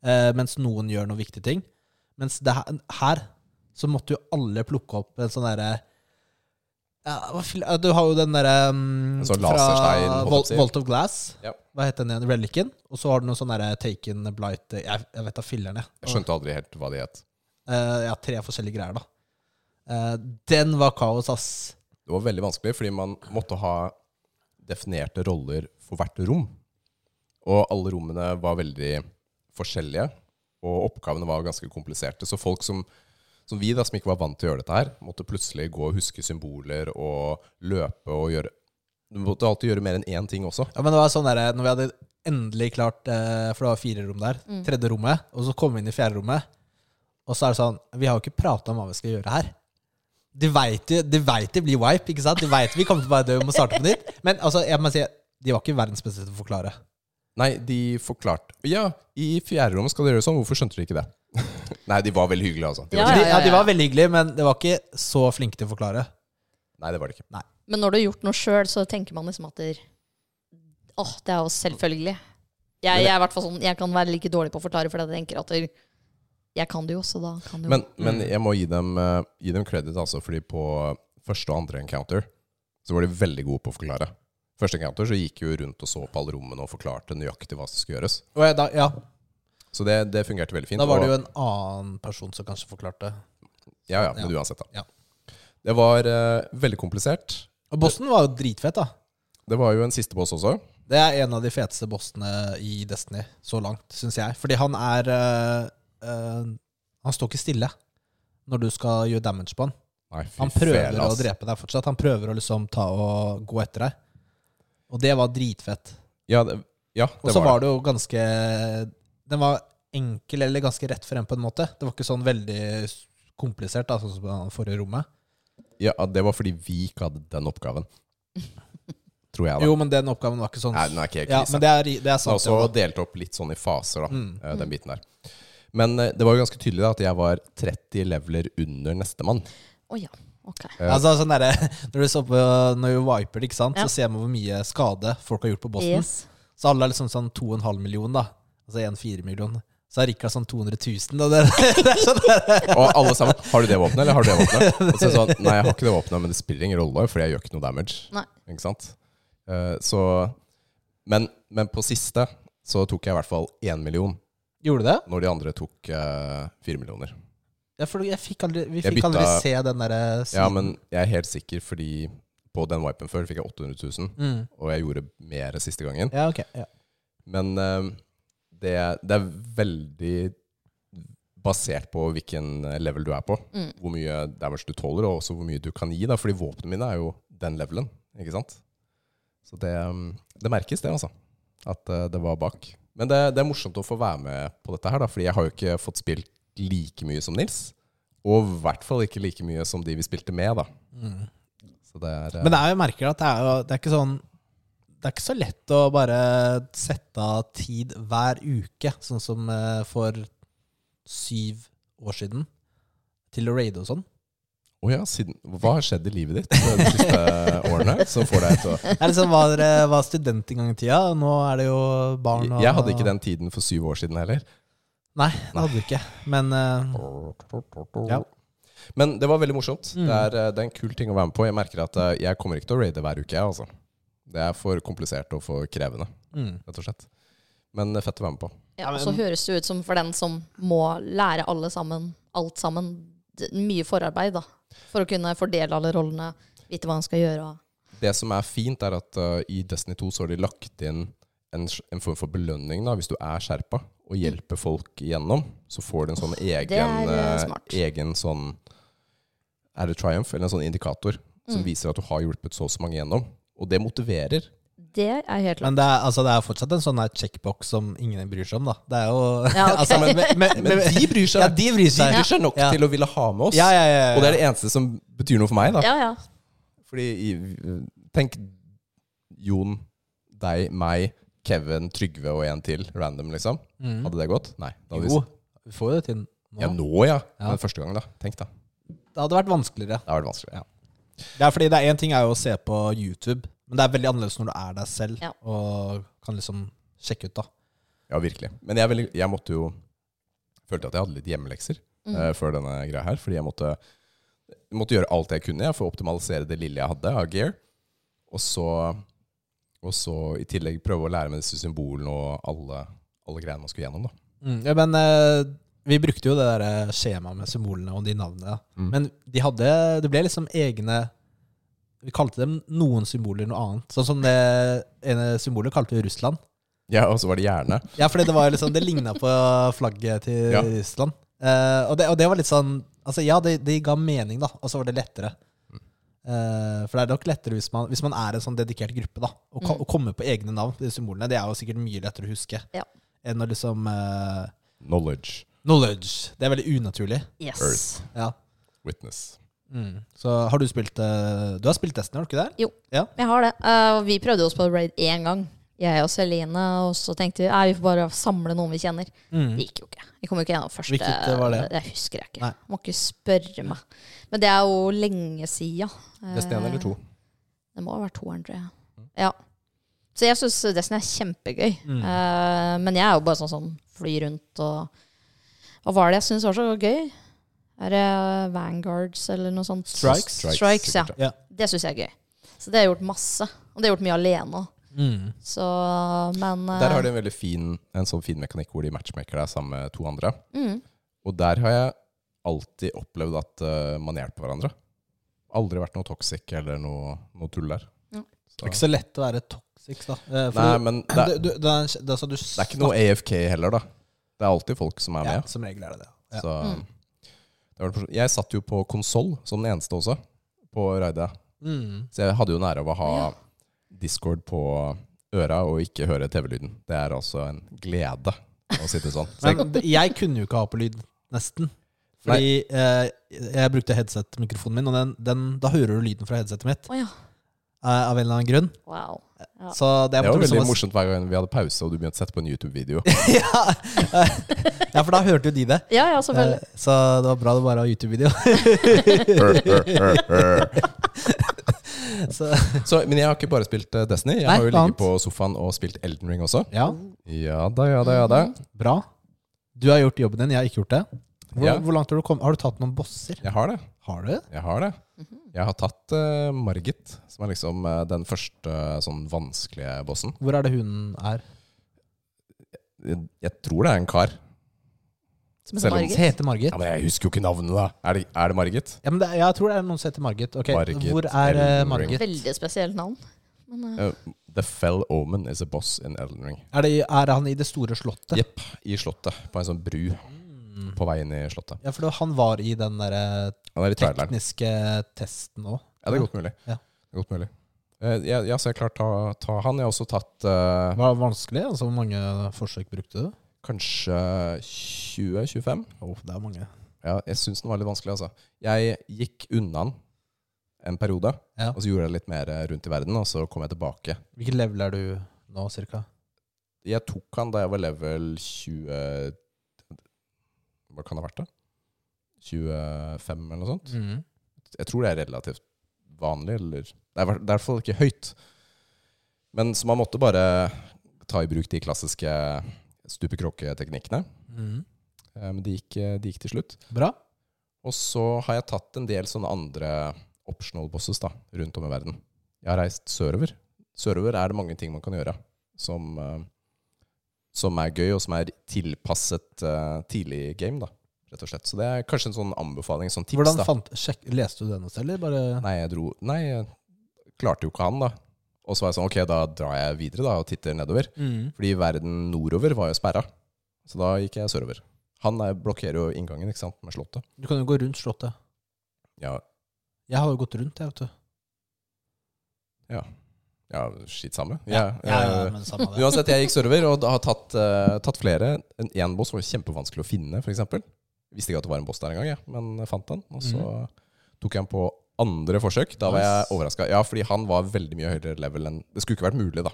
[SPEAKER 1] eh, Mens noen gjør noen viktige ting. Mens det her, her så måtte jo alle plukke opp en sånn derre ja, hva fil- ja, Du har jo den derre um,
[SPEAKER 2] En sånn laserstein, holdt jeg på å
[SPEAKER 1] Vault,
[SPEAKER 2] si.
[SPEAKER 1] Vault of Glass.
[SPEAKER 2] Ja.
[SPEAKER 1] Hva heter den igjen? Relicen. Og så har du noe sånn derre Taken Blight Jeg, jeg vet da filleren, jeg.
[SPEAKER 2] Jeg skjønte aldri helt hva de het.
[SPEAKER 1] Eh, ja, tre forskjellige greier, da. Eh, den var kaos, ass.
[SPEAKER 2] Det var veldig vanskelig, fordi man måtte ha definerte roller for hvert rom. Og alle rommene var veldig forskjellige, og oppgavene var ganske kompliserte. Så folk som, som vi, da, som ikke var vant til å gjøre dette her, måtte plutselig gå og huske symboler og løpe og gjøre Du måtte alltid gjøre mer enn én ting også.
[SPEAKER 1] Ja, men det var sånn der, Når vi hadde endelig klart eh, For det var fire rom der.
[SPEAKER 4] Mm.
[SPEAKER 1] Tredje rommet. Og så kom vi inn i fjerde rommet. Og så er det sånn Vi har jo ikke prata om hva vi skal gjøre her. De veit jo- de vet det blir wipe, ikke sant? De veit vi kommer til å være døde og må starte på nytt. Men altså, jeg må si, de var ikke verdens beste til å forklare.
[SPEAKER 2] Nei, de forklarte Ja, i fjerde rom skal dere gjøre sånn. Hvorfor skjønte dere ikke det? [LAUGHS] Nei, de var veldig hyggelige, altså. De
[SPEAKER 1] De,
[SPEAKER 2] var,
[SPEAKER 4] Ja, ja, ja,
[SPEAKER 1] ja, de
[SPEAKER 4] ja.
[SPEAKER 1] var veldig hyggelige, men de var ikke så flinke til å forklare.
[SPEAKER 2] Nei, det var det ikke.
[SPEAKER 4] Men når du har gjort noe sjøl, så tenker man liksom at det, Åh, det er jo selvfølgelig. Jeg, jeg er i hvert fall sånn, jeg kan være like dårlig på å forklare, fordi jeg tenker at det- jeg kan det jo, så da kan det jo
[SPEAKER 2] Men, men
[SPEAKER 1] Mm.
[SPEAKER 2] jeg må gi dem, eh, gi dem credit, altså, fordi på første og andre encounter så var de veldig gode på å forklare. Første encounter så gikk vi jo rundt og så på alle rommene og forklarte nøyaktig hva som skulle gjøres.
[SPEAKER 1] Og jeg, da, ja,
[SPEAKER 2] Så det, det fungerte veldig
[SPEAKER 1] da
[SPEAKER 2] fint.
[SPEAKER 1] var det
[SPEAKER 2] og-
[SPEAKER 1] jo en annen person som kanskje forklarte.
[SPEAKER 2] Ja, ja, men uansett, da.
[SPEAKER 1] Ja.
[SPEAKER 2] Det var eh, veldig komplisert.
[SPEAKER 1] Og Boston var jo dritfett, da.
[SPEAKER 2] Det var jo en siste boss også.
[SPEAKER 1] Det er en av de feteste bossene i Destiny så langt, syns jeg. Fordi han er eh, eh, Han står ikke stille når du skal gjøre damage på han.
[SPEAKER 2] Nei, fy
[SPEAKER 1] Han prøver
[SPEAKER 2] fele,
[SPEAKER 1] å
[SPEAKER 2] ass.
[SPEAKER 1] drepe deg fortsatt. Han prøver å liksom ta og gå etter deg. Og det var dritfett.
[SPEAKER 2] Ja, det, ja, det
[SPEAKER 1] Og så
[SPEAKER 2] var
[SPEAKER 1] var det jo ganske Den var enkel, eller ganske rett frem på en måte. Det var ikke sånn veldig komplisert, da, sånn som på det forrige rommet.
[SPEAKER 2] det. Ja, det var fordi vi ikke hadde den
[SPEAKER 1] [LAUGHS]
[SPEAKER 2] oppgaven. Tror jeg, da.
[SPEAKER 1] Jo, men den oppgaven var ikke sånn
[SPEAKER 2] Nei, den er ikke helt
[SPEAKER 1] ja,
[SPEAKER 2] krise.
[SPEAKER 1] Men det er, det er
[SPEAKER 2] Så
[SPEAKER 1] sant.
[SPEAKER 2] også delt opp litt sånn i faser, da, eh, den biten der. Men eh, det var jo ganske tydelig da, at jeg var 30 leveler under nestemann.
[SPEAKER 4] Å ja, ok.
[SPEAKER 2] Ja.
[SPEAKER 1] Altså, sånn derre- [LAUGHS] når, du så på, når du viper det, ikke sant?
[SPEAKER 4] Ja.
[SPEAKER 1] så ser man hvor mye skade folk har gjort på bossen.
[SPEAKER 2] [LAUGHS]
[SPEAKER 4] Yes.
[SPEAKER 1] Så alle er liksom sånn 2,5 million, da. Altså 1,4 million. Så er Rikard sånn 200 000. Og det, [LAUGHS] det er sånn der.
[SPEAKER 2] Og alle sammen 'Har du det våpenet, eller har du det våpenet?' Og så er det sånn 'Nei, jeg har ikke det våpenet, men det spiller ingen rolle, for jeg gjør ikke noe damage'.
[SPEAKER 4] Nei.
[SPEAKER 2] Ikke sant? Eh, Så men, men på siste så tok jeg i hvert fall én million,
[SPEAKER 1] Gjorde du det?
[SPEAKER 2] når de andre tok eh, fire millioner.
[SPEAKER 1] Ja, for jeg fikk aldri, vi
[SPEAKER 2] Jeg
[SPEAKER 1] fikk aldri
[SPEAKER 2] bytta-
[SPEAKER 1] se den derre siden.
[SPEAKER 2] Ja, men jeg er helt sikker, fordi på den wipen før fikk jeg 800 000,
[SPEAKER 1] Mm.
[SPEAKER 2] og jeg gjorde mer siste gangen.
[SPEAKER 1] Ja, ok. Ja.
[SPEAKER 2] Men eh, det, det er veldig basert på hvilken eh, level du er på.
[SPEAKER 4] Mm.
[SPEAKER 2] Hvor mye damage du tåler, og også hvor mye du kan gi. Da, fordi våpnene mine er jo den levelen. Ikke sant? Så det, mm, det merkes, det, altså. At eh, det var bak. Men det, det er morsomt å få være med på dette her, da, fordi jeg har jo ikke fått spilt like mye som Nils. Og i hvert fall ikke like mye som de vi spilte med, da. Så det er eh,
[SPEAKER 1] Men det er jo merker at det er, jo, det er ikke sånn det er ikke så lett å bare sette av tid hver uke, sånn som eh, for syv år siden, til å raide og sånn.
[SPEAKER 2] Å ja, siden, hva har skjedd i livet ditt de siste årene som får deg til å
[SPEAKER 1] Det er liksom var, eh, var student en gang i tida, og nå er det jo barn og
[SPEAKER 2] Jeg hadde ikke den tiden for syv år siden heller.
[SPEAKER 1] Nei, det hadde du ikke. Men eh, ja.
[SPEAKER 2] Men det var veldig morsomt. Det, er, eh, det er en kul ting å være med på. Jeg merker at eh, jeg kommer ikke til å raide hver uke, jeg, altså. Det er for komplisert og for krevende,
[SPEAKER 1] Mm.
[SPEAKER 2] rett og slett. Men det er fett å være med på.
[SPEAKER 4] Ja, og så høres det ut som for den som må lære alle sammen, alt sammen, det- mye forarbeid, da. For å kunne fordele alle rollene, vite hva han skal gjøre.
[SPEAKER 2] Det som er fint, er at uh, i Destiny 2 så har de lagt inn en, sj- en form for belønning da, hvis du er skjerpa, og hjelper folk igjennom. Så får du en sånn
[SPEAKER 4] det er,
[SPEAKER 2] egen,
[SPEAKER 4] eh,
[SPEAKER 2] eh,
[SPEAKER 4] smart.
[SPEAKER 2] egen sånn Er det triumph? Eller en sånn indikator som
[SPEAKER 4] Mm.
[SPEAKER 2] viser at du har hjulpet så og så mange igjennom. Og det motiverer.
[SPEAKER 4] Det er helt klart.
[SPEAKER 1] Men det er, altså, det er fortsatt en sånn her checkbox som ingen bryr seg om, da. Det er jo [LAUGHS]
[SPEAKER 4] Ja, ok.
[SPEAKER 1] altså, men, men, men,
[SPEAKER 2] Men de bryr seg,
[SPEAKER 1] Ja, de bryr
[SPEAKER 2] de
[SPEAKER 1] seg.
[SPEAKER 2] bryr seg nok
[SPEAKER 1] Ja.
[SPEAKER 2] til å ville ha med oss.
[SPEAKER 1] Ja, ja, ja, ja.
[SPEAKER 2] Og det er det eneste som betyr noe for meg. da
[SPEAKER 4] Ja, ja.
[SPEAKER 2] Fordi i, Tenk Jon, deg, meg, Kevin, Trygve og en til random, liksom.
[SPEAKER 1] Mm.
[SPEAKER 2] Hadde det gått? Nei. Da hadde vi-
[SPEAKER 1] Jo, vi får jo det til nå.
[SPEAKER 2] Ja, nå, ja.
[SPEAKER 1] Ja.
[SPEAKER 2] Men første gang, da. Tenk, da.
[SPEAKER 1] Det hadde vært vanskeligere.
[SPEAKER 2] Det har vært vanskelig. Ja.
[SPEAKER 1] Det er fordi det er én ting er jo å se på YouTube, men det er veldig annerledes når du er deg selv
[SPEAKER 4] Ja.
[SPEAKER 1] og kan liksom sjekke ut, da.
[SPEAKER 2] ja, virkelig. Men jeg, er veldig- jeg måtte jo Følte at jeg hadde litt hjemmelekser
[SPEAKER 4] Mm.
[SPEAKER 2] eh, før denne greia her. Fordi jeg måtte, måtte gjøre alt jeg kunne jeg, for å optimalisere det lille jeg hadde av gear. Og så, og så i tillegg prøve å lære meg disse symbolene og alle, alle greiene man skulle gjennom. da.
[SPEAKER 1] Ja, men eh, vi brukte jo det der eh, skjemaet med symbolene og de navnene. da.
[SPEAKER 2] Mm.
[SPEAKER 1] Men de hadde, det ble liksom egne Vi kalte dem noen symboler noe annet. Sånn som det ene symbolet kalte vi Russland.
[SPEAKER 2] Ja, Og så var det hjerne.
[SPEAKER 1] Ja, fordi det var jo liksom, det ligna på flagget til
[SPEAKER 2] Ja.
[SPEAKER 1] Russland. Eh, og, det, og det var litt sånn Altså Ja, det, det ga mening, da, og så var det lettere.
[SPEAKER 2] Mm.
[SPEAKER 1] Eh, for det er nok lettere hvis man, hvis man er en sånn dedikert gruppe, da. Å ka-
[SPEAKER 4] Mm.
[SPEAKER 1] å komme på egne navn, de symbolene. Det er jo sikkert mye lettere å huske
[SPEAKER 4] Ja.
[SPEAKER 1] enn å liksom eh,
[SPEAKER 2] Knowledge.
[SPEAKER 1] Knowledge. Det er veldig unaturlig. Mm.
[SPEAKER 4] Yes.
[SPEAKER 2] Earth.
[SPEAKER 1] Ja.
[SPEAKER 2] Witness.
[SPEAKER 1] Så har du spilt eh, Du har spilt Destiny, har du ikke det?
[SPEAKER 4] Jeg har det. Eh, og vi prøvde oss på raid én gang, jeg og Celine. Og så tenkte vi nei, vi får bare samle noen vi kjenner. Det gikk jo ikke. Vi kom jo ikke gjennom første.
[SPEAKER 1] Mm. Hvilket, eh, var det?
[SPEAKER 4] Jeg husker jeg ikke.
[SPEAKER 1] Nei.
[SPEAKER 4] Må ikke spørre meg. Men det er jo lenge sia. Eh,
[SPEAKER 2] Destiny én eller to?
[SPEAKER 4] Det må ha vært 200. Ja. Så jeg syns Destiny er kjempegøy.
[SPEAKER 1] Mm.
[SPEAKER 4] Eh, men jeg er jo bare sånn som flyr rundt og Hva var det jeg syns var så gøy? Er det Vanguards eller noe sånt?
[SPEAKER 1] Strikes?
[SPEAKER 4] Strikes, ja.
[SPEAKER 2] sikkert,
[SPEAKER 1] Ja.
[SPEAKER 4] Det syns jeg er gøy. Så det har jeg gjort masse. Og det har jeg gjort mye alene òg.
[SPEAKER 1] Mm.
[SPEAKER 4] Så, men eh,
[SPEAKER 2] Der har de en veldig fin, en sånn fin mekanikk hvor de matchmaker deg sammen med to andre.
[SPEAKER 4] mm,
[SPEAKER 2] Og der har jeg alltid opplevd at eh, man hjelper hverandre. Aldri vært noe toxic eller noe, noe tull der.
[SPEAKER 4] Ja.
[SPEAKER 1] Det er ikke så lett å være toxic, da. Eh, for
[SPEAKER 2] Nei,
[SPEAKER 1] du-
[SPEAKER 2] men det,
[SPEAKER 1] det, du, det, er, en kj- det, er sånn du
[SPEAKER 2] det er ikke noe AFK heller, da. Det er alltid folk som er
[SPEAKER 1] ja,
[SPEAKER 2] med.
[SPEAKER 1] Som regel er det det. Ja.
[SPEAKER 2] Så,
[SPEAKER 4] Mm.
[SPEAKER 2] det var det for- jeg satt jo på konsoll som den eneste også, på raidet.
[SPEAKER 1] Mm.
[SPEAKER 2] Så jeg hadde jo nære av å ha
[SPEAKER 4] Ja.
[SPEAKER 2] Discord på øra og ikke høre TV-lyden. Det er altså en glede å sitte sånn. Så jeg,
[SPEAKER 1] Men det- jeg kunne jo ikke ha på lyd, nesten. Fordi eh, jeg brukte headset-mikrofonen min, og den, den, da hører du lyden fra headsetet mitt.
[SPEAKER 4] Å ja.
[SPEAKER 1] eh, Av en eller annen grunn.
[SPEAKER 4] Wow. Ja.
[SPEAKER 1] Så det,
[SPEAKER 2] det
[SPEAKER 1] jeg
[SPEAKER 2] var
[SPEAKER 1] måtte
[SPEAKER 2] veldig
[SPEAKER 1] liksom-
[SPEAKER 2] morsomt hver gang vi hadde pause og du begynte å sette på en YouTube-video.
[SPEAKER 1] ja. ja, for da hørte jo de det.
[SPEAKER 4] Ja, ja, selvfølgelig.
[SPEAKER 1] Eh, Så det var bra det bare var YouTube-video. Så-
[SPEAKER 2] [LAUGHS] Så, men jeg har ikke bare spilt eh, Destiny. Jeg
[SPEAKER 1] Nei,
[SPEAKER 2] har
[SPEAKER 1] noe
[SPEAKER 2] jo ligget
[SPEAKER 1] annet.
[SPEAKER 2] på sofaen og spilt Elden Ring også.
[SPEAKER 1] Ja,
[SPEAKER 2] Ja da, ja da, ja da.
[SPEAKER 1] bra. Du har gjort jobben din, jeg har ikke gjort det. Hvor,
[SPEAKER 2] Ja.
[SPEAKER 1] hvor langt har du kommet? Har du tatt noen bosser?
[SPEAKER 2] Jeg har det.
[SPEAKER 1] Har du?
[SPEAKER 2] Jeg har det.
[SPEAKER 1] Mhm.
[SPEAKER 2] Jeg har tatt eh, Margit, som er liksom eh, den første eh, sånn vanskelige bossen.
[SPEAKER 1] Hvor er det hun er?
[SPEAKER 2] Jeg, jeg tror det er en kar.
[SPEAKER 4] Som heter
[SPEAKER 2] Selv om-
[SPEAKER 1] Hun
[SPEAKER 4] Margit.
[SPEAKER 1] heter Margit.
[SPEAKER 2] Ja, men jeg husker jo ikke navnet, da. Er det, er det Margit?
[SPEAKER 1] Ja, men det, jeg tror det er noen som heter Margit. Ok,
[SPEAKER 2] Margit
[SPEAKER 1] Hvor er eh,
[SPEAKER 2] Elden Ring.
[SPEAKER 1] Margit?
[SPEAKER 4] Veldig spesielt navn. Men, eh,
[SPEAKER 2] Eh, The Fell Omen is a boss in Elden Ring.
[SPEAKER 1] Er, det, er han i det store slottet?
[SPEAKER 2] Jepp. I Slottet. På en sånn bru
[SPEAKER 1] Mm.
[SPEAKER 2] på vei inn i Slottet.
[SPEAKER 1] Ja, for det- han var i den der eh,
[SPEAKER 2] Han er i traileren.
[SPEAKER 1] tekniske testen òg.
[SPEAKER 2] Ja, det er godt mulig.
[SPEAKER 1] Ja.
[SPEAKER 2] Det er godt mulig. Eh, Ja, ja, så jeg klarte å ta, ta han. Jeg har også tatt eh,
[SPEAKER 1] Var det vanskelig? Altså, hvor mange forsøk brukte du?
[SPEAKER 2] kanskje 20-25.
[SPEAKER 1] Åh, det er mange.
[SPEAKER 2] Ja, jeg syns den var litt vanskelig, altså. Jeg gikk unna den en periode,
[SPEAKER 1] Ja.
[SPEAKER 2] og så gjorde jeg litt mer eh, rundt i verden, og så kom jeg tilbake.
[SPEAKER 1] Hvilket level er du nå, cirka?
[SPEAKER 2] Jeg tok han da jeg var level 20 Hva kan det ha vært, da? 25, eller noe sånt?
[SPEAKER 1] Mm.
[SPEAKER 2] jeg tror det er relativt vanlig, eller Det er i hvert- det er i hvert fall ikke høyt. Men så man måtte bare ta i bruk de klassiske stupekråketeknikkene.
[SPEAKER 1] Mm.
[SPEAKER 2] Eh, Men de gikk, eh, de gikk til slutt.
[SPEAKER 1] Bra.
[SPEAKER 2] Og så har jeg tatt en del sånne andre optional bosses da, rundt om i verden. Jeg har reist sørover. Sørover er det mange ting man kan gjøre som, eh, som er gøy, og som er tilpasset eh, tidlig game, da, rett og slett. Så det er kanskje en sånn anbefaling, sånn tips,
[SPEAKER 1] Hvordan
[SPEAKER 2] da.
[SPEAKER 1] fant, sjekk, Leste du den også, eller bare
[SPEAKER 2] Nei, jeg dro Nei, jeg klarte jo ikke han, da. Og så var jeg sånn, ok, da drar jeg videre da og titter nedover.
[SPEAKER 1] Mm.
[SPEAKER 2] Fordi verden nordover var jo sperra. Så da gikk jeg sørover. Han er, blokkerer jo inngangen ikke sant, med Slottet.
[SPEAKER 1] Du kan jo gå rundt Slottet.
[SPEAKER 2] Ja,
[SPEAKER 1] Jeg har jo gått rundt, jeg, vet du.
[SPEAKER 2] ja skitt samme. Ja, eh,
[SPEAKER 1] men samme det.
[SPEAKER 2] Uansett, jeg gikk sørover og da har tatt, eh, tatt flere. En, en boss var jo kjempevanskelig å finne, f.eks. Visste ikke at det var en boss der engang, jeg, men jeg fant den. Og så tok jeg den på andre forsøk. Da var jeg
[SPEAKER 1] Nice.
[SPEAKER 2] overraska. Ja, fordi han var veldig mye høyere level enn Det skulle ikke vært mulig, da.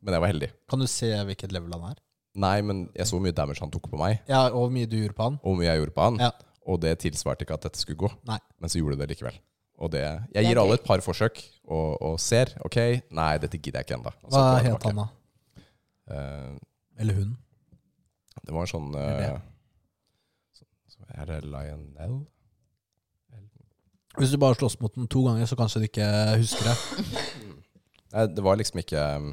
[SPEAKER 2] Men jeg var heldig.
[SPEAKER 1] Kan du se hvilket level han er?
[SPEAKER 2] Nei, men jeg så hvor mye damage han tok på meg,
[SPEAKER 1] Ja, og hvor mye du gjorde på han?
[SPEAKER 2] og hvor mye jeg gjorde på han.
[SPEAKER 1] Ja.
[SPEAKER 2] Og det tilsvarte ikke at dette skulle gå.
[SPEAKER 1] Nei.
[SPEAKER 2] Men så gjorde det likevel. Og det,
[SPEAKER 4] er
[SPEAKER 2] jeg gir alle
[SPEAKER 4] gøy.
[SPEAKER 2] et par forsøk og, og ser. Ok, nei, dette gidder jeg ikke ennå.
[SPEAKER 1] Hva het han, da? Eller hun?
[SPEAKER 2] Det var en sånn
[SPEAKER 1] Er det?
[SPEAKER 2] eh, så, så Er det Lionel?
[SPEAKER 1] Hvis du bare slåss mot den to ganger, så kanskje du ikke husker det.
[SPEAKER 2] Nei, det var liksom ikke um,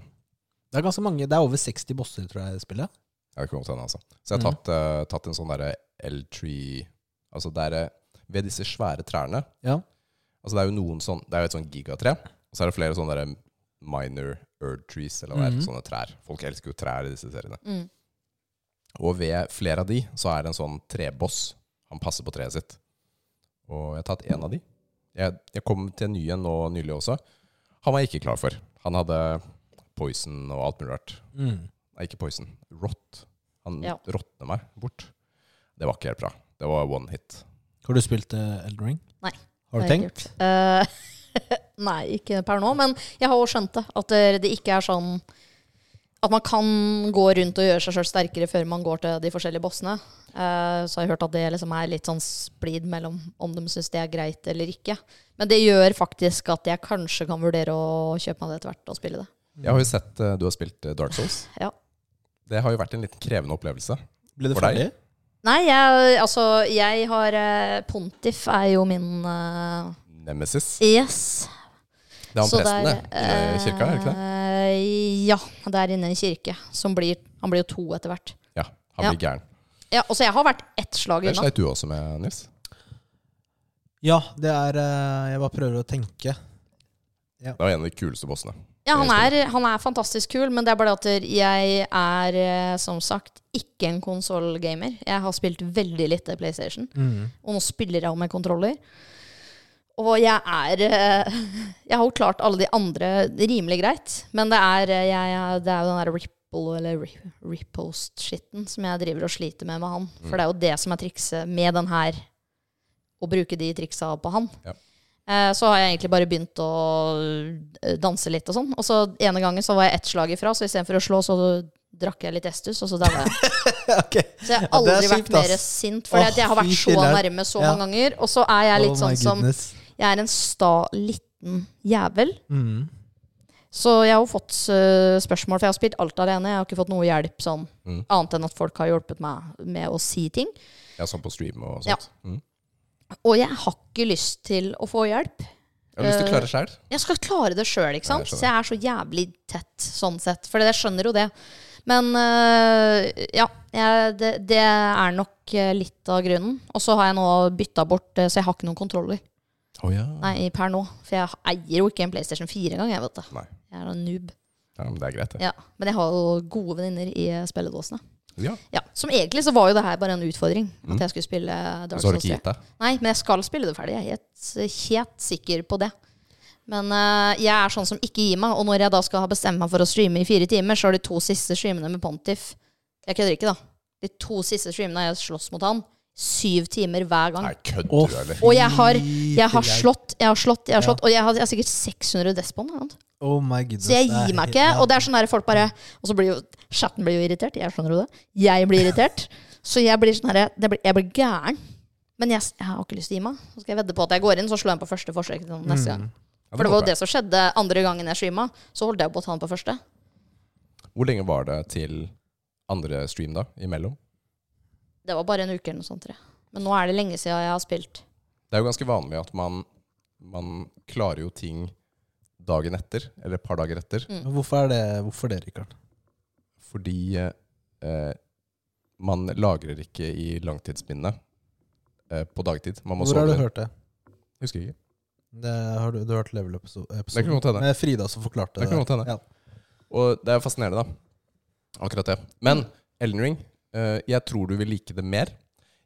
[SPEAKER 1] Det er ganske mange, det er over 60 bosser, tror jeg, i spillet.
[SPEAKER 2] Jeg har ikke kommet til den, altså. Så jeg har
[SPEAKER 1] Mhm.
[SPEAKER 2] tatt, eh, tatt en sånn derre L-tree Altså det er eh, ved disse svære trærne
[SPEAKER 1] Ja.
[SPEAKER 2] Altså det er jo noen sånn Det er jo et sånn gigatre, og så er det flere sånne derre minor earth trees, eller hva det
[SPEAKER 1] Mhm.
[SPEAKER 2] er. Sånne trær. Folk elsker jo trær i disse seriene.
[SPEAKER 4] Mm.
[SPEAKER 2] Og ved flere av de så er det en sånn treboss. Han passer på treet sitt. Og jeg har tatt én av de. Jeg, jeg kom til en ny en nå nylig også. Han var jeg ikke klar for. Han hadde poison og alt mulig rart.
[SPEAKER 1] Mm.
[SPEAKER 2] Nei, ikke poison. Rott. Han
[SPEAKER 4] Ja.
[SPEAKER 2] råtner meg bort. Det var ikke helt bra. Det var one hit.
[SPEAKER 1] Har du spilt eh, Elden Ring?
[SPEAKER 4] Nei.
[SPEAKER 1] Har du
[SPEAKER 4] Det er
[SPEAKER 1] tenkt?
[SPEAKER 4] Eh, [LAUGHS] nei, ikke per nå, men jeg har jo skjønt det. At det- det ikke er sånn at man kan gå rundt og gjøre seg sjøl sterkere før man går til de forskjellige bossene. Eh, så har jeg hørt at det liksom er litt sånn splid mellom om de syns det er greit eller ikke. Men det gjør faktisk at jeg kanskje kan vurdere å kjøpe meg det etter hvert og spille det.
[SPEAKER 2] Jeg har jo sett eh, du har spilt eh, Dark Souls.
[SPEAKER 4] Ja.
[SPEAKER 2] Det har jo vært en litt krevende opplevelse.
[SPEAKER 1] Ble du
[SPEAKER 2] For deg?
[SPEAKER 1] ferdig?
[SPEAKER 4] Nei, jeg, altså jeg har eh, Pontiff er jo min eh,
[SPEAKER 2] Nemesis.
[SPEAKER 4] Yes.
[SPEAKER 2] Det er han
[SPEAKER 4] Så eh,
[SPEAKER 2] presten, det.
[SPEAKER 4] der,
[SPEAKER 2] I eh, kirka, er det ikke det?
[SPEAKER 4] eh, Ja, det er inne i en kirke. Som blir, han blir jo to etter hvert.
[SPEAKER 2] Ja. Han blir gæren.
[SPEAKER 4] Ja, og så jeg har vært ett slag
[SPEAKER 2] Det
[SPEAKER 4] unna.
[SPEAKER 2] sleit du også med, Nils.
[SPEAKER 1] Ja, det er eh, Jeg bare prøver å tenke.
[SPEAKER 2] Det var en av de kuleste bossene.
[SPEAKER 4] Ja, han er, han er fantastisk kul, men det er bare at jeg er eh, som sagt ikke en konsollgamer. Jeg har spilt veldig lite PlayStation,
[SPEAKER 2] Mm.
[SPEAKER 4] og nå spiller jeg jo med kontroller. Og jeg er eh, [LAUGHS] Jeg har jo klart alle de andre rimelig greit, men det er, eh, jeg, jeg- det er jo den der Ripple eller ri- Repost-skitten som jeg driver og sliter med med han. For det er jo det som er trikset med den her, å bruke de triksa på han. Eh, Så har jeg egentlig bare begynt å eh, danse litt og sånn. Og så ene gangen så var jeg ett slag ifra, så istedenfor å slå, så drakk jeg litt Estus, og så daua jeg.
[SPEAKER 1] [LAUGHS] Ok.
[SPEAKER 4] Så jeg
[SPEAKER 1] Ja, det er
[SPEAKER 4] har aldri vært
[SPEAKER 1] kjipt,
[SPEAKER 4] mer
[SPEAKER 1] ass.
[SPEAKER 4] sint, for
[SPEAKER 1] Åh,
[SPEAKER 4] jeg har vært
[SPEAKER 1] fy
[SPEAKER 4] så
[SPEAKER 1] filler'n.
[SPEAKER 4] nærme så
[SPEAKER 1] Ja.
[SPEAKER 4] mange ganger. Og så er jeg litt
[SPEAKER 1] Oh my
[SPEAKER 4] sånn som
[SPEAKER 1] goodness.
[SPEAKER 4] Jeg er en sta liten jævel.
[SPEAKER 1] Mm.
[SPEAKER 4] Så jeg har jo fått eh, spørsmål, for jeg har spilt alt alene. Jeg har ikke fått noe hjelp sånn,
[SPEAKER 2] Mm.
[SPEAKER 4] annet enn at folk har hjulpet meg med å si ting.
[SPEAKER 2] Ja, sånn på stream og
[SPEAKER 4] Ja.
[SPEAKER 2] sånt. Mm.
[SPEAKER 4] Og jeg har ikke lyst til å få hjelp.
[SPEAKER 2] Jeg har lyst til å
[SPEAKER 4] Eh,
[SPEAKER 2] klare sjæl.
[SPEAKER 4] Jeg skal klare det sjøl,
[SPEAKER 2] Ja, jeg
[SPEAKER 4] ikke sant?
[SPEAKER 2] skjønner.
[SPEAKER 4] så jeg er så jævlig tett sånn sett. For jeg skjønner jo det. Men øh, ja, jeg, det, det er nok øh, litt av grunnen. Og så har jeg nå bytta bort, øh, så jeg har ikke noen kontroller
[SPEAKER 2] Å ja.
[SPEAKER 4] Nei, per nå. For jeg eier jo ikke en PlayStation 4 engang, jeg, vet du.
[SPEAKER 2] Nei.
[SPEAKER 4] Jeg er en noob.
[SPEAKER 2] ja. Men det er greit, det.
[SPEAKER 4] Ja. Men jeg har jo gode venninner i øh, spilledåsene.
[SPEAKER 2] Ja.
[SPEAKER 4] Ja, Som egentlig så var jo det her bare en utfordring.
[SPEAKER 2] Mm.
[SPEAKER 4] At jeg skulle spille
[SPEAKER 2] Og
[SPEAKER 4] Dark
[SPEAKER 2] så har du
[SPEAKER 4] Souls
[SPEAKER 2] ikke
[SPEAKER 4] 3.
[SPEAKER 2] gitt deg?
[SPEAKER 4] Nei, men jeg skal spille det ferdig. Jeg er helt, eh, helt sikker på det. Men eh, jeg er sånn som ikke gir meg. Og når jeg da skal ha bestemt meg for å streame i fire timer, så er de to siste streamene med Pontiff Jeg kødder ikke, da. De to siste streamene jeg slåss mot han, syv timer hver gang.
[SPEAKER 2] Nei, kødder
[SPEAKER 1] Å,
[SPEAKER 2] du, eller?
[SPEAKER 1] fy
[SPEAKER 4] Og jeg har- Jeg har
[SPEAKER 1] filler'n.
[SPEAKER 4] slått, jeg har slått, jeg har
[SPEAKER 1] Ja.
[SPEAKER 4] slått. Og jeg har, jeg har sikkert 600 despon. eller noe annet.
[SPEAKER 1] Oh my goodness.
[SPEAKER 4] Så jeg
[SPEAKER 1] det er
[SPEAKER 4] gir meg
[SPEAKER 1] helt-
[SPEAKER 4] ikke.
[SPEAKER 1] ja.
[SPEAKER 4] Og det er sånn der folk bare Og så blir jo chatten blir jo irritert. Jeg skjønner jo det. Jeg blir irritert. Så jeg blir sånn herre Jeg blir gæren. Men jeg, jeg har ikke lyst til å gi meg. Så skal jeg vedde på at jeg går inn, så slår jeg på første forsøk til
[SPEAKER 1] Mm.
[SPEAKER 4] neste gang.
[SPEAKER 2] Mm. Ja,
[SPEAKER 4] For det var jo
[SPEAKER 2] håper
[SPEAKER 4] det som skjedde andre gangen jeg streama. Så holdt jeg på å ta den på første.
[SPEAKER 2] jeg. Hvor lenge var det til andre stream, da? Imellom?
[SPEAKER 4] Det var bare en uke eller noe sånt, tror jeg. Men nå er det lenge siden jeg har spilt.
[SPEAKER 2] Det er jo ganske vanlig at man, man klarer jo ting dagen etter, eller et par dager etter,
[SPEAKER 1] Men Hvorfor er det Hvorfor det, Rikard?
[SPEAKER 2] fordi eh, man lagrer ikke i langtidsminnet eh, på dagtid. Man må
[SPEAKER 1] Hvor har
[SPEAKER 2] sove
[SPEAKER 1] du
[SPEAKER 2] litt.
[SPEAKER 1] hørt det?
[SPEAKER 2] Husker ikke.
[SPEAKER 1] det har du, du har hørt Level Up-episoden?
[SPEAKER 2] Det kan godt hende.
[SPEAKER 1] Med Frida som forklarte
[SPEAKER 2] Det kan godt hende.
[SPEAKER 1] Ja.
[SPEAKER 2] Og det er jo fascinerende, da. Akkurat det. Men Elden Ring, eh, jeg tror du vil like det mer.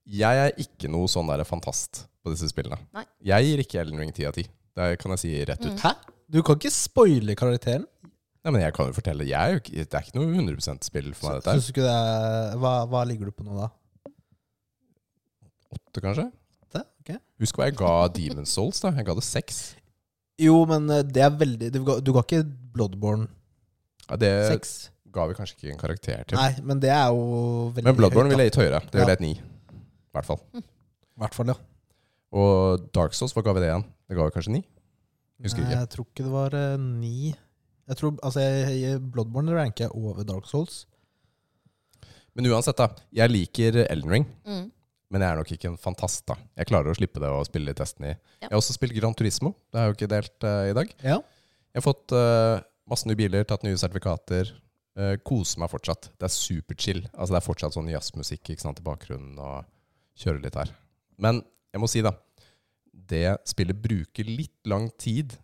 [SPEAKER 2] Jeg er ikke noe sånn der fantast på disse spillene.
[SPEAKER 4] Nei.
[SPEAKER 2] Jeg gir ikke Elden Ring 10 av 10. Det kan jeg si rett ut.
[SPEAKER 1] Hæ? Du kan ikke spoile karakteren?
[SPEAKER 2] Nei, men jeg kan jo fortelle jeg er jo ikke, Det er ikke noe 100 spill for meg, dette her.
[SPEAKER 1] Syns du ikke det er hva, hva ligger du på nå, da?
[SPEAKER 2] Åtte, kanskje?
[SPEAKER 1] Det? Ok.
[SPEAKER 2] Husk hva jeg ga Demon's Souls, da. Jeg ga det seks.
[SPEAKER 1] Jo, men eh, det er veldig Du ga, du ga ikke Bloodborne
[SPEAKER 2] Ja, det
[SPEAKER 1] 6?
[SPEAKER 2] ga vi kanskje ikke en karakter til.
[SPEAKER 1] Nei, men det er jo veldig
[SPEAKER 2] men Bloodborne ville
[SPEAKER 1] høyt.
[SPEAKER 2] jeg gitt høyere. Det ville jeg et ni. I hvert fall.
[SPEAKER 1] I hvert fall, ja.
[SPEAKER 2] Og Dark Souls, hva ga vi det igjen? Det ga vi kanskje ni? Husker
[SPEAKER 1] Nei,
[SPEAKER 2] ikke.
[SPEAKER 1] Jeg tror ikke det var eh, ni. Jeg tror, altså, jeg, jeg, Bloodborne ranker jeg over Dark Souls.
[SPEAKER 2] Men uansett, da. Jeg liker Elden Ring.
[SPEAKER 4] Mm.
[SPEAKER 2] Men jeg er nok ikke en fantast, da. Jeg klarer å slippe det å spille litt Destiny.
[SPEAKER 4] Ja.
[SPEAKER 2] Jeg har også spilt Gran Turismo. Det er jo ikke delt eh, i dag.
[SPEAKER 1] Ja.
[SPEAKER 2] Jeg har fått eh, masse nye biler, tatt nye sertifikater. Uh, koser meg fortsatt. Det er superchill. Altså, det er fortsatt sånn jazzmusikk ikke sant, i bakgrunnen, og kjøre litt her. Men jeg må si, da Det spillet bruker litt lang tid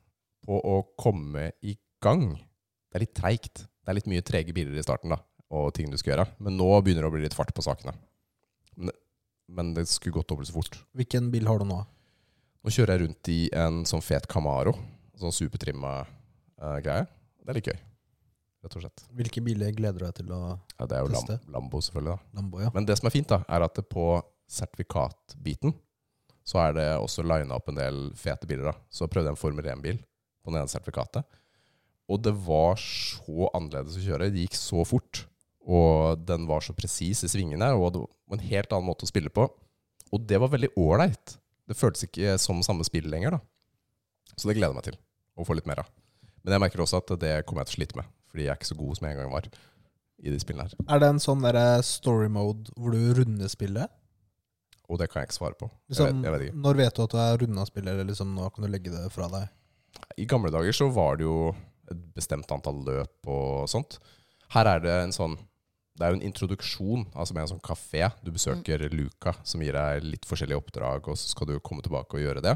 [SPEAKER 2] på å komme i gang. Det er litt treigt. Det er litt mye trege biler i starten, da, og ting du skal gjøre. Men nå begynner det å bli litt fart på sakene. Men, men det skulle gått dobbelt så fort.
[SPEAKER 1] Hvilken bil har du nå?
[SPEAKER 2] Nå kjører jeg rundt i en sånn fet Camaro. Sånn supertrimma eh, greie. Det er litt gøy, rett og slett.
[SPEAKER 1] Hvilke biler gleder du deg til å
[SPEAKER 2] Ja, det er jo
[SPEAKER 1] Teste.
[SPEAKER 2] Lam Lambo, selvfølgelig. da.
[SPEAKER 1] Lambo, ja?
[SPEAKER 2] Men det som er fint, da, er at det på sertifikatbiten så er det også lina opp en del fete biler. da. Så prøvde jeg en Formel 1-bil på den ene sertifikatet. Og det var så annerledes å kjøre. Det gikk så fort. Og den var så presis i svingene, og det var en helt annen måte å spille på. Og det var veldig ålreit. Det føltes ikke som samme spill lenger, da. Så det gleder jeg meg til å få litt mer av. Men jeg merker også at det kommer jeg til å slite med, fordi jeg er ikke så god som jeg en gang var i de spillene her.
[SPEAKER 1] Er det en sånn derre story mode hvor du runder spillet?
[SPEAKER 2] Og det kan jeg ikke svare på. Jeg
[SPEAKER 1] Liksom,
[SPEAKER 2] vet, jeg vet ikke.
[SPEAKER 1] Når vet du at du er runda spillet, eller liksom, nå kan du legge det fra deg?
[SPEAKER 2] I gamle dager så var det jo et bestemt antall løp og sånt. Her er det en sånn Det er jo en introduksjon, altså med en sånn kafé. Du besøker Luca, som gir deg litt forskjellige oppdrag, og så skal du komme tilbake og gjøre det.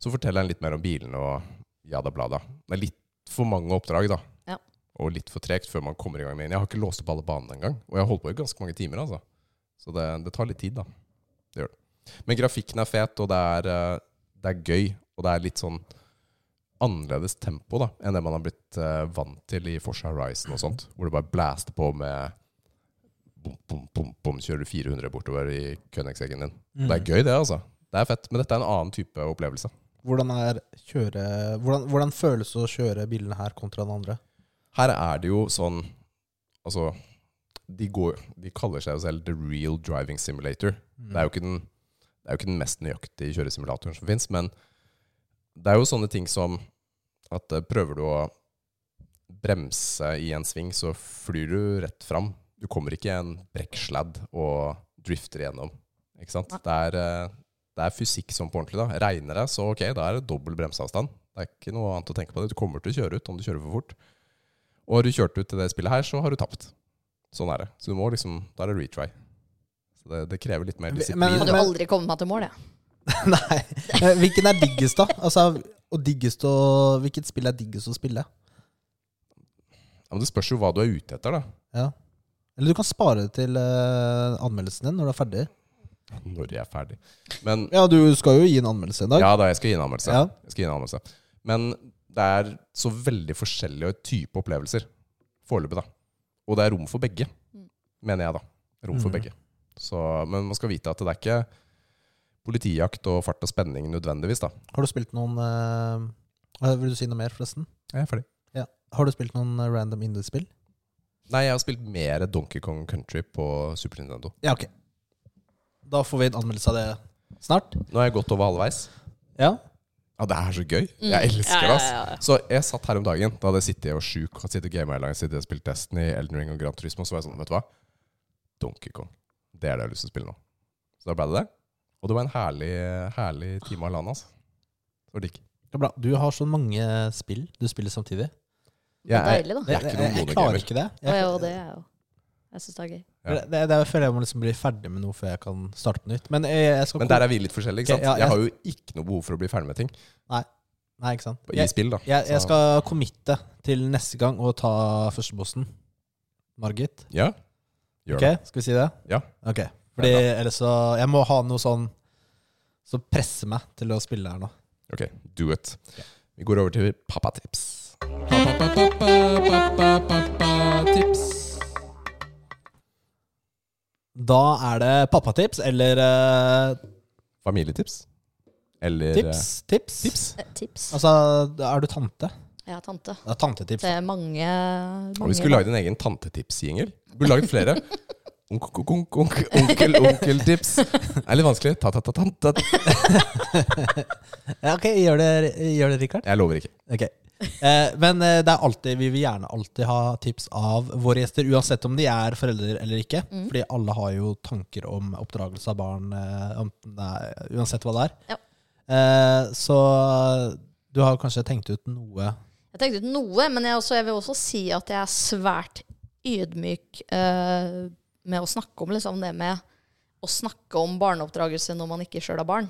[SPEAKER 2] Så forteller han litt mer om bilene og jada blada. Det er litt for mange oppdrag, da.
[SPEAKER 4] Ja.
[SPEAKER 2] Og litt for tregt før man kommer i gang med en. Jeg har ikke låst opp alle banene engang, og jeg har holdt på i ganske mange timer, altså. Så det, det tar litt tid, da. Det gjør det. Men grafikken er fet, og det er, eh, det er gøy, og det er litt sånn annerledes tempo da, enn det man har blitt eh, vant til i Forsa Horizon og sånt, hvor det bare blæste på med bom, bom, bom, bom, kjører du 400 bortover i Königseggen din. Det
[SPEAKER 1] Mm.
[SPEAKER 2] er gøy det, altså. Det er fett, men dette er en annen type opplevelse.
[SPEAKER 1] Hvordan, er kjøre, hvordan, hvordan føles det å kjøre bilene her kontra den andre?
[SPEAKER 2] Her er det jo sånn Altså, de, går, de kaller seg jo selv The Real Driving Simulator. Det,
[SPEAKER 1] Mm.
[SPEAKER 2] er jo ikke den, det er jo ikke den mest nøyaktige kjøresimulatoren som fins, men det er jo sånne ting som at eh, prøver du å bremse i en sving, så flyr du rett fram. Du kommer ikke i en brekksladd og drifter igjennom. Ikke sant? Det er, eh, det er fysikk som på ordentlig. da. Regner det, så ok, da er det dobbel bremseavstand. Det er ikke noe annet å tenke på. det. Du kommer til å kjøre ut om du kjører for fort. Og har du kjørt ut til det spillet her, så har du tapt. Sånn er det. Så du må liksom, da er det retry. Så det, det krever litt mer disiplin.
[SPEAKER 1] Men-
[SPEAKER 4] Hadde aldri kommet meg til mål, jeg.
[SPEAKER 1] Nei. [LAUGHS] Eh, Hvilken er diggest, da? Altså, og diggest å, hvilket spill er diggest å spille?
[SPEAKER 2] Ja, men det spørs jo hva du er ute etter, da. [LAUGHS]
[SPEAKER 1] Ja. Eller du kan spare det til eh, anmeldelsen din når du er ferdig.
[SPEAKER 2] Når jeg er ferdig. Men
[SPEAKER 1] Ja, du skal jo gi en anmeldelse en dag.
[SPEAKER 2] ja da, jeg skal gi en anmeldelse.
[SPEAKER 1] Ja.
[SPEAKER 2] Jeg skal gi en anmeldelse. Men det er så veldig forskjellige type opplevelser foreløpig, da. Og det er rom for begge,
[SPEAKER 4] Mm.
[SPEAKER 2] mener jeg, da. Rom for
[SPEAKER 1] Mhm.
[SPEAKER 2] begge. Så, men man skal vite at det er ikke politijakt og fart og spenning nødvendigvis, da.
[SPEAKER 1] Har du spilt noen eh, eh, Vil du si noe mer, forresten?
[SPEAKER 2] Jeg er ferdig.
[SPEAKER 1] Har du spilt noen eh, random indie-spill?
[SPEAKER 2] Nei, jeg har spilt mer Donkey Kong Country på Super Nintendo.
[SPEAKER 1] Ja, ok. Da får vi en anmeldelse av det snart.
[SPEAKER 2] Nå er jeg gått over halvveis.
[SPEAKER 1] Ja.
[SPEAKER 2] Ja, det er så gøy. Jeg elsker det.
[SPEAKER 4] Mm. Ja,
[SPEAKER 2] ass.
[SPEAKER 4] ja, ja, ja.
[SPEAKER 2] Så jeg satt her om dagen, da hadde jeg sittet og sjuk, hadde sittet og gamet hele dagen, sittet og spilt Destiny, Elden Ring og Gran Turismo, så var jeg sånn, vet du hva? Donkey Kong. Det er det jeg har lyst til å spille nå. Så da ble det det. Og det var en herlig, herlig time av landet, altså. Det var digg.
[SPEAKER 1] Det er bra. Du har så mange spill du spiller samtidig.
[SPEAKER 4] Det er
[SPEAKER 2] Jeg er,
[SPEAKER 4] deilig, da.
[SPEAKER 2] jeg er ikke noen
[SPEAKER 1] jeg klarer
[SPEAKER 2] monogamer.
[SPEAKER 1] ikke det.
[SPEAKER 4] Og jeg, og det, er jo. jeg syns det er gøy.
[SPEAKER 2] Ja.
[SPEAKER 1] Det, det, det føler jeg må liksom bli ferdig med noe før jeg kan starte på nytt. Men jeg, jeg skal
[SPEAKER 2] Men der er vi litt forskjellige. ikke
[SPEAKER 1] Ok,
[SPEAKER 2] sant?
[SPEAKER 1] ja, jeg-
[SPEAKER 2] Jeg har jo ikke noe behov for å bli ferdig med ting.
[SPEAKER 1] Nei, ikke sant.
[SPEAKER 2] I
[SPEAKER 1] Jeg,
[SPEAKER 2] spill, da.
[SPEAKER 1] jeg, jeg
[SPEAKER 2] Så-
[SPEAKER 1] skal committe til neste gang og ta førstebossen. Margit.
[SPEAKER 2] Ja, gjør
[SPEAKER 1] Ok,
[SPEAKER 2] det.
[SPEAKER 1] skal vi si det?
[SPEAKER 2] Ja.
[SPEAKER 1] Ok. Fordi ellers så Jeg må ha noe sånn som presser meg til å spille her nå.
[SPEAKER 2] Ok, do it. Vi går over til pappatips.
[SPEAKER 1] Da er det pappatips eller eh,
[SPEAKER 2] Familietips. Eller
[SPEAKER 1] tips, tips.
[SPEAKER 2] eh, tips.
[SPEAKER 4] Eh, Tips.
[SPEAKER 1] Altså, er du tante?
[SPEAKER 4] Jeg har tante.
[SPEAKER 1] Det er tantetips.
[SPEAKER 4] Det er mange, mange
[SPEAKER 2] Og vi skulle lagd en egen tantetipsjingel. Vi Burde lagd flere. [LAUGHS] Onk, onk, onk, onk, onkel, onkeltips. Det er litt vanskelig. Ta, ta, ta, tante.
[SPEAKER 1] Ja, ok, gjør det, gjør det Rikard.
[SPEAKER 2] Jeg lover ikke.
[SPEAKER 1] Ok. Eh, men eh, det er alltid, vi vil gjerne alltid ha tips av våre gjester, uansett om de er foreldre eller ikke.
[SPEAKER 4] Mm.
[SPEAKER 1] Fordi alle har jo tanker om oppdragelse av barn, eh, om det er, uansett hva det er.
[SPEAKER 4] Ja.
[SPEAKER 1] Eh, så du har kanskje tenkt ut noe
[SPEAKER 4] Jeg tenkte ut noe, men jeg, også, jeg vil også si at jeg er svært ydmyk eh, med å snakke om liksom, det med å snakke om barneoppdragelse når man ikke sjøl har barn.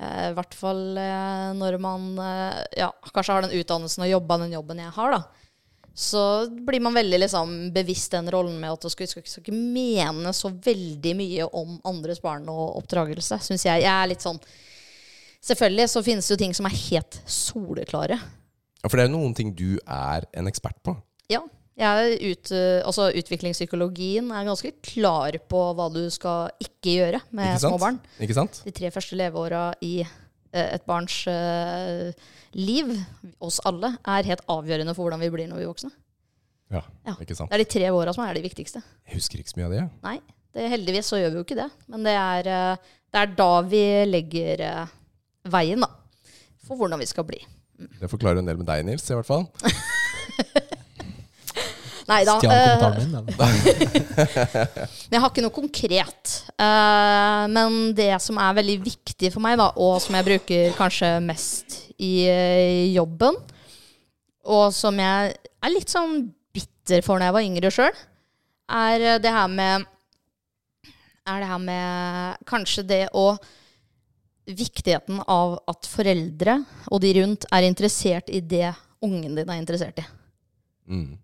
[SPEAKER 4] Eh, I hvert fall eh, når man eh, ja, kanskje har den utdannelsen og jobba den jobben jeg har, da. Så blir man veldig liksom, bevisst den rollen med at du skal, skal, skal ikke mene så veldig mye om andres barn og oppdragelse, syns jeg. Jeg er litt sånn Selvfølgelig så finnes det jo ting som er helt soleklare.
[SPEAKER 2] Ja, For det er jo noen ting du er en ekspert på.
[SPEAKER 4] Ja. Jeg er ut, altså utviklingspsykologien er ganske klar på hva du skal ikke gjøre med
[SPEAKER 2] Ikke sant?
[SPEAKER 4] små barn.
[SPEAKER 2] Ikke sant?
[SPEAKER 4] De tre første leveåra i eh, et barns eh, liv, oss alle, er helt avgjørende for hvordan vi blir når vi er voksne.
[SPEAKER 2] Ja,
[SPEAKER 4] Ja.
[SPEAKER 2] ikke sant?
[SPEAKER 4] Det er de tre åra som er de viktigste.
[SPEAKER 2] Jeg husker ikke så mye av det. jeg.
[SPEAKER 4] Nei, det, heldigvis så gjør vi jo ikke det. Men det er, eh, det er da vi legger eh, veien, da. For hvordan vi skal bli.
[SPEAKER 2] Det forklarer en del med deg, Nils, i hvert fall.
[SPEAKER 4] Nei da.
[SPEAKER 1] Stjal
[SPEAKER 4] eh,
[SPEAKER 1] kommentaren min.
[SPEAKER 4] [LAUGHS]
[SPEAKER 1] eller?
[SPEAKER 4] Men jeg har ikke noe konkret. Eh, men det som er veldig viktig for meg, da, og som jeg bruker kanskje mest i eh, jobben, og som jeg er litt sånn bitter for når jeg var yngre sjøl, er eh, det her med Er det her med kanskje det å Viktigheten av at foreldre og de rundt er interessert i det ungen din er interessert i.
[SPEAKER 2] Mm.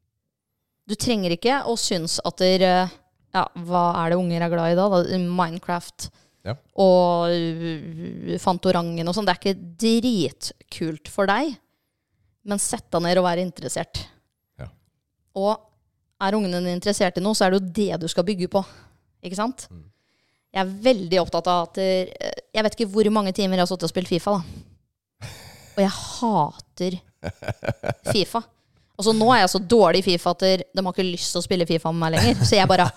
[SPEAKER 4] Du trenger ikke å synes at der, eh, ja, hva er det unger er glad i da? da Minecraft
[SPEAKER 2] Ja.
[SPEAKER 4] og uh, Fantorangen og sånn. Det er ikke dritkult for deg, men sett deg ned og vær interessert.
[SPEAKER 2] Ja.
[SPEAKER 4] Og er ungene dine interessert i noe, så er det jo det du skal bygge på. Ikke sant?
[SPEAKER 2] Mm.
[SPEAKER 4] Jeg er veldig opptatt av at eh, Jeg vet ikke hvor mange timer jeg har sittet og spilt Fifa, da. Og jeg hater Fifa. Altså Nå er jeg så dårlig i Fifa at de har ikke lyst til å spille Fifa med meg lenger. Så jeg bare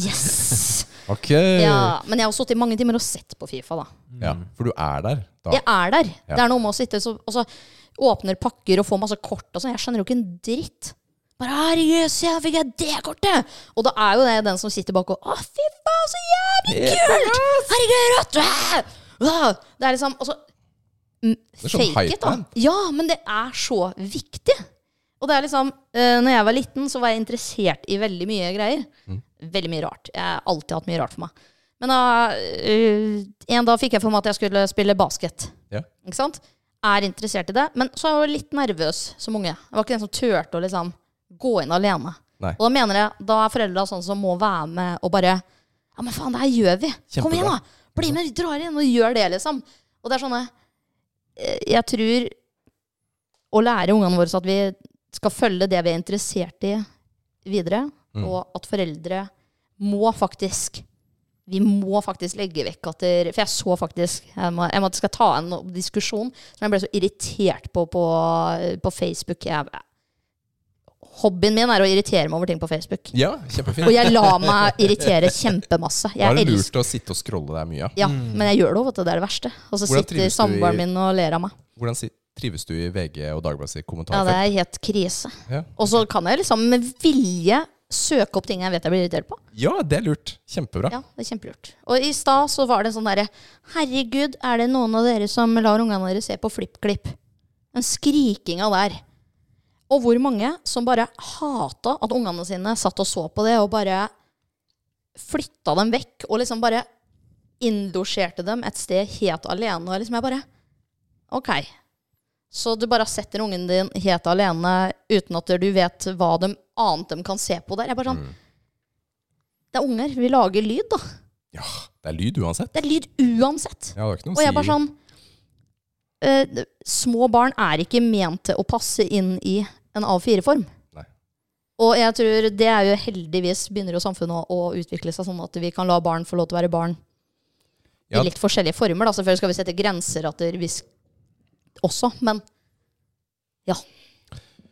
[SPEAKER 4] Yes!
[SPEAKER 2] Ok.
[SPEAKER 4] Ja, men jeg har sittet i mange timer og sett på Fifa, da.
[SPEAKER 2] Ja, for du er der da.
[SPEAKER 4] Jeg er der.
[SPEAKER 2] Ja.
[SPEAKER 4] Det er noe med å sitte så, og så åpner pakker og får masse kort og sånn. Jeg skjønner jo ikke en dritt. Bare herregud, se, her fikk jeg det kortet! Og da er jo det den som sitter bak og Å, fy faen, så jævlig kult! Herregud, rått! Wow! Wow! Det er liksom altså, mm,
[SPEAKER 2] er sånn
[SPEAKER 4] Fake it, da.
[SPEAKER 2] hype-man.
[SPEAKER 4] Ja, men det er så viktig. Og det er liksom eh, Når jeg var liten, så var jeg interessert i veldig mye greier.
[SPEAKER 2] Mm.
[SPEAKER 4] Veldig mye rart. Jeg har alltid hatt mye rart for meg. Men da, eh, en dag fikk jeg for meg at jeg skulle spille basket.
[SPEAKER 2] Ja.
[SPEAKER 4] Ikke sant? Er interessert i det. Men så er jeg jo litt nervøs som unge. Jeg var ikke den som turte å liksom gå inn alene.
[SPEAKER 2] Nei.
[SPEAKER 4] Og da mener jeg, da er foreldra sånn som må være med og bare Ja, men faen, det her gjør vi. Kom igjen,
[SPEAKER 2] Kjempebra.
[SPEAKER 4] da. Bli med, vi drar inn og gjør det, liksom. Og det er sånne eh, Jeg tror å lære ungene våre så at vi skal følge det vi er interessert i, videre.
[SPEAKER 2] Mm.
[SPEAKER 4] Og at foreldre må faktisk Vi må faktisk legge vekk at der, For jeg så faktisk Jeg må, jeg må at jeg skal ta en diskusjon som jeg ble så irritert på på, på Facebook. Jeg, hobbyen min er å irritere meg over ting på Facebook.
[SPEAKER 2] Ja, kjempefint.
[SPEAKER 4] Og jeg lar meg irritere kjempemasse.
[SPEAKER 2] Da er
[SPEAKER 4] Jeg
[SPEAKER 2] det
[SPEAKER 4] elsker
[SPEAKER 2] lurt å sitte og scrolle der mye. ja.
[SPEAKER 4] ja, men jeg gjør det òg, vet du. Det er det verste. Og så
[SPEAKER 2] Hvordan
[SPEAKER 4] sitter
[SPEAKER 2] trives du i-
[SPEAKER 4] samboeren min og ler av meg.
[SPEAKER 2] Hvordan si, trives du i VG og Dagbladets
[SPEAKER 4] Ja, det
[SPEAKER 2] kommentarfelt?
[SPEAKER 4] er helt krise.
[SPEAKER 2] Ja.
[SPEAKER 4] Og så kan jeg liksom med vilje søke opp ting jeg vet jeg blir irritert på.
[SPEAKER 2] ja, det er lurt. Kjempebra.
[SPEAKER 4] Ja, det er kjempelurt. Og i stad så var det en sånn derre Herregud, er det noen av dere som lar ungene deres se på FlippKlipp? Den skrikinga der. Og hvor mange som bare hata at ungene sine satt og så på det, og bare flytta dem vekk og liksom bare innlosjerte dem et sted helt alene. Og liksom jeg bare OK. Så du bare setter ungen din helt alene uten at du vet hva de annet de kan se på der. Jeg bare sånn Det er unger. Vi lager lyd, da.
[SPEAKER 2] Ja, det er lyd uansett.
[SPEAKER 4] Det er lyd uansett.
[SPEAKER 2] Ja, det er ikke noe
[SPEAKER 4] Og
[SPEAKER 2] å
[SPEAKER 4] jeg
[SPEAKER 2] si.
[SPEAKER 4] bare sånn eh, d- Små barn er ikke ment til å passe inn i en A4-form.
[SPEAKER 2] Nei.
[SPEAKER 4] Og jeg tror det er jo heldigvis begynner jo samfunnet å, å utvikle seg sånn at vi kan la barn få lov til å være barn
[SPEAKER 2] Ja.
[SPEAKER 4] i litt forskjellige former. Da. Selvfølgelig skal vi sette grenser at det- vi sk- også, men ja.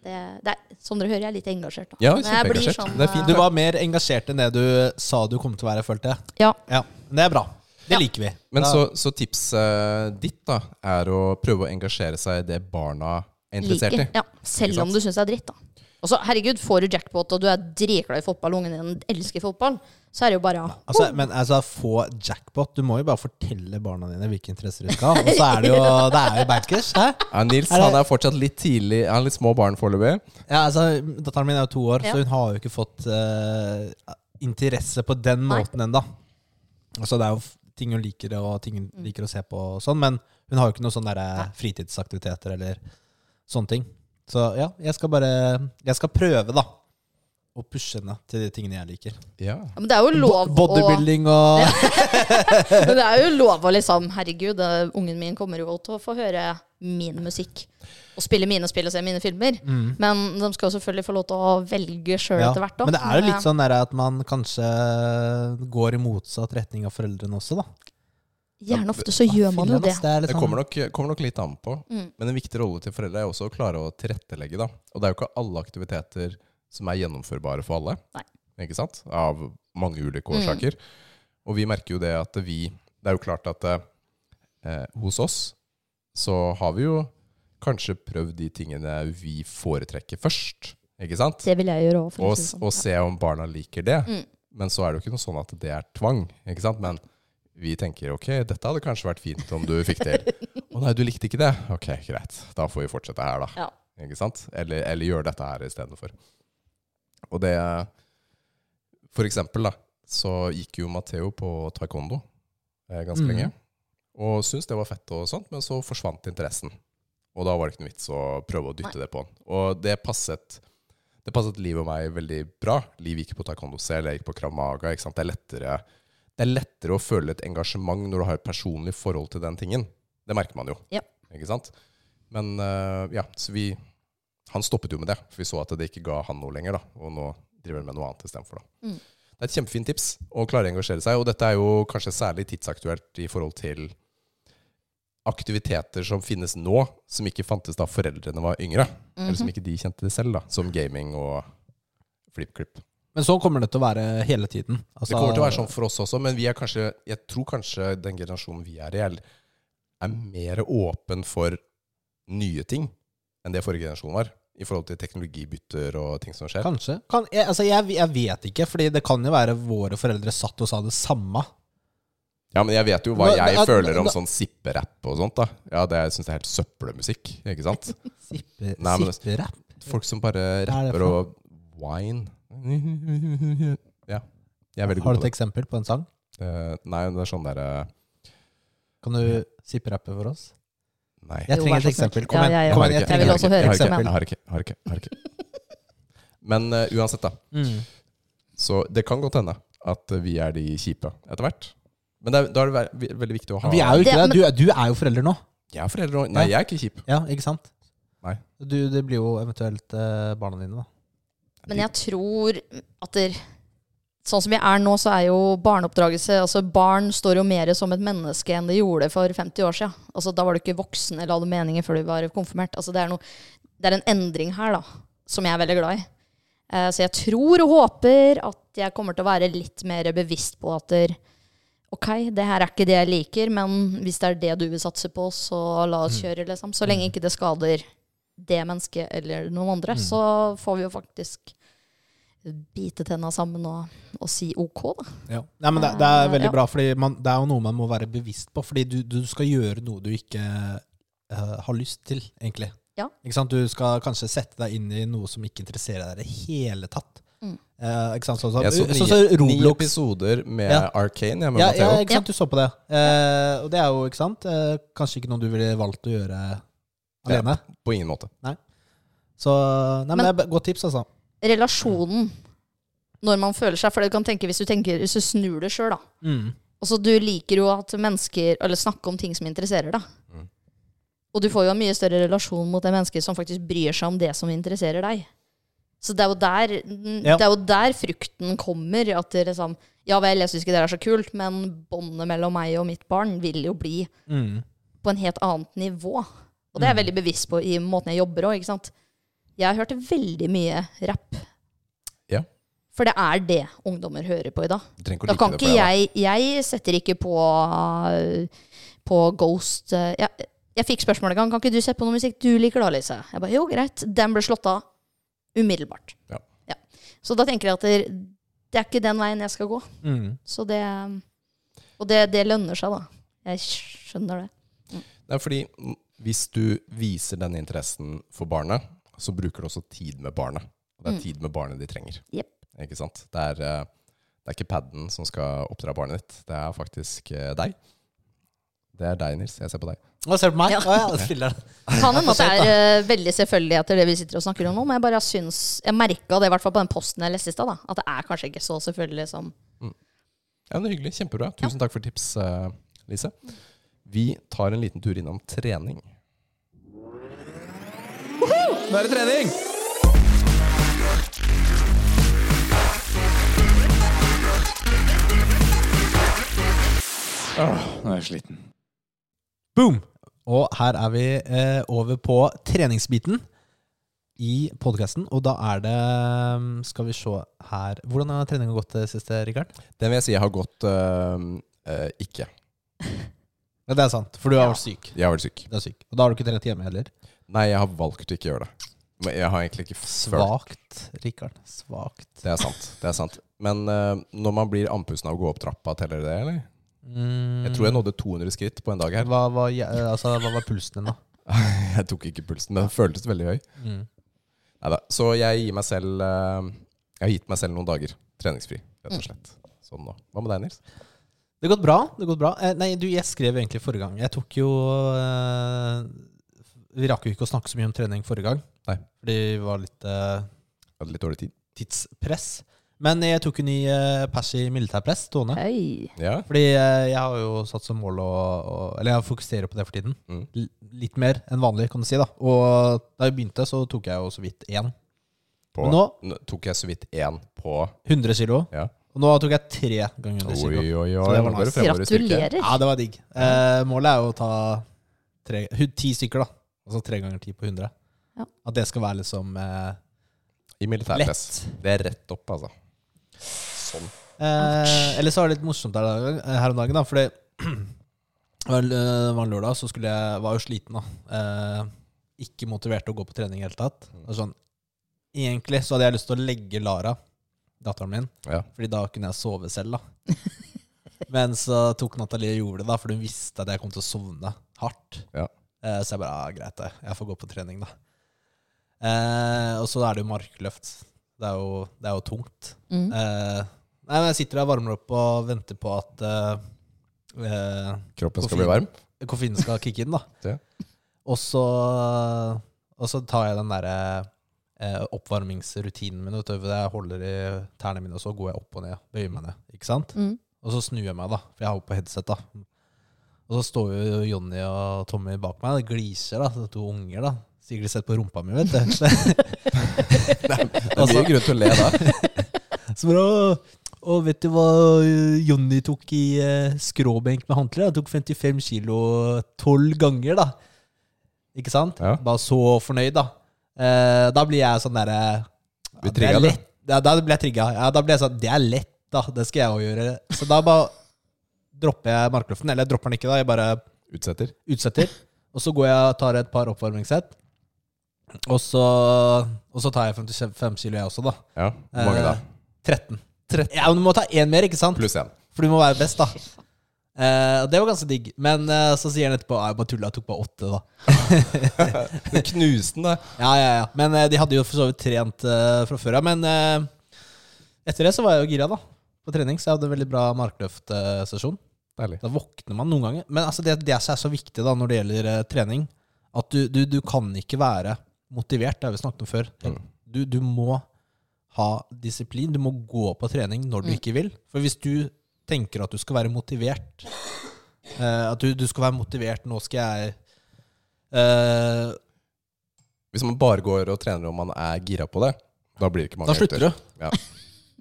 [SPEAKER 4] Det, det er, som dere hører, jeg er litt engasjert. Da.
[SPEAKER 2] Ja,
[SPEAKER 4] Men jeg blir
[SPEAKER 2] kjempeengasjert.
[SPEAKER 4] sånn,
[SPEAKER 2] det er fint.
[SPEAKER 1] Du var mer engasjert enn det du sa du kom til å være, følte jeg.
[SPEAKER 4] eh, Ja.
[SPEAKER 1] Ja, men Det er bra. Det
[SPEAKER 4] Ja.
[SPEAKER 1] liker vi.
[SPEAKER 2] Men
[SPEAKER 1] Da-
[SPEAKER 2] så, så tipset ditt da, er å prøve å engasjere seg i det barna er interessert
[SPEAKER 4] liker.
[SPEAKER 2] i.
[SPEAKER 4] Ja, selv
[SPEAKER 2] Ikke
[SPEAKER 4] om
[SPEAKER 2] sant?
[SPEAKER 4] du syns det er dritt, da. Og så, herregud, får du jackpot, og du er dritglad i fotball, og ungen din elsker fotball, så er det jo bare ah,
[SPEAKER 1] Altså, men altså, få jackpot. Du må jo bare fortelle barna dine hvilke interesser du skal ha. Og så er det jo, det er jo bankers. Hæ?
[SPEAKER 2] Ja, Nils
[SPEAKER 1] Er det-
[SPEAKER 2] han er fortsatt litt tidlig, han er litt små barn foreløpig.
[SPEAKER 1] Ja, altså, Datteren min er jo to år,
[SPEAKER 4] Ja.
[SPEAKER 1] så hun har jo ikke fått eh, interesse på den
[SPEAKER 4] Nei.
[SPEAKER 1] måten ennå. Altså, det er jo f- ting hun liker, og ting hun
[SPEAKER 4] Mm.
[SPEAKER 1] liker å se på, og sånn, men hun har jo ikke noen sånne der, eh, fritidsaktiviteter eller sånne ting. Så ja, jeg skal bare Jeg skal prøve, da. Å pushe henne til de tingene jeg liker.
[SPEAKER 2] Ja.
[SPEAKER 4] Men det er jo lov
[SPEAKER 1] Bo- Bodybuilding og
[SPEAKER 4] å [LAUGHS] Men det er jo lov å liksom Herregud, det- ungen min kommer jo til å få høre min musikk. Og spille mine spill og se mine filmer. Men de skal jo selvfølgelig få lov til å velge sjøl
[SPEAKER 1] Mm. Ja,
[SPEAKER 4] etter hvert. da. Eh,
[SPEAKER 1] Men det er jo litt sånn der at man kanskje går i motsatt retning av foreldrene også, da. sånn-
[SPEAKER 4] Gjerne ofte så gjør man jo
[SPEAKER 1] Filmen,
[SPEAKER 4] det. Mm.
[SPEAKER 1] ass, det er
[SPEAKER 2] Det
[SPEAKER 1] liksom-
[SPEAKER 2] kommer nok, kommer nok litt an på. Men en viktig rolle til foreldre er også å klare å tilrettelegge. da. Og det er jo ikke alle aktiviteter som er gjennomførbare for alle.
[SPEAKER 4] Nei.
[SPEAKER 2] Ikke sant? Av mange ulike årsaker. Og vi merker jo det at vi Det er jo klart at eh, hos oss så har vi jo kanskje prøvd de tingene vi foretrekker først. Ikke sant?
[SPEAKER 4] Det sånn, vil jeg gjøre òg.
[SPEAKER 2] og, og se om barna liker det. Men så er det jo ikke noe sånn at det er tvang. ikke sant? Men vi tenker ok, dette hadde kanskje vært fint om du fikk til. Å nei, du likte ikke det? Ok, greit. Da får vi fortsette her, da.
[SPEAKER 4] Ja.
[SPEAKER 2] Ikke sant? Eller, eller gjøre dette her istedenfor. Og det For eksempel, da, så gikk jo Matheo på taekwondo eh, ganske
[SPEAKER 1] Mhm.
[SPEAKER 2] lenge. Og syntes det var fett og sånt, men så forsvant interessen. Og da var det ikke noe vits å prøve å dytte det på han. Og det passet det passet Liv og meg veldig bra. Liv gikk på taekwondo selv, jeg gikk på krav maga. Ikke sant? Det, er lettere, det er lettere å føle et engasjement når du har et personlig forhold til den tingen. Det merker man jo.
[SPEAKER 4] Ja.
[SPEAKER 2] Ikke sant? Men øh, ja, så vi Han stoppet jo med det, for vi så at det ikke ga han noe lenger. da, Og nå driver han med noe annet istedenfor. da.
[SPEAKER 4] Mm.
[SPEAKER 2] Det er et kjempefint tips å klare å engasjere seg. Og dette er jo kanskje særlig tidsaktuelt i forhold til aktiviteter som finnes nå, som ikke fantes da foreldrene var yngre.
[SPEAKER 4] Mhm.
[SPEAKER 2] Eller som ikke de kjente det selv, da. Som gaming og flipklipp.
[SPEAKER 1] Men sånn kommer det til å være hele tiden. Altså,
[SPEAKER 2] Det kommer til å være sånn for oss også, men vi er kanskje, jeg tror kanskje den generasjonen vi er i, er- er mer åpen for nye ting enn det forrige generasjon var. I forhold til teknologibytter og ting som skjer.
[SPEAKER 1] Kanskje. Kan, jeg, altså, jeg, jeg vet ikke, Fordi det kan jo være våre foreldre satt og sa det samme.
[SPEAKER 2] Ja, men jeg vet jo hva
[SPEAKER 1] Da-
[SPEAKER 2] jeg
[SPEAKER 1] da-
[SPEAKER 2] føler om
[SPEAKER 1] da-
[SPEAKER 2] sånn sipperapp og sånt, da. Ja, det syns jeg er helt søppelmusikk, ikke sant?
[SPEAKER 1] Sippe-
[SPEAKER 2] Nei, men-
[SPEAKER 1] Eh, Sipperapp.
[SPEAKER 2] Folk som bare
[SPEAKER 1] Hva er det
[SPEAKER 2] rapper
[SPEAKER 1] for noe?
[SPEAKER 2] og wine. Ja. Jeg er veldig
[SPEAKER 1] Har
[SPEAKER 2] god
[SPEAKER 1] du
[SPEAKER 2] på det.
[SPEAKER 1] et eksempel på en sang?
[SPEAKER 2] Eh, Nei, det er sånn derre
[SPEAKER 1] Kan du sipperappe for oss?
[SPEAKER 2] Nei.
[SPEAKER 1] Jeg
[SPEAKER 4] Jo,
[SPEAKER 1] trenger
[SPEAKER 4] vær
[SPEAKER 1] et
[SPEAKER 4] så snill.
[SPEAKER 1] eksempel.
[SPEAKER 4] Ja,
[SPEAKER 1] Kom igjen.
[SPEAKER 4] ja, ja.
[SPEAKER 1] Kom igjen, jeg
[SPEAKER 2] Jeg har
[SPEAKER 1] trenger
[SPEAKER 4] vil
[SPEAKER 1] et
[SPEAKER 4] også
[SPEAKER 2] ikke-
[SPEAKER 4] høre et
[SPEAKER 2] jeg
[SPEAKER 4] eksempel.
[SPEAKER 2] Har ikke, jeg har ikke, jeg har ikke, jeg har ikke. Men eh, uansett, da.
[SPEAKER 1] Mm.
[SPEAKER 2] Så det kan godt hende at vi er de kjipe etter hvert. Men det er, da er det ve- ve- veldig viktig å ha
[SPEAKER 1] Vi er jo
[SPEAKER 4] Det-
[SPEAKER 1] ikke det.
[SPEAKER 4] men-
[SPEAKER 1] Du, er- du er jo forelder nå.
[SPEAKER 2] Jeg er foreldre òg. Nei, jeg er ikke kjip.
[SPEAKER 1] Ja, ikke sant?
[SPEAKER 2] Nei.
[SPEAKER 1] Du, det blir jo eventuelt eh, barna dine, da.
[SPEAKER 4] Men jeg tror at der, Sånn som jeg er nå, så er jo barneoppdragelse Altså Barn står jo mer som et menneske enn det gjorde for 50 år siden. Altså, da var du ikke voksen eller hadde meninger før du var konfirmert. Altså, det, er noe, det er en endring her da som jeg er veldig glad i. Eh, så jeg tror og håper at jeg kommer til å være litt mer bevisst på at der, Ok, det her er ikke det jeg liker, men hvis det er det du vil satse på, så la oss kjøre, liksom. Så lenge ikke det skader det mennesket eller noen andre, så får vi jo faktisk bite tenna sammen og, og si OK, da.
[SPEAKER 1] Ja. Nei, men det, det er veldig
[SPEAKER 4] Ja.
[SPEAKER 1] bra, Fordi man, det er jo noe man må være bevisst på. Fordi du, du skal gjøre noe du ikke eh, har lyst til, egentlig.
[SPEAKER 4] Ja.
[SPEAKER 1] Ikke sant? Du skal kanskje sette deg inn i noe som ikke interesserer deg i det hele tatt.
[SPEAKER 4] Mm.
[SPEAKER 1] Eh, ikke sant? Sånn som
[SPEAKER 2] Jeg så
[SPEAKER 1] så,
[SPEAKER 2] ni,
[SPEAKER 1] så, så
[SPEAKER 2] ni
[SPEAKER 1] Roblox.
[SPEAKER 2] episoder med
[SPEAKER 1] Ja.
[SPEAKER 2] Arcane ja, med
[SPEAKER 1] Ja, ja,
[SPEAKER 2] Matteo.
[SPEAKER 1] ikke sant, du så på det. Eh, og det er jo, ikke sant, eh, kanskje ikke noe du ville valgt å gjøre alene.
[SPEAKER 2] På ingen måte.
[SPEAKER 1] Så nei, men,
[SPEAKER 4] Men-
[SPEAKER 1] det er b- godt tips, altså.
[SPEAKER 4] Relasjonen når man føler seg For du kan tenke, hvis du, tenker, hvis du snur det sjøl, da.
[SPEAKER 1] Mm.
[SPEAKER 4] Altså, du liker jo at mennesker Eller snakke om ting som interesserer deg.
[SPEAKER 2] Mm.
[SPEAKER 4] Og du får jo en mye større relasjon mot det mennesket som faktisk bryr seg om det som interesserer deg. Så det er jo der,
[SPEAKER 1] Ja.
[SPEAKER 4] det er jo der frukten kommer. At det liksom, ja vel, jeg syns ikke det er så kult, men båndet mellom meg og mitt barn vil jo bli
[SPEAKER 1] Mm.
[SPEAKER 4] på en helt annet nivå. Og det er jeg veldig bevisst på i måten jeg jobber òg, ikke sant. Jeg hørte veldig mye rapp.
[SPEAKER 2] Ja.
[SPEAKER 4] For det er det ungdommer hører på i dag.
[SPEAKER 2] Du trenger
[SPEAKER 4] Da
[SPEAKER 2] ikke å
[SPEAKER 4] kan
[SPEAKER 2] like det for
[SPEAKER 4] ikke
[SPEAKER 2] det.
[SPEAKER 4] jeg Jeg setter ikke på øh, På Ghost øh, Jeg, jeg fikk spørsmål en gang Kan ikke du sette på noe musikk du liker da, Lise? Jeg bare, jo greit Den ble slått av umiddelbart
[SPEAKER 2] Ja.
[SPEAKER 4] Så da tenker jeg at det, det er ikke den veien jeg skal gå
[SPEAKER 1] Mm.
[SPEAKER 4] Så det Og det, det lønner seg da Jeg skjønner det
[SPEAKER 2] Det er fordi mm, hvis du viser den interessen for barnet, så bruker du også tid med barnet. Og det er
[SPEAKER 4] Mm.
[SPEAKER 2] tid med barnet de trenger.
[SPEAKER 4] Jepp.
[SPEAKER 2] Ikke sant? Det er, eh, det er ikke paden som skal oppdra barnet ditt, det er faktisk eh, deg. Det er deg, Nils. Jeg ser på deg.
[SPEAKER 1] Å, ser du på meg?
[SPEAKER 4] Ja.
[SPEAKER 1] Å ja, det spiller
[SPEAKER 2] [LAUGHS]
[SPEAKER 1] den.
[SPEAKER 4] Kan hende at det er øh, veldig selvfølgelig etter det vi sitter og snakker om nå Men jeg bare synes Jeg merket det i hvert fall på den posten jeg leste i sted da At det er kanskje ikke så selvfølgelig som
[SPEAKER 2] Ja, men det er Hyggelig. Kjempebra. Tusen takk for tips, eh, Lise. Vi tar en liten tur innom trening.
[SPEAKER 3] Nå er det trening! Åh, nå er jeg sliten.
[SPEAKER 1] Boom! Og her er vi eh, over på treningsbiten i podkasten, og da er det mm, Skal vi se her Hvordan har treninga gått det siste, Rikard?
[SPEAKER 2] Den vil jeg si har gått eh, eh, ikke.
[SPEAKER 1] Ja, det er sant, for du har
[SPEAKER 4] Ja.
[SPEAKER 1] vært syk.
[SPEAKER 2] Jeg har vært syk.
[SPEAKER 1] Du er syk. Og da har du ikke trent hjemme heller.
[SPEAKER 2] Nei, jeg har valgt å ikke gjøre det. Men jeg har egentlig ikke følt
[SPEAKER 1] Svakt, Rikard. Svakt.
[SPEAKER 2] Det er sant. det er sant. Men eh, når man blir andpusten av å gå opp trappa, teller det, eller?
[SPEAKER 1] Mm.
[SPEAKER 2] Jeg tror jeg nådde 200 skritt på en dag her. [LAUGHS]
[SPEAKER 1] Hva var, je- eh, altså, hva var pulsen din, da?
[SPEAKER 2] Jeg tok ikke pulsen, men den føltes veldig høy.
[SPEAKER 1] Mm.
[SPEAKER 2] Neida. Så jeg gir meg selv eh, Jeg har gitt meg selv noen dager treningsfri, rett
[SPEAKER 1] Mm.
[SPEAKER 2] og slett. Sånn nå. Hva med deg, Nils?
[SPEAKER 1] Det har gått bra. det har gått bra. Eh, nei, du, jeg skrev egentlig forrige gang. Jeg tok jo eh, Vi rakk jo ikke å snakke så mye om trening forrige gang.
[SPEAKER 2] Nei.
[SPEAKER 1] Fordi vi var litt eh,
[SPEAKER 2] Jeg hadde litt dårlig tid.
[SPEAKER 1] tidspress. Men jeg tok en ny eh, pers i militærpress, Tone.
[SPEAKER 4] [LAUGHS] Hei
[SPEAKER 2] Ja,
[SPEAKER 1] Fordi eh, jeg har jo satt som mål å, å Eller jeg fokuserer på det for tiden.
[SPEAKER 2] Mm.
[SPEAKER 1] L- Litt mer enn vanlig, kan du si. da Og da jeg begynte, så tok jeg jo så vidt én.
[SPEAKER 2] på,
[SPEAKER 1] Men
[SPEAKER 2] nå
[SPEAKER 1] nå-
[SPEAKER 2] tok jeg så vidt én på
[SPEAKER 1] 100 kilo.
[SPEAKER 2] Ja.
[SPEAKER 1] Og nå tok jeg tre ganger 100
[SPEAKER 2] Oi,
[SPEAKER 1] kilo.
[SPEAKER 2] oi, oi.
[SPEAKER 1] Så det var
[SPEAKER 2] nå går
[SPEAKER 1] nice.
[SPEAKER 2] fremover i styrke.
[SPEAKER 4] Gratulerer
[SPEAKER 1] Ja, det var digg. Eh, målet er jo å ta tre, hu- ti stykker, da. Altså tre ganger ti på 100.
[SPEAKER 4] Ja.
[SPEAKER 1] At det skal være liksom eh,
[SPEAKER 2] I militærpress. Det er rett opp, altså. Sånn.
[SPEAKER 1] Eh, eller så var det litt morsomt her, her om dagen, da. Fordi [CLEARS THROAT] vel, eh, det var en lørdag, så skulle jeg, var jeg jo sliten, da. Eh, ikke motivert til å gå på trening i det hele tatt.
[SPEAKER 2] Mm.
[SPEAKER 1] Det var Sånn, egentlig så hadde jeg lyst til å legge Lara, datteren min,
[SPEAKER 2] Ja.
[SPEAKER 1] Fordi da kunne jeg sove selv, da. [LAUGHS] Men så tok Nathalie og gjorde det, da, for hun visste at jeg kom til å sovne hardt.
[SPEAKER 2] Ja.
[SPEAKER 1] Eh, så jeg bare ah, greit, det. Jeg får gå på trening, da. Eh, og så er det jo markløft. Det er jo, det er jo tungt.
[SPEAKER 4] Mm.
[SPEAKER 1] Eh, nei, men jeg sitter der og varmer opp og venter på at eh, eh,
[SPEAKER 2] Kroppen
[SPEAKER 1] Koffein.
[SPEAKER 2] skal bli varm.
[SPEAKER 1] koffeinen skal kicke inn, da.
[SPEAKER 2] [LAUGHS] Ja.
[SPEAKER 1] Og så, og så tar jeg den derre eh, oppvarmingsrutinen min. Vet du, hvor jeg holder i tærne mine, og så går jeg opp og ned. Bøyer meg ned. Ikke sant?
[SPEAKER 4] Mm.
[SPEAKER 1] Og så snur jeg meg, da, for jeg har jo på headset. da. Og så står jo Jonny og Tommy bak meg. Det gliser, da. Det er to unger, da. Sikkert sett på rumpa mi, vet du.
[SPEAKER 2] [LAUGHS] Det
[SPEAKER 1] [LAUGHS]
[SPEAKER 2] er mye grunn til å le da.
[SPEAKER 1] Så bra. Og vet du hva eh, Jonny tok i eh, skråbenk med håndkle? Han tok 55 kilo tolv ganger, da. Ikke sant?
[SPEAKER 2] Ja.
[SPEAKER 1] Bare så fornøyd, da. Eh, da blir jeg sånn derre
[SPEAKER 2] Vi
[SPEAKER 1] ja, det er
[SPEAKER 2] trigger det.
[SPEAKER 1] lett. Ja, da blir jeg trigga. Ja, da blir jeg sånn Det er lett, da. Det skal jeg òg gjøre. Så da bare dropper jeg markløften. Eller jeg dropper den ikke, da. Jeg bare
[SPEAKER 2] Utsetter.
[SPEAKER 1] utsetter. Og så går jeg og tar et par oppvarmingssett. Og så, og så tar jeg 55 kilo, jeg også, da.
[SPEAKER 2] Ja. Hvor mange da?
[SPEAKER 1] Eh, 13. Ja, men du må ta én mer, ikke sant?
[SPEAKER 2] Pluss én.
[SPEAKER 1] For du må være best, da. Eh, og det var ganske digg. Men eh, så sier han etterpå at jeg bare tulla, jeg tok bare åtte, da.
[SPEAKER 2] [LAUGHS] Du knuste den, da.
[SPEAKER 1] Ja, ja, ja. Men eh, de hadde jo for så vidt trent eh, fra før av. Men eh, Etter det så var jeg jo gira, da. På trening. Så jeg hadde en veldig bra markløftsesjon.
[SPEAKER 2] Deilig.
[SPEAKER 1] Da våkner man noen ganger. Men altså, det, det som er så viktig da når det gjelder eh, trening, at du, du, du kan ikke være motivert. Det har vi snakket om før.
[SPEAKER 2] Mm.
[SPEAKER 1] Du, du må ha disiplin. Du må gå på trening når du
[SPEAKER 4] Mm.
[SPEAKER 1] ikke vil. For hvis du tenker at du skal være motivert eh, At du, du skal være motivert, nå skal jeg eh,
[SPEAKER 2] Hvis man bare går og trener og man er gira på det, da blir det ikke mange
[SPEAKER 1] Da slutter du.
[SPEAKER 2] Ja.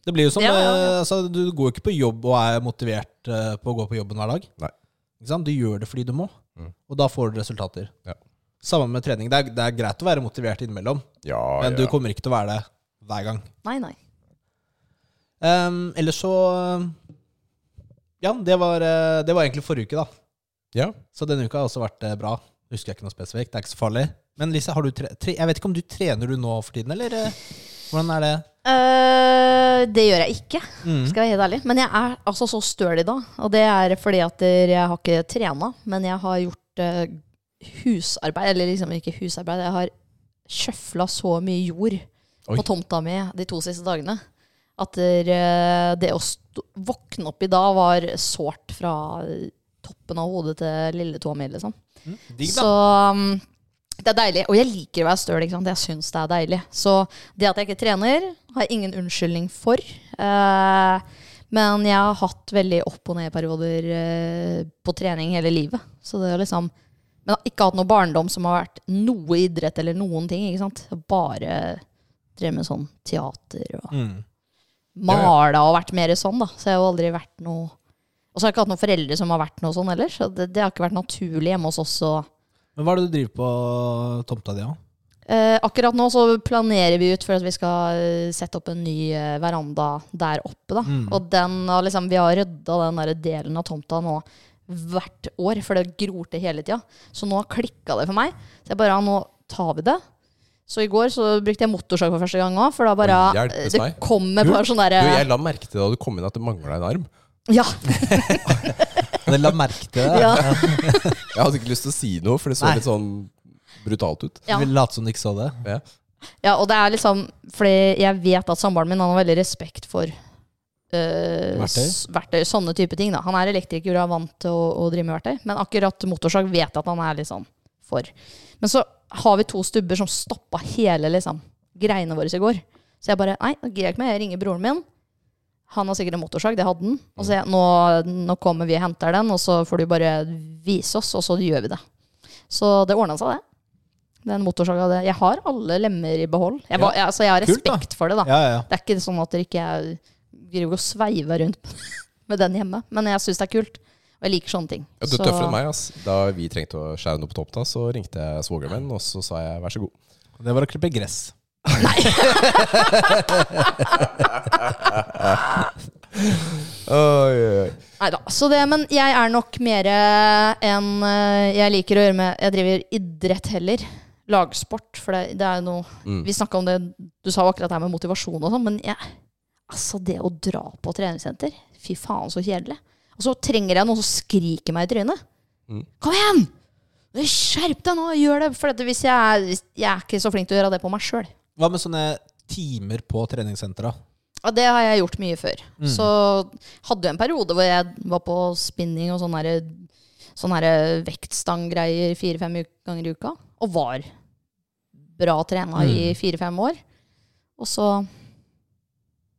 [SPEAKER 1] Det blir jo som
[SPEAKER 4] Ja, ja, ja.
[SPEAKER 1] eh, Altså, Du går jo ikke på jobb og er motivert eh, på å gå på jobben hver dag.
[SPEAKER 2] Nei.
[SPEAKER 1] Ikke sant? Du gjør det fordi du må,
[SPEAKER 2] Mm.
[SPEAKER 1] og da får du resultater.
[SPEAKER 2] Ja.
[SPEAKER 1] Samme med trening. Det er, det er greit å være motivert innimellom,
[SPEAKER 2] Ja,
[SPEAKER 1] [LAUGHS] men du
[SPEAKER 2] ja.
[SPEAKER 1] kommer ikke til å være det hver gang.
[SPEAKER 4] Nei, nei.
[SPEAKER 1] Um, ellers så Ja, det var, eh, det var egentlig forrige uke, da.
[SPEAKER 2] ja.
[SPEAKER 1] Så denne uka har også vært eh, bra. Husker jeg ikke noe spesifikt. Det er ikke så farlig. Men Lise, har du tre tre jeg vet ikke om du trener du nå for tiden, eller? eh, Hvordan er det?
[SPEAKER 4] Eh, det gjør jeg ikke,
[SPEAKER 1] Mm.
[SPEAKER 4] skal jeg være helt ærlig. Men jeg er altså så støl i dag. Og det er fordi at jeg har ikke trena, men jeg har gjort eh, husarbeid. Eller liksom ikke husarbeid, jeg har sjøfla så mye jord
[SPEAKER 2] Oi.
[SPEAKER 4] på tomta mi de to siste dagene at eh, det å st våkne opp i dag var sårt fra toppen av hodet til lilletåa mi, liksom.
[SPEAKER 1] Digg, da.
[SPEAKER 4] Så um, det er deilig. Og jeg liker å være støl. ikke sant? Jeg syns det er deilig. Så det at jeg ikke trener, har jeg ingen unnskyldning for. Eh, men jeg har hatt veldig opp- og ned-perioder eh, på trening hele livet. Så det er liksom Men jeg har ikke hatt noe barndom som har vært noe idrett eller noen ting. ikke sant? Jeg har Bare drevet med sånn teater og
[SPEAKER 1] Mm.
[SPEAKER 4] mala og vært mer sånn, da. Så jeg har jo aldri vært noe Og så har jeg ikke hatt noen foreldre som har vært noe sånn heller. Så det, det har ikke vært naturlig hjemme hos oss. og...
[SPEAKER 1] Men hva er det du driver på tomta di, da?
[SPEAKER 4] Eh, akkurat nå så planerer vi ut for at vi skal eh, sette opp en ny eh, veranda der oppe. Da.
[SPEAKER 1] Mm.
[SPEAKER 4] Og den, har liksom, vi har rydda den der delen av tomta nå hvert år, for det gror til hele tida. Så nå klikka det for meg. Så jeg bare, ja, nå tar vi det. Så i går så brukte jeg motorsag for første gang òg, for da bare
[SPEAKER 2] Oi, hjelpes
[SPEAKER 4] eh, Det
[SPEAKER 2] meg.
[SPEAKER 4] kom et par sånne
[SPEAKER 2] Du,
[SPEAKER 4] derre
[SPEAKER 2] jeg la merke til da du kom inn at det mangla en arm.
[SPEAKER 4] ja,
[SPEAKER 1] Dere la merke til det?
[SPEAKER 4] ja,
[SPEAKER 2] [LAUGHS] Jeg hadde ikke lyst til å si noe, for det så
[SPEAKER 1] Nei.
[SPEAKER 2] litt sånn brutalt ut.
[SPEAKER 4] Ja.
[SPEAKER 1] Vi later som du ikke så det.
[SPEAKER 2] Ja.
[SPEAKER 4] ja, og det er liksom Fordi jeg vet at samboeren min han har veldig respekt for eh,
[SPEAKER 1] Verktøy?
[SPEAKER 4] s- verktøy, sånne type ting. Da. Han er elektriker og er vant til å, å drive med verktøy, men akkurat motorsag vet jeg at han er litt sånn for. Men så har vi to stubber som stoppa hele liksom, greiene våre i går. Så jeg bare Nei, det gidder jeg ikke med. Jeg ringer broren min. Han har sikkert en motorsag, det hadde han. Og så jeg, nå, nå kommer vi og henter den, og så får du bare vise oss, og så gjør vi det. Så det ordna seg, det. Den motorsaga. det- Jeg har alle lemmer i behold. Jeg, var, jeg, altså, jeg har
[SPEAKER 1] Kult, da.
[SPEAKER 4] respekt for det, da.
[SPEAKER 1] Ja, ja, ja.
[SPEAKER 4] Det er ikke sånn at dere ikke er- driver og sveiver rundt [LAUGHS] med den hjemme. Men jeg syns det er kult. Og jeg liker sånne ting.
[SPEAKER 2] Ja, du er
[SPEAKER 4] Så-
[SPEAKER 2] tøffere enn meg. ass. Da vi trengte å skjære noe på tomta, så ringte jeg svogeren min, og så sa jeg vær så god.
[SPEAKER 1] Det var å klippe gress.
[SPEAKER 4] Neida, Så det, men jeg er nok mer enn eh, jeg liker å gjøre med Jeg driver idrett heller. Lagsport. For det, det er jo noe
[SPEAKER 2] Mm.
[SPEAKER 4] Vi snakka om det Du sa jo akkurat det her med motivasjon og sånn, men jeg, altså det å dra på treningssenter Fy faen, så kjedelig. Og så trenger jeg noen som skriker meg i trynet.
[SPEAKER 2] Mm.
[SPEAKER 4] Kom igjen! Skjerp deg nå! Gjør det! For at hvis jeg, er- hvis- jeg er ikke så flink til å gjøre det på meg sjøl.
[SPEAKER 1] Hva med sånne timer på treningssentra?
[SPEAKER 4] Ja, det har jeg gjort mye før. Så hadde jeg en periode hvor jeg var på spinning og sånn sånne, her- sånne her eh, vektstanggreier fire-fem u- ganger i uka. Og var bra trena i fire-fem år. Og så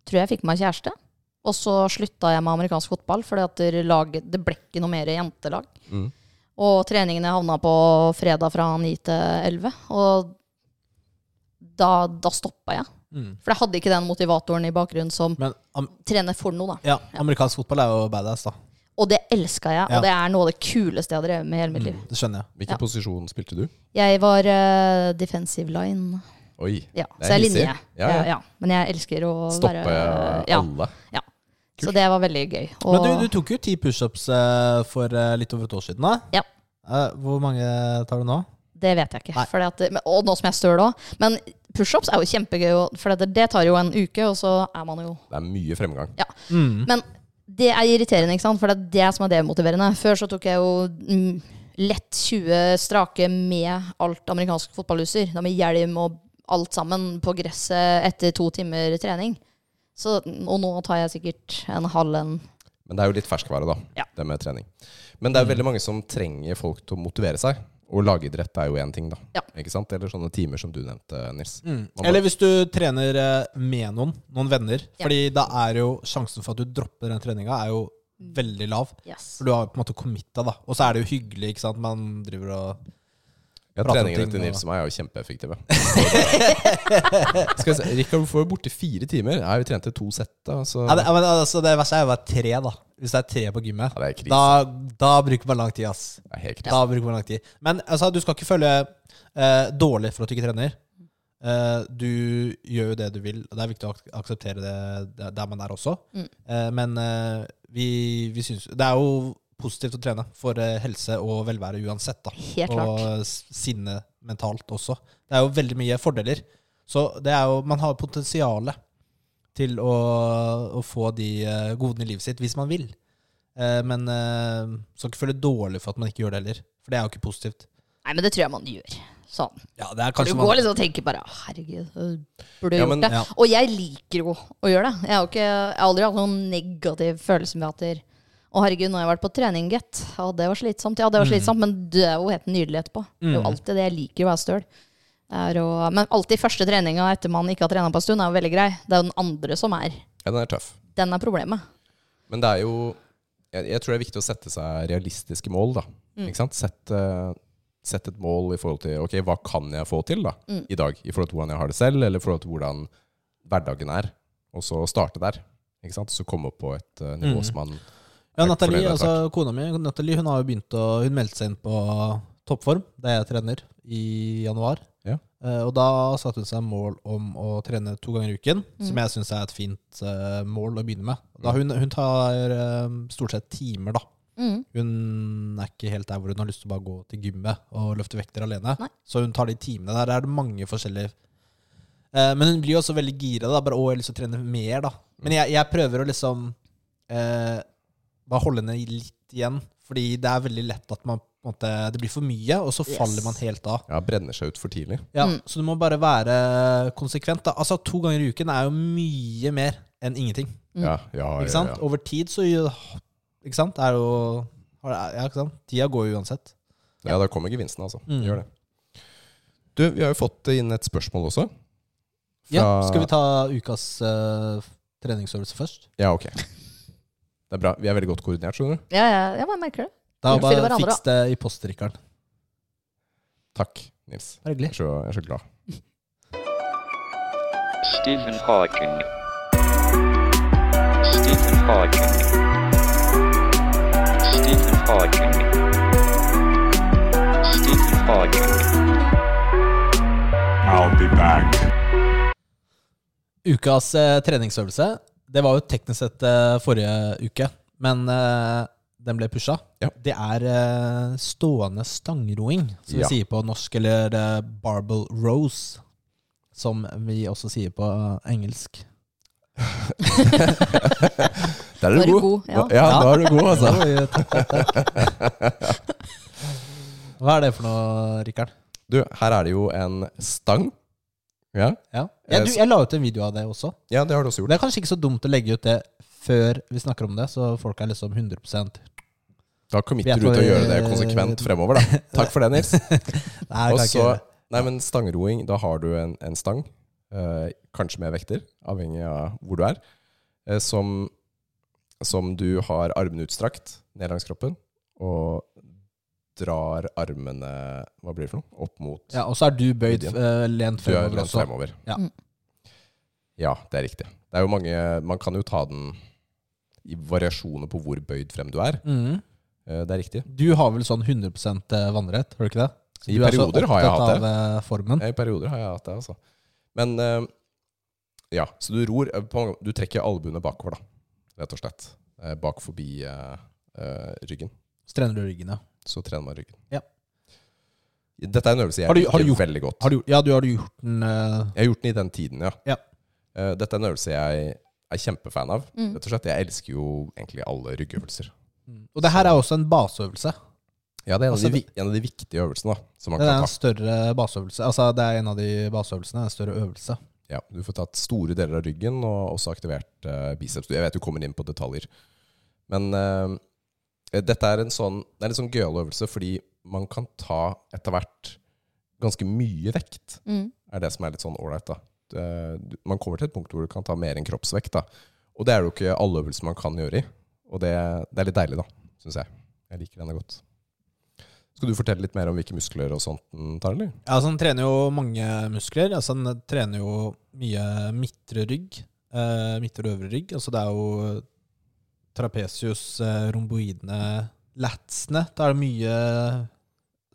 [SPEAKER 4] tror jeg jeg fikk meg kjæreste. Og så slutta jeg med amerikansk fotball, for det ble ikke noe mer jentelag.
[SPEAKER 2] Mm.
[SPEAKER 4] Og treningene havna på fredag fra 9 til 11. Og da, da stoppa jeg.
[SPEAKER 1] Mm.
[SPEAKER 4] For jeg hadde ikke den motivatoren i bakgrunnen som
[SPEAKER 1] Men am
[SPEAKER 4] trener for noe, da.
[SPEAKER 1] ja, amerikansk fotball er jo badass, da.
[SPEAKER 4] Og det elska jeg, og
[SPEAKER 1] Ja.
[SPEAKER 4] det er noe av det kuleste jeg har drevet med i hele mitt
[SPEAKER 2] Mm.
[SPEAKER 4] liv.
[SPEAKER 1] Mm, Det skjønner jeg.
[SPEAKER 2] Hvilken
[SPEAKER 4] Ja.
[SPEAKER 2] posisjon spilte du?
[SPEAKER 4] Jeg var eh, defensive line.
[SPEAKER 2] Oi.
[SPEAKER 4] Ja,
[SPEAKER 2] Det er
[SPEAKER 4] så jeg er
[SPEAKER 2] hissig.
[SPEAKER 4] linje.
[SPEAKER 2] Ja, ja.
[SPEAKER 4] Men jeg elsker å
[SPEAKER 2] Stoppe
[SPEAKER 4] være ja,
[SPEAKER 2] alle.
[SPEAKER 4] Så det var veldig gøy. Og
[SPEAKER 1] Men du, du tok jo ti pushups eh, for eh, litt over et år siden, da.
[SPEAKER 4] Ja.
[SPEAKER 1] Eh, hvor mange tar du nå?
[SPEAKER 4] det vet jeg ikke.
[SPEAKER 1] Nei.
[SPEAKER 4] Fordi at, men- og nå som jeg er støl òg. Men pushups er jo kjempegøy, og- for det, det tar jo en uke, og så er man jo
[SPEAKER 2] Det er mye fremgang.
[SPEAKER 1] Mm.
[SPEAKER 4] Men det er irriterende, ikke sant? For det er det som er demotiverende. Før så tok jeg jo mm, lett 20 strake med alt amerikansk fotballutstyr. Da med hjelm og alt sammen på gresset etter to timer trening. Så, og nå tar jeg sikkert en halv en.
[SPEAKER 2] Men det er jo litt ferskvare, da.
[SPEAKER 4] Ja.
[SPEAKER 2] Det med trening. Men det er veldig mange som trenger folk til å motivere seg. Og lagidrett er jo én ting, da.
[SPEAKER 4] Ja.
[SPEAKER 2] Ikke sant? Eller sånne timer som du nevnte, Nils.
[SPEAKER 1] Mm.
[SPEAKER 2] Man
[SPEAKER 1] Eller hvis du trener eh, med noen, noen venner.
[SPEAKER 4] Ja.
[SPEAKER 1] Fordi da er jo sjansen for at du dropper den treninga, er jo
[SPEAKER 4] Mm.
[SPEAKER 1] veldig lav.
[SPEAKER 4] Yes.
[SPEAKER 1] For du har på en måte committa, da. Og så er det jo hyggelig, ikke sant. Man driver og
[SPEAKER 2] Ja,
[SPEAKER 1] prate om
[SPEAKER 2] treningene
[SPEAKER 1] ting
[SPEAKER 2] til
[SPEAKER 1] nå,
[SPEAKER 2] Nils og meg er jo kjempeeffektive. [LAUGHS] Skal vi se, Rikard hvorfor var du borte i fire timer. Nei, vi trente to sett, da. Så
[SPEAKER 1] ja, det, ja, men, altså, det verste er jo bare tre, da. Hvis det er tre på gymmet.
[SPEAKER 2] Ja, det er krise.
[SPEAKER 1] da, da bruker man lang tid, ass.
[SPEAKER 2] Det er helt krise.
[SPEAKER 1] Da bruker man lang tid. Men altså, du skal ikke føle eh, dårlig for at du ikke trener. Eh, du gjør jo det du vil, og det er viktig å ak akseptere det der- der man er også.
[SPEAKER 4] Mm.
[SPEAKER 1] Eh, men eh, vi, vi syns Det er jo positivt å trene for eh, helse og velvære uansett. da
[SPEAKER 4] Helt klart.
[SPEAKER 1] og s- sinne mentalt også. Det er jo veldig mye fordeler. Så det er jo, man har potensialet til å, å få de eh, godene i livet sitt hvis man vil. Eh, Men eh, skal ikke føle dårlig for at man ikke gjør det heller. For det er jo ikke positivt.
[SPEAKER 4] Nei, men det tror jeg man gjør. Sånn.
[SPEAKER 1] Ja, det er
[SPEAKER 4] Du går liksom og tenker bare «Å, Herregud, jeg burde
[SPEAKER 2] Ja,
[SPEAKER 4] gjort
[SPEAKER 2] men-
[SPEAKER 4] det.
[SPEAKER 1] ja.
[SPEAKER 4] Og jeg liker jo å gjøre det. Jeg har, jo ikke, jeg har aldri hatt noen negativ følelse med at der, Å herregud, nå har jeg vært på trening, gitt. Ja, det var slitsomt. Ja, det var slitsomt, men det er jo helt nydelig etterpå. Det er jo alltid det jeg liker å være støl. Det er å- Men alltid første treninga etter man ikke har trena på en stund, er jo veldig grei. Det er jo den andre som er
[SPEAKER 2] Ja, den er tøff.
[SPEAKER 4] Den er problemet.
[SPEAKER 2] Men det er jo jeg, jeg tror det er viktig å sette seg realistiske mål, da. Ikke sant? Sett, eh, sett et mål i forhold til Ok, hva kan jeg få til da, i dag? I forhold til hvordan jeg har det selv, eller i forhold til hvordan hverdagen er. Og så starte der. Ikke sant? Så komme opp på et eh, nivå
[SPEAKER 1] Mm.
[SPEAKER 2] som man
[SPEAKER 1] Ja,
[SPEAKER 2] er
[SPEAKER 1] Nathalie,
[SPEAKER 2] fornøyd med
[SPEAKER 1] altså kona mi, Nathalie, hun har jo begynt å Hun meldte seg inn på toppform, der jeg trener, i januar.
[SPEAKER 2] Ja.
[SPEAKER 1] Eh, og da satte hun seg mål om å trene to ganger i uken, som jeg syns er et fint eh, mål å begynne med. Da hun, hun tar eh, stort sett timer, da.
[SPEAKER 4] Mm.
[SPEAKER 1] Hun er ikke helt der hvor hun har lyst til å bare gå til gymmet og løfte vekter alene.
[SPEAKER 4] Nei.
[SPEAKER 1] Så hun tar de timene der. Der er det mange forskjellige Eh, Men hun blir jo også veldig gira. Da. Bare 'Å, jeg har lyst til å trene mer', da.
[SPEAKER 4] Mm.
[SPEAKER 1] Men jeg, jeg prøver å liksom eh, bare holde henne litt igjen. Fordi det er veldig lett at man på en måte, det blir for mye, og så
[SPEAKER 4] Yes.
[SPEAKER 1] faller man helt av.
[SPEAKER 2] ja, brenner seg ut for tidlig.
[SPEAKER 1] Ja,
[SPEAKER 4] Mm.
[SPEAKER 1] Så du må bare være konsekvent. Da. Altså To ganger i uken er jo mye mer enn ingenting.
[SPEAKER 4] Mm.
[SPEAKER 2] Ja, ja,
[SPEAKER 1] Ikke
[SPEAKER 2] ja,
[SPEAKER 1] sant?
[SPEAKER 2] ja.
[SPEAKER 1] Over tid så gjør- Ikke sant? Det er jo Ja, ikke sant? Tida går jo uansett.
[SPEAKER 2] Ja, da kommer gevinsten, altså.
[SPEAKER 1] Mm.
[SPEAKER 2] Gjør det. Du, vi har jo fått inn et spørsmål også.
[SPEAKER 1] Ja,
[SPEAKER 2] Fra-
[SPEAKER 1] skal vi ta ukas eh, treningsøvelse først?
[SPEAKER 2] Ja, ok. Det er bra. Vi er veldig godt koordinert, skjønner du.
[SPEAKER 4] Ja, ja, ja, jeg merker det.
[SPEAKER 1] Da
[SPEAKER 4] Ja. Fylle
[SPEAKER 1] bare
[SPEAKER 4] hverandre,
[SPEAKER 1] fiks det i postdrikkeren.
[SPEAKER 2] Takk, Nils.
[SPEAKER 1] Det er
[SPEAKER 2] Jeg
[SPEAKER 1] Hyggelig.
[SPEAKER 2] er så, jeg er så glad.
[SPEAKER 5] Stephen Hawking. Stephen Hawking. Stephen Hawking. Stephen Hawking.
[SPEAKER 6] I'll be back.
[SPEAKER 1] Ukas eh, treningsøvelse Det var jo teknisk sett eh, forrige uke, men eh, den ble pusha.
[SPEAKER 2] Ja.
[SPEAKER 1] Det er eh, stående stangroing, som
[SPEAKER 2] Ja.
[SPEAKER 1] vi sier på norsk, eller eh, barbell rose, som vi også sier på eh, engelsk.
[SPEAKER 2] Der
[SPEAKER 4] Nå er du god. Ja.
[SPEAKER 2] Ja, da er du god, altså.
[SPEAKER 1] Oi, takk, takk, takk. Hva er det for noe, Rikard?
[SPEAKER 2] Du, her er det jo en stang. Ja,
[SPEAKER 1] Ja. Jeg, du, jeg la ut en video av det også.
[SPEAKER 2] ja det har du også
[SPEAKER 1] Det
[SPEAKER 2] gjort.
[SPEAKER 1] er kanskje ikke så dumt å legge ut det før vi snakker om det, så folk er liksom 100
[SPEAKER 2] Da committer
[SPEAKER 1] Vet
[SPEAKER 2] du til å
[SPEAKER 1] hva-
[SPEAKER 2] gjøre det konsekvent fremover,
[SPEAKER 1] [LAUGHS]
[SPEAKER 2] da. Takk for det, Nils.
[SPEAKER 1] Nei, kan
[SPEAKER 2] Og
[SPEAKER 1] ikke
[SPEAKER 2] så
[SPEAKER 1] gjøre det.
[SPEAKER 2] Nei, men stangroing, da har du en, en stang, eh, kanskje med vekter, avhengig av hvor du er, eh, som, som du har armene utstrakt ned langs kroppen, og drar armene Hva blir det for noe? Opp mot
[SPEAKER 1] Ja, og så er du bøyd eh, lent
[SPEAKER 2] Du er
[SPEAKER 1] fremover
[SPEAKER 2] lent
[SPEAKER 1] også.
[SPEAKER 2] fremover.
[SPEAKER 1] Ja.
[SPEAKER 4] Mm.
[SPEAKER 2] ja, det er riktig. Det er jo mange Man kan jo ta den i variasjoner på hvor bøyd frem du er.
[SPEAKER 1] Mhm.
[SPEAKER 2] Eh, Det er riktig.
[SPEAKER 1] Du har vel sånn 100 vannrett, har du ikke det?
[SPEAKER 2] I
[SPEAKER 1] du er så
[SPEAKER 2] perioder har jeg
[SPEAKER 1] opptatt
[SPEAKER 2] hatt det.
[SPEAKER 1] Av, eh, formen.
[SPEAKER 2] I perioder har jeg hatt det, altså. Men eh, ja, så du ror eh, på, Du trekker albuene bakover, da. Rett og slett. Eh, Bak forbi eh, eh, ryggen.
[SPEAKER 1] Så trener du ryggen, ja.
[SPEAKER 2] Så trener man ryggen.
[SPEAKER 1] Ja.
[SPEAKER 2] Dette er en øvelse jeg
[SPEAKER 1] Har du- har du
[SPEAKER 2] liker
[SPEAKER 1] gjort-
[SPEAKER 2] veldig godt.
[SPEAKER 1] Har du, ja, du har du gjort den eh,
[SPEAKER 2] Jeg har gjort den i den tiden, ja.
[SPEAKER 1] Ja.
[SPEAKER 2] Eh, Dette er en øvelse jeg er kjempefan av.
[SPEAKER 4] Mm.
[SPEAKER 2] Rett og slett. Jeg elsker jo egentlig alle ryggøvelser.
[SPEAKER 1] mm. Og det her er også en baseøvelse.
[SPEAKER 2] Ja, det er en,
[SPEAKER 1] Altså,
[SPEAKER 2] av, de, vi- en av de viktige øvelsene da, som man
[SPEAKER 1] Det er
[SPEAKER 2] kan
[SPEAKER 1] en
[SPEAKER 2] ta.
[SPEAKER 1] større baseøvelse. Altså, det er en av de baseøvelsene, en større øvelse.
[SPEAKER 2] Ja, du får tatt store deler av ryggen og også aktivert eh, biceps. Jeg vet du kommer inn på detaljer. Men eh, dette er en sånn, det er en sånn gøyal øvelse fordi man kan ta etter hvert ganske mye vekt.
[SPEAKER 4] Mm.
[SPEAKER 2] er det som er litt sånn ålreit, da. Eh, du- Man kommer til et punkt hvor du kan ta mer enn kroppsvekt, da. Og det er det jo ikke alle øvelser man kan gjøre i. Og det, det er litt deilig, da, syns jeg. Jeg liker denne godt. Skal du fortelle litt mer om hvilke muskler og sånt den tar, eller?
[SPEAKER 1] Ja, altså, han trener jo mange muskler. Altså, han trener jo mye midtre rygg. Eh, midtre og øvre rygg. Altså, det er jo trapesius, eh, romboidene, latsene. Det er mye,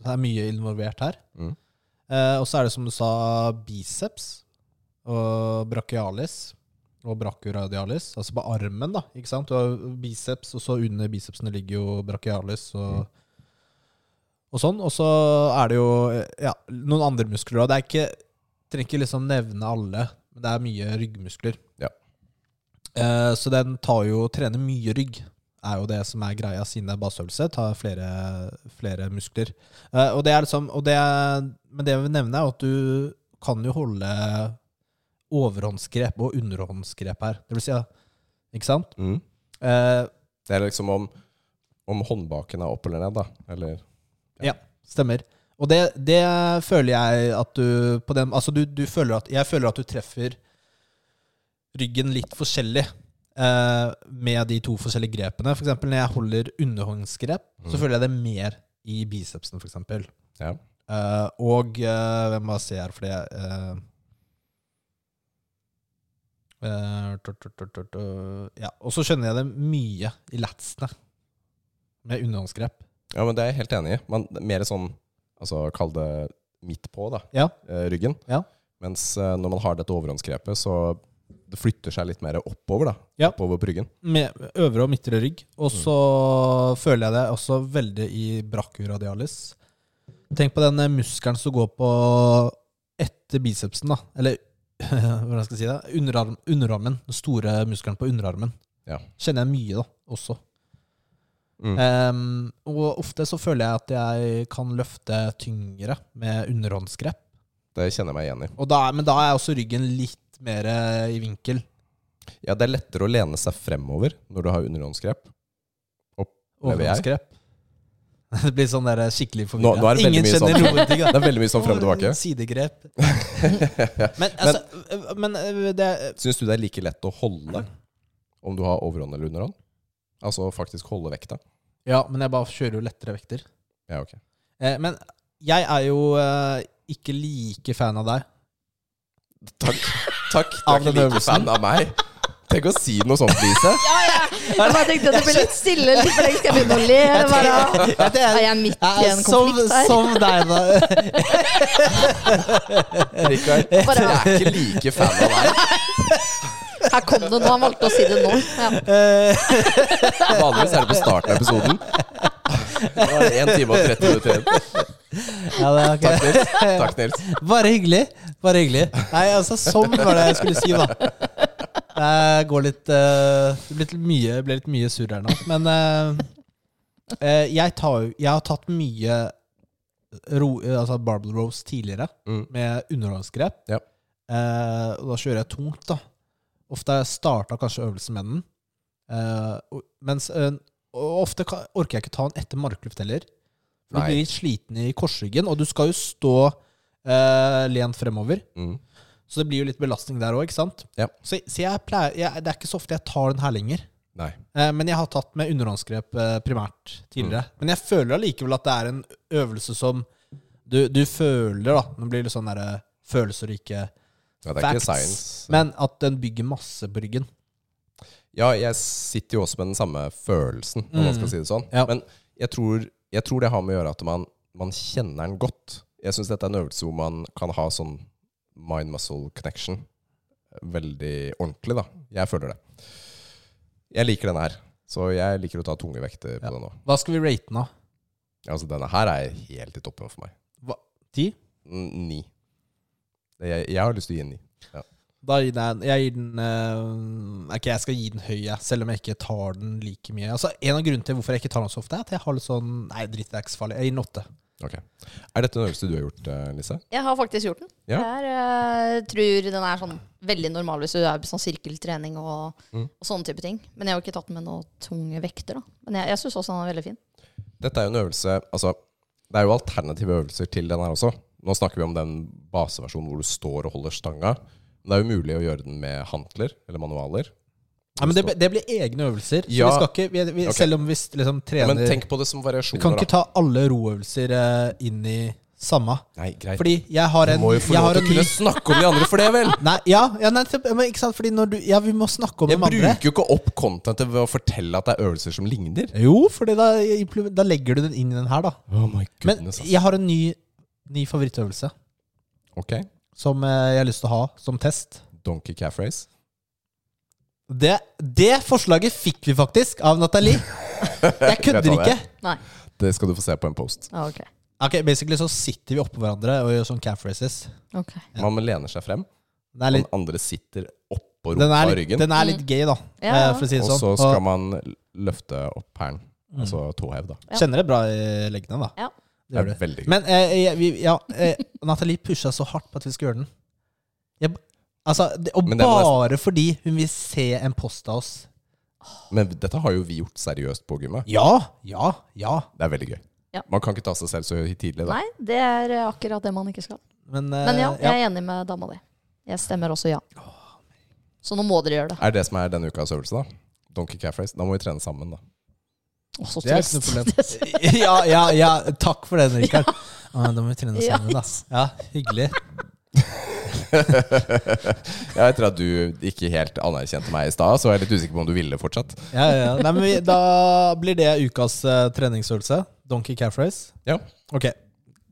[SPEAKER 1] det er mye involvert her.
[SPEAKER 2] Mm.
[SPEAKER 1] Eh, og så er det, som du sa, biceps og brachialis. Og brachioradialis, altså på armen, da. ikke sant? Du har biceps, og så under bicepsene ligger jo brachialis og og sånn. Og så er det jo eh, ja, noen andre muskler òg. Det er ikke Trenger ikke liksom nevne alle, men det er mye ryggmuskler.
[SPEAKER 2] Ja.
[SPEAKER 1] Eh, så den tar jo Trener mye rygg, er jo det som er greia, siden det er baseøvelse. Tar flere, flere muskler. Eh, og det er liksom og det er, Men det jeg vil nevne, er at du kan jo holde overhåndsgrep og underhåndsgrep her. Det vil si, ja, ikke sant? Eh,
[SPEAKER 2] Det er liksom om, om håndbaken er opp eller ned, da. Eller
[SPEAKER 1] Stemmer. Og det, det føler jeg at du på den, Altså, du, du føler at Jeg føler at du treffer ryggen litt forskjellig eh, med de to forskjellige grepene. For eksempel når jeg holder underhåndsgrep, så føler jeg det mer i bicepsen, for eksempel.
[SPEAKER 2] Ja.
[SPEAKER 1] Eh, og eh, hvem må jeg se her, fordi jeg eh, eh, tut, tut, tut, tut, tut, Ja, og så skjønner jeg det mye i latsene med underhåndsgrep.
[SPEAKER 2] ja, men det er jeg helt enig i. Man, mer sånn, altså kall det midt på, da.
[SPEAKER 1] Ja.
[SPEAKER 2] eh, Ryggen.
[SPEAKER 1] Ja.
[SPEAKER 2] Mens eh, når man har dette overhåndsgrepet, så det flytter seg litt mer oppover, da.
[SPEAKER 1] Ja.
[SPEAKER 2] Oppover på ryggen.
[SPEAKER 1] med øvre og midtre rygg. Og så føler jeg det også veldig i brachioradialis. Tenk på den eh, muskelen som går på etter bicepsen, da. Eller [LAUGHS] hvordan skal jeg si det? Underarm, underarmen. Den store muskelen på underarmen.
[SPEAKER 2] Ja.
[SPEAKER 1] Kjenner jeg mye, da, også.
[SPEAKER 2] Mm.
[SPEAKER 1] Ehm, og ofte så føler jeg at jeg kan løfte tyngre med underhåndsgrep.
[SPEAKER 2] Det kjenner jeg meg igjen i.
[SPEAKER 1] Og da, er- men da er også ryggen litt mer eh, i vinkel.
[SPEAKER 2] Ja, det er lettere å lene seg fremover når du har underhåndsgrep. Opplever jeg.
[SPEAKER 1] Overhåndsgrep. [LAUGHS] Det blir sånn der skikkelig
[SPEAKER 2] Nå, nå
[SPEAKER 1] forvirra.
[SPEAKER 2] er det veldig
[SPEAKER 1] Ingen
[SPEAKER 2] mye
[SPEAKER 1] kjenner
[SPEAKER 2] sånn,
[SPEAKER 1] noen ting. da.
[SPEAKER 2] det er veldig mye sånn frem og tilbake.
[SPEAKER 1] Sidegrep.
[SPEAKER 2] [LAUGHS]
[SPEAKER 1] Men, altså, men øh, det er-
[SPEAKER 2] Syns du det er like lett å holde om du har overhånd eller underhånd? Altså faktisk holde vekta?
[SPEAKER 1] Ja, men jeg bare kjører jo lettere vekter.
[SPEAKER 2] Ja, ok.
[SPEAKER 1] Eh, Men jeg er jo eh, ikke like fan av deg.
[SPEAKER 2] Takk. Takk. Du
[SPEAKER 1] Av
[SPEAKER 2] er ikke
[SPEAKER 1] den
[SPEAKER 2] like
[SPEAKER 1] øvelsen.
[SPEAKER 2] fan av meg. Tenk å si noe sånt, Lise.
[SPEAKER 4] Jeg bare tenkte at det ble litt stille litt for lenge. Skal jeg begynne å le? eller Bare,
[SPEAKER 1] Jeg tenker- [LAUGHS]
[SPEAKER 4] er jeg midt i
[SPEAKER 1] jeg er
[SPEAKER 4] en
[SPEAKER 1] som,
[SPEAKER 4] konflikt her?
[SPEAKER 1] som deg,
[SPEAKER 4] [LAUGHS]
[SPEAKER 1] da.
[SPEAKER 2] Rikard,
[SPEAKER 4] Bare-
[SPEAKER 2] dere er ikke like fan av meg.
[SPEAKER 4] Her kom det noe. Han valgte å si det nå. Ja.
[SPEAKER 1] Eh,
[SPEAKER 2] Vanligvis er det på starten av episoden. Nå er det 1 time og 30 minutter igjen.
[SPEAKER 1] Ja, det er ok.
[SPEAKER 2] Takk, Nils. Takk, Nils.
[SPEAKER 1] [LAUGHS] Bare hyggelig. Bare hyggelig. Nei, altså, sånn var det jeg skulle si, da. Det går litt eh, Det ble litt mye, ble litt mye surr her nå. Men eh, eh, jeg, tar, jo- jeg har tatt mye ro, eh, altså barbell rows tidligere,
[SPEAKER 2] Mm.
[SPEAKER 1] med underhåndsgrep.
[SPEAKER 2] Ja.
[SPEAKER 1] Eh, og da kjører jeg tungt, da. Ofte har jeg starta kanskje øvelsen med den. Eh, og, mens, eh, og ofte kan, orker jeg ikke ta den etter markluft heller. For
[SPEAKER 2] Nei.
[SPEAKER 1] du blir litt sliten i korsryggen, og du skal jo stå eh, lent fremover.
[SPEAKER 2] Mm.
[SPEAKER 1] Så det blir jo litt belastning der òg, ikke sant?
[SPEAKER 2] Ja.
[SPEAKER 1] Så, så jeg pleier, jeg, det er ikke så ofte jeg tar den her lenger.
[SPEAKER 2] Nei.
[SPEAKER 1] Eh, men jeg har tatt med underhåndsgrep eh, primært tidligere. Men jeg føler allikevel at det er en øvelse som du, du føler, da. Nå blir det litt sånn derre følelser og ikke
[SPEAKER 2] Ja, det er ikke
[SPEAKER 1] Facts.
[SPEAKER 2] science.
[SPEAKER 1] Men at den bygger masse på ryggen.
[SPEAKER 2] Ja, jeg sitter jo også med den samme følelsen, om man skal si det sånn.
[SPEAKER 1] Mm. Ja.
[SPEAKER 2] Men jeg tror, jeg tror det har med å gjøre at man, man kjenner den godt. Jeg syns dette er en øvelse hvor man kan ha sånn mind muscle connection veldig ordentlig, da. Jeg føler det. Jeg liker denne her. Så jeg liker å ta tunge vekter
[SPEAKER 1] Ja.
[SPEAKER 2] på den òg.
[SPEAKER 1] Hva skal vi rate den, da?
[SPEAKER 2] Altså, denne her er helt i toppen for meg.
[SPEAKER 1] Hva? Ti?
[SPEAKER 2] N- Ni. Jeg, jeg har lyst til å gi en ni.
[SPEAKER 1] Da gir den, jeg gir den eh, Ok, jeg skal gi den høy, jeg, selv om jeg ikke tar den like mye. Altså, En av grunnene til hvorfor jeg ikke tar den så ofte, er at jeg har litt sånn Nei, dritt, det er ikke så farlig. Jeg gir den åtte.
[SPEAKER 2] Ok. Er dette en øvelse du har gjort, eh, Lise?
[SPEAKER 4] Jeg har faktisk gjort den.
[SPEAKER 2] Ja.
[SPEAKER 4] Jeg er, eh, tror den er sånn veldig normal hvis du er på sånn sirkeltrening og,
[SPEAKER 2] Mm.
[SPEAKER 4] og sånne type ting. Men jeg har jo ikke tatt den med noen tunge vekter. da. Men jeg, jeg syns også den er veldig fin.
[SPEAKER 2] Dette er jo en øvelse Altså, det er jo alternative øvelser til den her også. Nå snakker vi om den baseversjonen hvor du står og holder stanga. Men det er jo mulig å gjøre den med hantler eller manualer.
[SPEAKER 1] Ja, men det, det blir egne øvelser. Så
[SPEAKER 2] Ja.
[SPEAKER 1] vi skal ikke, vi, vi,
[SPEAKER 2] Ok.
[SPEAKER 1] Selv om vi s- liksom trener
[SPEAKER 2] Men tenk på det som
[SPEAKER 1] Vi
[SPEAKER 2] variasjoner,
[SPEAKER 1] kan ikke
[SPEAKER 2] da.
[SPEAKER 1] ta alle roøvelser eh, inn i samme.
[SPEAKER 2] Nei, greit.
[SPEAKER 1] Fordi jeg har
[SPEAKER 2] du
[SPEAKER 1] en
[SPEAKER 2] må jo få
[SPEAKER 1] jeg
[SPEAKER 2] lov
[SPEAKER 1] har
[SPEAKER 2] til å
[SPEAKER 1] en
[SPEAKER 2] kunne
[SPEAKER 1] ny
[SPEAKER 2] snakke om de andre for det,
[SPEAKER 1] [LAUGHS]
[SPEAKER 2] vel!
[SPEAKER 1] Nei, ja, ja nei, se- men ikke sant? Fordi når du Ja, vi må snakke om
[SPEAKER 2] Jeg
[SPEAKER 1] de andre.
[SPEAKER 2] bruker jo ikke opp contentet ved å fortelle at det er øvelser som ligner.
[SPEAKER 1] Jo, fordi da, imple- da legger du den inn i den her, da.
[SPEAKER 2] Oh my
[SPEAKER 1] Men
[SPEAKER 2] goodness,
[SPEAKER 1] jeg har en ny, ny favorittøvelse
[SPEAKER 2] Ok,
[SPEAKER 1] som eh, jeg har lyst til å ha som test.
[SPEAKER 2] Donkey calf race.
[SPEAKER 1] Det, det forslaget fikk vi faktisk av
[SPEAKER 2] [LAUGHS]
[SPEAKER 1] Nathalie. Jeg
[SPEAKER 2] Vet
[SPEAKER 1] kødder
[SPEAKER 2] du
[SPEAKER 1] ikke.
[SPEAKER 2] det?
[SPEAKER 4] Nei.
[SPEAKER 2] Det skal du få se på en post.
[SPEAKER 4] Ah, ok.
[SPEAKER 1] Ok, Basically så sitter vi oppå hverandre og gjør sånn calf races.
[SPEAKER 4] Ok.
[SPEAKER 2] Man lener seg frem,
[SPEAKER 1] Den er
[SPEAKER 2] den
[SPEAKER 1] litt,
[SPEAKER 2] andre sitter oppå
[SPEAKER 1] den
[SPEAKER 2] rumpa
[SPEAKER 1] er
[SPEAKER 2] og
[SPEAKER 1] litt,
[SPEAKER 2] ryggen,
[SPEAKER 1] den er litt gøy, da, eh,
[SPEAKER 4] Ja, Mm. ja.
[SPEAKER 1] for å si det
[SPEAKER 2] og
[SPEAKER 1] sånn.
[SPEAKER 2] så skal man løfte opp hælen. Altså tåhev, da.
[SPEAKER 4] Ja.
[SPEAKER 1] Kjenner Mm. det bra i leggene, da.
[SPEAKER 4] Ja.
[SPEAKER 1] Det gjør
[SPEAKER 2] Det
[SPEAKER 1] du.
[SPEAKER 2] er veldig gøy.
[SPEAKER 1] Men eh, jeg- vi, ja, eh, Nathalie pusha så hardt på at vi skulle gjøre den. Jeg, b- altså, det, og
[SPEAKER 2] Men det må
[SPEAKER 1] bare fordi hun vil se en post av oss.
[SPEAKER 2] Men dette har jo vi gjort seriøst på gymmet.
[SPEAKER 1] Ja, ja, ja.
[SPEAKER 2] Det er veldig gøy.
[SPEAKER 4] Ja.
[SPEAKER 2] Man kan ikke ta seg selv så tidlig, da.
[SPEAKER 4] Nei, det er eh, akkurat det man ikke skal.
[SPEAKER 1] Men, eh,
[SPEAKER 4] Men ja, jeg er enig med dama di. Jeg stemmer også ja. Så nå må dere gjøre det.
[SPEAKER 2] Er det som er denne ukas øvelse, da? Donkey calf race. Da må vi trene sammen, da. [LAUGHS]
[SPEAKER 4] Å, så
[SPEAKER 1] Det er
[SPEAKER 4] trist. [LAUGHS]
[SPEAKER 1] ikke noe ja, ja, ja. Takk for den, Rikard. Ah, da må vi trene
[SPEAKER 4] Ja,
[SPEAKER 1] sammen, da. Ja, hyggelig.
[SPEAKER 2] Ja, etter at du ikke helt anerkjente meg i stad, så er jeg litt usikker på om du ville fortsatt.
[SPEAKER 1] Ja, ja. Nei, men vi, da blir det ukas eh, treningsøvelse. Donkey calf race.
[SPEAKER 2] Ja,
[SPEAKER 1] Ok.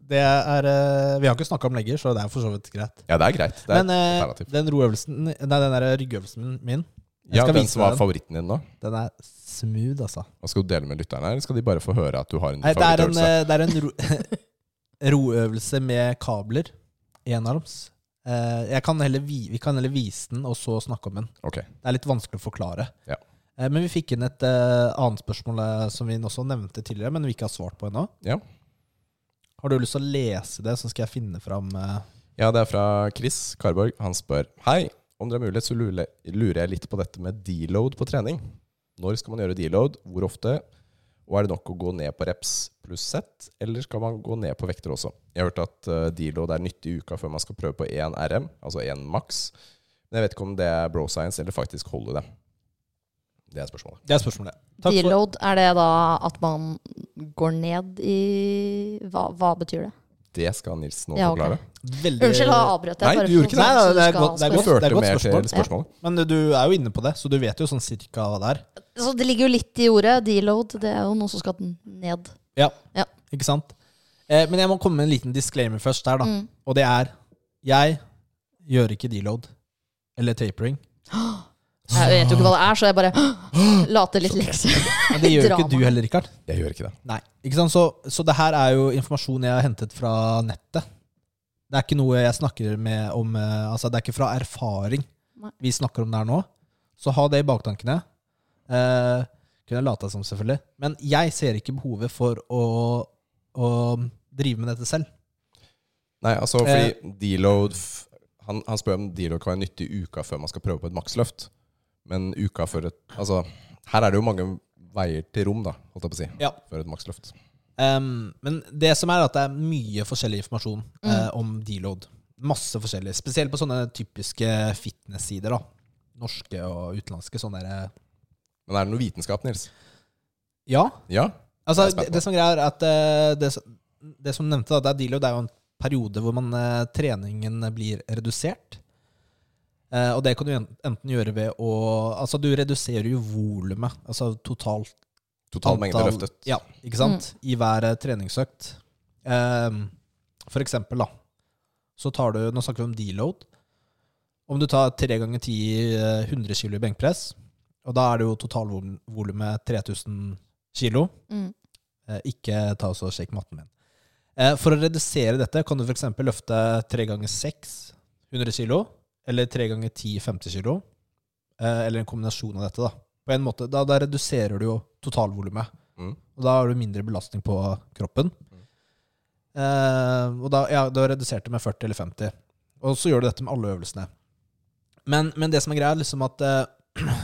[SPEAKER 1] Det er eh, Vi har ikke snakka om legger, så det er for så vidt greit.
[SPEAKER 2] ja det er greit. Det er
[SPEAKER 1] Men
[SPEAKER 2] et
[SPEAKER 1] eh,
[SPEAKER 2] alternativ.
[SPEAKER 1] den roøvelsen Nei, den der ryggøvelsen min, jeg eh,
[SPEAKER 2] Ja,
[SPEAKER 1] skal
[SPEAKER 2] den
[SPEAKER 1] vise
[SPEAKER 2] som var
[SPEAKER 1] deg den.
[SPEAKER 2] favoritten din nå.
[SPEAKER 1] den er smooth, altså.
[SPEAKER 2] Hva skal du dele med lytterne, her? eller skal de bare få høre at du har en
[SPEAKER 1] Nei, det er en,
[SPEAKER 2] favorittøvelse?
[SPEAKER 1] eh, det er en ro [LAUGHS] roøvelse med kabler. Enarms. Eh, Jeg kan heller vi, vi kan heller vise den, og så snakke om den.
[SPEAKER 2] Ok.
[SPEAKER 1] Det er litt vanskelig å forklare.
[SPEAKER 2] Ja.
[SPEAKER 1] Eh, Men vi fikk inn et eh, annet spørsmål eh, som vi også nevnte tidligere, men vi ikke har svart på ennå.
[SPEAKER 2] Ja.
[SPEAKER 1] Har du lyst til å lese det, så skal jeg finne fram eh,
[SPEAKER 2] ja, det er fra Chris Karborg. Han spør Hei, om det er mulighet, så lurer lurer jeg litt på dette med deload på trening. Når skal man gjøre deload? Hvor ofte? Og er det nok å gå ned på reps pluss sett, eller skal man gå ned på vekter også? Jeg har hørt at eh, deload er nyttig i uka før man skal prøve på én RM, altså én maks. Men jeg vet ikke om det er bro science eller faktisk holder det. Det er spørsmålet.
[SPEAKER 1] Det er spørsmålet. Takk for,
[SPEAKER 4] Deload, er det da at man går ned i Hva, hva betyr det?
[SPEAKER 2] Det skal Nils nå
[SPEAKER 4] Ja, ok.
[SPEAKER 2] forklare.
[SPEAKER 1] veldig,
[SPEAKER 4] Unnskyld, da avbrøt jeg.
[SPEAKER 2] Nei,
[SPEAKER 4] bare
[SPEAKER 2] du gjorde
[SPEAKER 4] for
[SPEAKER 2] ikke
[SPEAKER 4] sånn
[SPEAKER 1] det. Nei,
[SPEAKER 4] som du
[SPEAKER 1] det er
[SPEAKER 4] skal
[SPEAKER 1] godt- det er
[SPEAKER 2] Det
[SPEAKER 1] godt.
[SPEAKER 4] spørre.
[SPEAKER 2] førte
[SPEAKER 1] godt
[SPEAKER 2] mer
[SPEAKER 1] spørsmål.
[SPEAKER 2] til spørsmålet.
[SPEAKER 1] Men du er jo inne på det, så du vet jo sånn cirka hva det er.
[SPEAKER 4] Så det ligger jo litt i ordet. Deload, det er jo noe som skal ned.
[SPEAKER 1] Ja.
[SPEAKER 4] Ja.
[SPEAKER 1] Ikke sant? Eh, men jeg må komme med en liten disclaimer først
[SPEAKER 2] Ah.
[SPEAKER 1] der, da.
[SPEAKER 4] Mm.
[SPEAKER 1] Og det er Jeg gjør ikke deload eller tapering.
[SPEAKER 4] Jeg vet jo ikke hva det er, så jeg bare [GASPS] later litt lekser.
[SPEAKER 1] Men det gjør jo ikke
[SPEAKER 4] Drama.
[SPEAKER 1] du heller, Rikard.
[SPEAKER 2] Jeg gjør ikke det.
[SPEAKER 1] Nei. Ikke sant? Så, så det her er jo informasjon jeg har hentet fra nettet. Det er ikke noe jeg snakker med om eh, Altså, det er ikke fra erfaring
[SPEAKER 4] Nei.
[SPEAKER 1] vi snakker om det her nå. Så ha det i baktankene. Eh, kunne jeg lata som, selvfølgelig. Men jeg ser ikke behovet for å, å drive med dette selv.
[SPEAKER 2] Nei, altså fordi
[SPEAKER 1] Eh.
[SPEAKER 2] deload f- han, han spør om deload kan være nyttig uka før man skal prøve på et maksløft. Men uka før et Altså, her er det jo mange veier til rom, da, holdt jeg på å si,
[SPEAKER 1] Ja.
[SPEAKER 2] før et maksløft.
[SPEAKER 1] Ehm, men det som er at det er mye forskjellig informasjon eh, om deload. Masse forskjellig. Spesielt på sånne typiske fitness-sider. da. Norske og utenlandske. Sånne der,
[SPEAKER 2] Men er det noe vitenskap, Nils?
[SPEAKER 1] ja.
[SPEAKER 2] Ja?
[SPEAKER 1] Altså,
[SPEAKER 2] Jeg er spent
[SPEAKER 1] det,
[SPEAKER 2] på.
[SPEAKER 1] det som greia er at eh, det, som- det som nevnte, da, det er deload det er jo en periode hvor man, eh, treningen blir redusert. Eh, og det kan du en- enten gjøre ved å Altså, du reduserer jo volumet. Altså totalt
[SPEAKER 2] Total mengde
[SPEAKER 1] antall-
[SPEAKER 2] løftet.
[SPEAKER 1] Ja, ikke sant? I hver eh, treningsøkt. Ehm, for eksempel, da, så tar du Nå snakker vi om deload. Om du tar 3 ganger 10 eh, 100 kilo i benkpress, og da er det jo totalvolumet 3000 kilo.
[SPEAKER 4] [LAUGHS] Mm.
[SPEAKER 1] Eh, Ikke ta oss og sjekk matten min. Eh, For å redusere dette kan du f.eks. løfte 3 ganger 6 100 kilo, eller 3 ganger 10 50 kilo, eh, eller en kombinasjon av dette. Da På en måte, da, da reduserer du jo totalvolumet,
[SPEAKER 2] Mm.
[SPEAKER 1] og da har du mindre belastning på kroppen. Eh, og da, ja, da reduserte jeg med 40 eller 50. Og så gjør du dette med alle øvelsene. Men, men det som er greia, er liksom at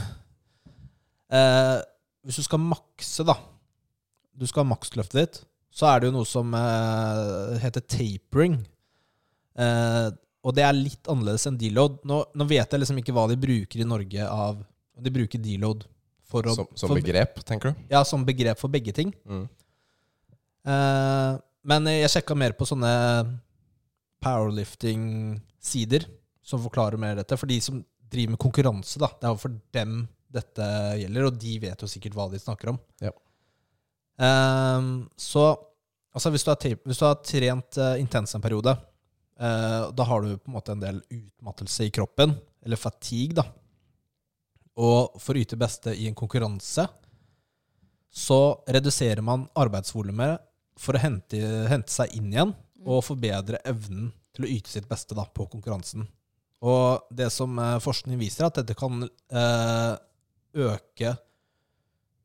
[SPEAKER 1] eh, [CLEARS THROAT] eh, Hvis du skal makse, da Du skal ha maksløftet ditt, så er det jo noe som eh, heter tapering. Eh, og det er litt annerledes enn deload. Nå, nå vet jeg liksom ikke hva de bruker i Norge av De bruker deload for å
[SPEAKER 2] Som, som
[SPEAKER 1] for-
[SPEAKER 2] begrep, tenker du?
[SPEAKER 1] Ja, som begrep for begge ting.
[SPEAKER 2] Mm.
[SPEAKER 1] Eh, men jeg sjekka mer på sånne powerlifting-sider som forklarer mer dette. For de som driver med konkurranse, da. Det er jo for dem dette gjelder, og de vet jo sikkert hva de snakker om.
[SPEAKER 2] Ja.
[SPEAKER 1] Eh, så altså hvis, du har tape, hvis du har trent uh, intens en periode, eh, da har du på en måte en del utmattelse i kroppen, eller fatigue, da. Og for å yte beste i en konkurranse, så reduserer man arbeidsvolumet for å hente, hente seg inn igjen og forbedre evnen til å yte sitt beste da, på konkurransen. Og det som eh, forskning viser, er at dette kan eh, øke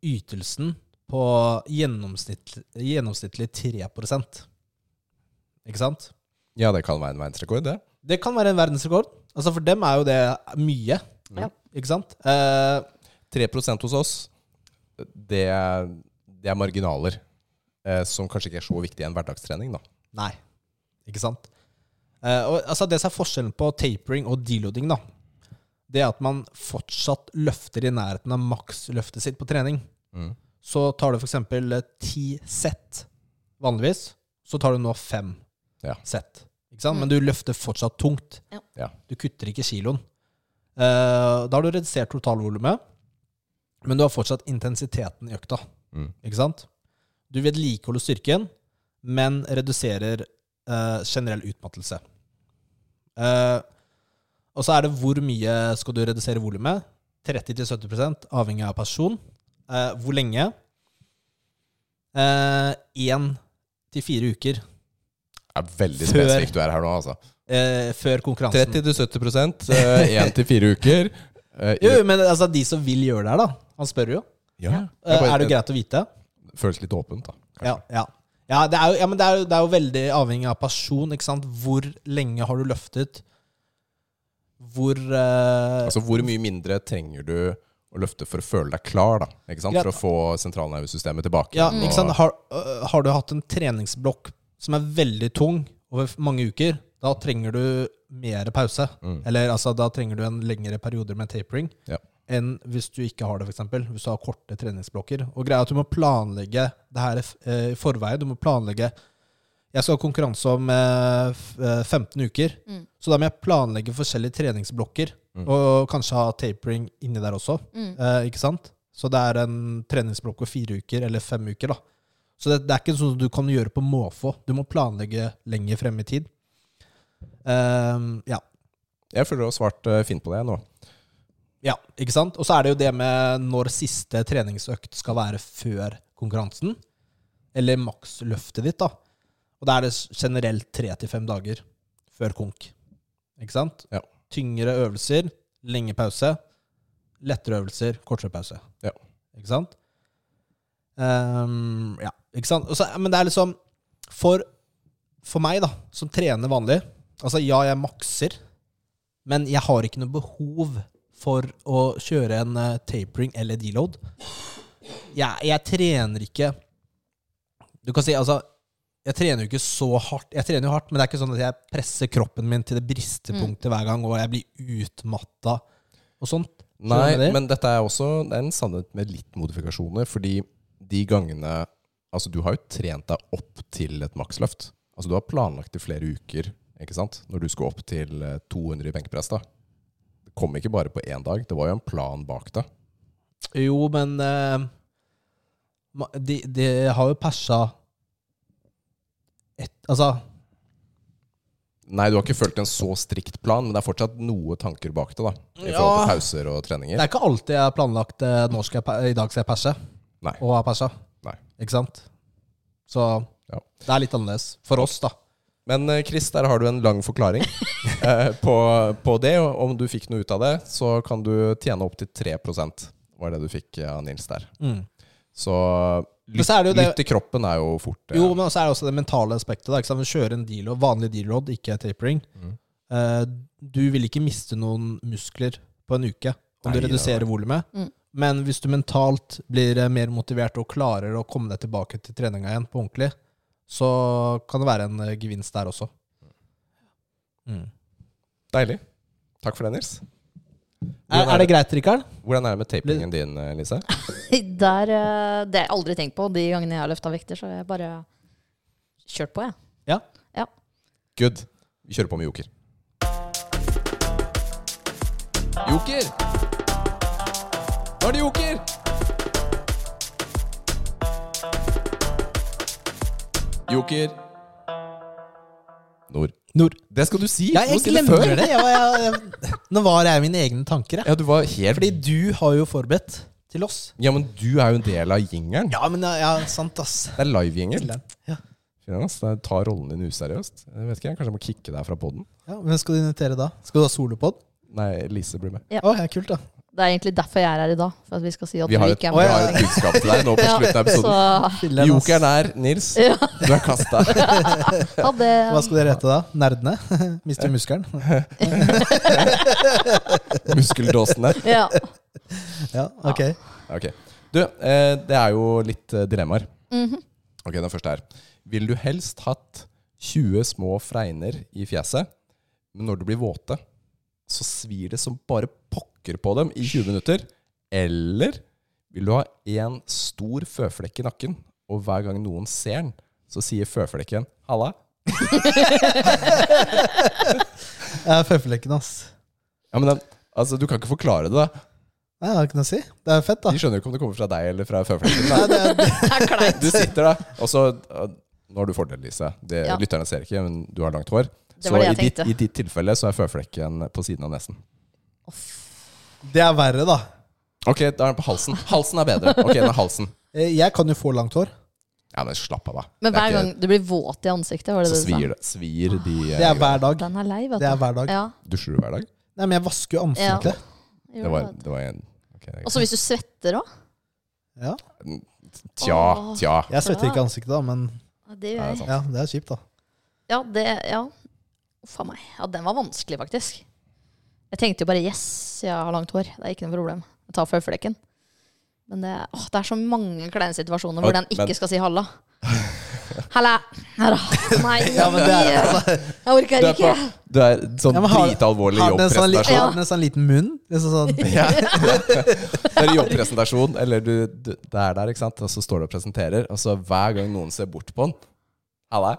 [SPEAKER 1] ytelsen på gjennomsnittlig, gjennomsnittlig 3 Ikke sant?
[SPEAKER 2] Ja, det kan være en verdensrekord, det.
[SPEAKER 1] Det kan være en verdensrekord. Altså For dem er jo det mye.
[SPEAKER 4] Ja.
[SPEAKER 1] Ikke sant? Eh,
[SPEAKER 2] 3 hos oss, det er, det er marginaler. Eh, som kanskje ikke er så viktig i en hverdagstrening, da.
[SPEAKER 1] Nei. Ikke sant? Eh, og, altså, det som er forskjellen på tapering og deloading, da, det er at man fortsatt løfter i nærheten av maksløftet sitt på trening.
[SPEAKER 2] Mm.
[SPEAKER 1] Så tar du f.eks. ti sett vanligvis, så tar du nå fem
[SPEAKER 2] Ja.
[SPEAKER 1] sett. Ikke sant? Men du løfter fortsatt tungt.
[SPEAKER 4] Ja.
[SPEAKER 2] Ja.
[SPEAKER 1] Du kutter ikke kiloen. Eh, da har du redusert totalvolumet, men du har fortsatt intensiteten i økta.
[SPEAKER 2] Mm.
[SPEAKER 1] Ikke sant? Du vedlikeholder styrken, men reduserer eh, generell utmattelse. Eh, og så er det hvor mye skal du redusere volumet? 30-70 avhengig av person. Eh, hvor lenge? Én til fire uker
[SPEAKER 2] Det er veldig
[SPEAKER 1] Før-
[SPEAKER 2] spesifikt du er her nå, altså.
[SPEAKER 1] eh, før konkurransen.
[SPEAKER 2] 30-70 [LAUGHS] én til fire uker. Eh,
[SPEAKER 1] Jo, jo, men altså, de som vil gjøre det her, da. Han spør jo.
[SPEAKER 2] ja.
[SPEAKER 1] Eh,
[SPEAKER 2] Jeg bare-
[SPEAKER 1] er det greit å vite?
[SPEAKER 2] Det føles litt åpent, da.
[SPEAKER 1] Ja, ja. ja, det, er jo, ja men det, er jo, det er jo veldig avhengig av person. Ikke sant? Hvor lenge har du løftet? Hvor eh,
[SPEAKER 2] Altså, hvor mye mindre trenger du å løfte for å føle deg klar, da? Ikke sant?
[SPEAKER 1] Ja.
[SPEAKER 2] For å få sentralnervesystemet tilbake. Mm.
[SPEAKER 1] ja,
[SPEAKER 2] igjen,
[SPEAKER 1] ikke sant? Har, øh, har du hatt en treningsblokk som er veldig tung over f- mange uker, da trenger du mer pause. Eller altså, da trenger du en lengre periode med tapering
[SPEAKER 2] Ja.
[SPEAKER 1] enn hvis du ikke har det, f.eks. Hvis du har korte treningsblokker. Og greia er at du må planlegge det her eh, i forveien. Du må planlegge Jeg skal ha konkurranse om eh, f- eh, 15 uker,
[SPEAKER 4] Mm.
[SPEAKER 1] så da må jeg planlegge forskjellige treningsblokker. Og kanskje ha tapering inni der også.
[SPEAKER 4] Mm.
[SPEAKER 1] Eh, ikke sant? Så det er en treningsblokk på fire uker, eller fem uker, da. Så det, det er ikke sånn du kan gjøre på måfå. Du må planlegge lenger frem i tid. Ehm, ja.
[SPEAKER 2] Jeg føler du har svart eh, fint på det nå.
[SPEAKER 1] ja, ikke sant? Og så er det jo det med når siste treningsøkt skal være før konkurransen. Eller maksløftet ditt, da. Og da er det s- generelt tre til fem dager før konk. Ikke sant?
[SPEAKER 2] Ja.
[SPEAKER 1] Tyngre øvelser, lenge pause. Lettere øvelser, kortere pause.
[SPEAKER 2] Ja.
[SPEAKER 1] Ikke sant? Ehm, ja, ikke sant? Og så, men det er liksom for, for meg, da, som trener vanlig Altså, ja, jeg makser, men jeg har ikke noe behov for å kjøre en eh, tapering eller deload. Jeg, jeg trener ikke Du kan si, altså Jeg trener jo ikke så hardt. Jeg trener jo hardt, men det er ikke sånn at jeg presser kroppen min til det bristepunktet hver gang, og jeg blir utmatta og sånt.
[SPEAKER 2] Nei,
[SPEAKER 1] Skjønner du?
[SPEAKER 2] men dette er også det er en sannhet med litt modifikasjoner. Fordi de gangene Altså, du har jo trent deg opp til et maksløft. Altså, du har planlagt i flere uker, ikke sant? Når du skulle opp til eh, 200 i benkepress, da. Det kom ikke bare på én dag. Det var jo en plan bak det.
[SPEAKER 1] Jo, men eh, ma- de, de har jo persa et, Altså,
[SPEAKER 2] Nei, du har ikke fulgt en så strikt plan, men det er fortsatt noe tanker bak det, da. I
[SPEAKER 1] Ja.
[SPEAKER 2] forhold til pauser og treninger.
[SPEAKER 1] det er ikke alltid jeg har planlagt eh, når skal jeg, pa- i dag skal jeg perse,
[SPEAKER 2] Nei.
[SPEAKER 1] og har persa.
[SPEAKER 2] Nei.
[SPEAKER 1] Ikke sant? Så
[SPEAKER 2] Ja.
[SPEAKER 1] det er litt annerledes. For oss, da.
[SPEAKER 2] Men eh, Chris, der har du en lang
[SPEAKER 1] [LAUGHS]
[SPEAKER 2] forklaring eh, på, på det. Og om du fikk noe ut av det, så kan du tjene opptil 3 var det du fikk eh, av Nils der.
[SPEAKER 1] Mm.
[SPEAKER 2] Så
[SPEAKER 1] Men så er det jo det-
[SPEAKER 2] lytt i kroppen er jo fort eh,
[SPEAKER 1] Jo, men også er det også det mentale aspektet. Da, ikke sant? Kjøre en deal vanlig deal-råd, ikke tapering.
[SPEAKER 2] Mm.
[SPEAKER 1] Eh, du vil ikke miste noen muskler på en uke om du
[SPEAKER 2] Nei, det er
[SPEAKER 1] reduserer
[SPEAKER 2] det.
[SPEAKER 1] volumet.
[SPEAKER 4] Mm.
[SPEAKER 1] Men hvis du mentalt blir eh, mer motivert og klarer å komme deg tilbake til treninga igjen på ordentlig, så kan det være en eh, gevinst der også. Mm.
[SPEAKER 2] Deilig. Takk for det, Nils.
[SPEAKER 1] Er, er det greit, Rikard?
[SPEAKER 2] Hvordan er det med taperingen din, eh, Lise?
[SPEAKER 4] Der, eh, det har jeg aldri tenkt på de gangene jeg har løfta vekter, så jeg bare kjørt på, jeg.
[SPEAKER 2] Good. Vi kjører på med joker. Joker! Nå er det joker! Joker. Nord.
[SPEAKER 1] Nord.
[SPEAKER 2] Det skal du si!
[SPEAKER 1] Ja,
[SPEAKER 2] Du må
[SPEAKER 1] jeg
[SPEAKER 2] si det før.
[SPEAKER 1] glemmer det. Jeg, var- jeg, jeg, nå var jeg i mine egne tanker, jeg.
[SPEAKER 2] Ja, du var helt
[SPEAKER 1] Fordi du har jo forberedt til oss.
[SPEAKER 2] Ja, men du er jo en del av jingeren.
[SPEAKER 1] Ja, men ja, ja, sant, ass.
[SPEAKER 2] Det er live-jingel.
[SPEAKER 1] Ja.
[SPEAKER 2] Ta rollen din useriøst. Jeg vet ikke, jeg, Kanskje jeg må kicke deg fra poden?
[SPEAKER 1] Ja, Hvem skal du invitere da? Skal du ha solopod?
[SPEAKER 2] Nei, Lise blir med.
[SPEAKER 4] Ja.
[SPEAKER 1] Å, ja, kult, da.
[SPEAKER 4] Det er egentlig derfor jeg er her i dag. For at vi skal si at
[SPEAKER 2] Vi har, et,
[SPEAKER 4] ikke er
[SPEAKER 2] vi
[SPEAKER 4] med.
[SPEAKER 1] Å, ja.
[SPEAKER 2] har et budskap til deg nå på
[SPEAKER 4] Ja,
[SPEAKER 2] slutten av episoden.
[SPEAKER 4] så
[SPEAKER 1] Filler'n, ass.
[SPEAKER 2] Jokeren er Nils.
[SPEAKER 4] Ja.
[SPEAKER 2] Du er kasta.
[SPEAKER 4] ha
[SPEAKER 2] [LAUGHS]
[SPEAKER 1] Hva
[SPEAKER 4] det.
[SPEAKER 1] skal dere hete da? Nerdene? [LAUGHS] Mister muskelen?
[SPEAKER 2] Muskeldåsene. [LAUGHS]
[SPEAKER 4] Ja.
[SPEAKER 1] Ja, ok.
[SPEAKER 2] Ok. Du, eh, det er jo litt eh, dilemmaer.
[SPEAKER 4] Mhm.
[SPEAKER 2] Ok, Den første er Vil du helst hatt 20 små fregner i fjeset, men når du blir våte, så svir det som bare pokker på dem i 20 minutter? Eller vil du ha én stor føflekk i nakken, og hver gang noen ser den, så sier føflekken 'halla'?
[SPEAKER 1] Jeg er føflekken, ass.
[SPEAKER 2] Ja, men den, altså, Du kan ikke forklare det. da
[SPEAKER 1] Nei, det har ikke noe å si. Det er jo fett, da.
[SPEAKER 2] De skjønner jo ikke om det kommer fra deg eller fra føflekken. da.
[SPEAKER 1] Nei, det er,
[SPEAKER 4] Det er kleint.
[SPEAKER 2] Du sitter da, og så uh, Nå har du fordel, Lise. Det,
[SPEAKER 4] Ja.
[SPEAKER 2] Lytterne ser ikke, men du har langt hår.
[SPEAKER 4] Det
[SPEAKER 2] Så
[SPEAKER 4] var det
[SPEAKER 2] i
[SPEAKER 4] jeg
[SPEAKER 2] ditt,
[SPEAKER 4] tenkte.
[SPEAKER 2] i ditt tilfelle så er føflekken på siden av nesen.
[SPEAKER 1] det er verre, da.
[SPEAKER 2] Ok, da er den på halsen. Halsen er bedre. Ok, den er halsen.
[SPEAKER 1] Eh, Jeg kan jo få langt hår.
[SPEAKER 2] Ja, men slapp av, da. Det
[SPEAKER 4] Men
[SPEAKER 2] er
[SPEAKER 4] hver
[SPEAKER 2] ikke-
[SPEAKER 4] gang du blir våt i ansiktet, var det
[SPEAKER 2] så
[SPEAKER 4] det sånn. Ah. du sa?
[SPEAKER 2] svir, det- svir de eh,
[SPEAKER 1] Det er hver dag.
[SPEAKER 4] Den er lei, vet du.
[SPEAKER 1] Det er hver dag.
[SPEAKER 4] Ja.
[SPEAKER 2] Dusjer du hver dag?
[SPEAKER 1] Nei, men jeg vasker jo ansiktet.
[SPEAKER 4] gjør
[SPEAKER 2] Det var,
[SPEAKER 4] det.
[SPEAKER 2] det var en ok, det er
[SPEAKER 4] Og så hvis du svetter òg.
[SPEAKER 1] Ja.
[SPEAKER 2] greit. Tja,
[SPEAKER 4] Åh.
[SPEAKER 2] tja.
[SPEAKER 1] Jeg svetter ikke ansiktet, da, men
[SPEAKER 4] Det
[SPEAKER 2] Ja, det
[SPEAKER 4] gjør
[SPEAKER 2] er
[SPEAKER 4] jeg.
[SPEAKER 2] sant.
[SPEAKER 1] ja, det er kjipt, da.
[SPEAKER 4] Ja, det Ja. Uff a meg. Ja, den var vanskelig, faktisk. Jeg tenkte jo bare yes, jeg har langt hår. Det er ikke noe problem. Jeg tar føflekken. Men det, åh, det er så mange kleine situasjoner hvor
[SPEAKER 2] Ja,
[SPEAKER 4] den ikke
[SPEAKER 2] men-
[SPEAKER 4] skal si halla. Halla! Halla.
[SPEAKER 2] [LAUGHS]
[SPEAKER 4] Nei,
[SPEAKER 1] Ja, men det er altså
[SPEAKER 4] jeg orker
[SPEAKER 2] Du er, på,
[SPEAKER 4] ikke.
[SPEAKER 2] du er sånn
[SPEAKER 1] Ja, men har-
[SPEAKER 2] dritalvorlig
[SPEAKER 1] Har den en sånn, li-
[SPEAKER 2] jobbpresentasjon.
[SPEAKER 1] har den en sånn liten munn? Liksom sånn.
[SPEAKER 2] Ja. [LAUGHS] Det er jobbpresentasjon, eller du, du Det er der, ikke sant? Og så står du og presenterer, og så hver gang noen ser bort på den Halla.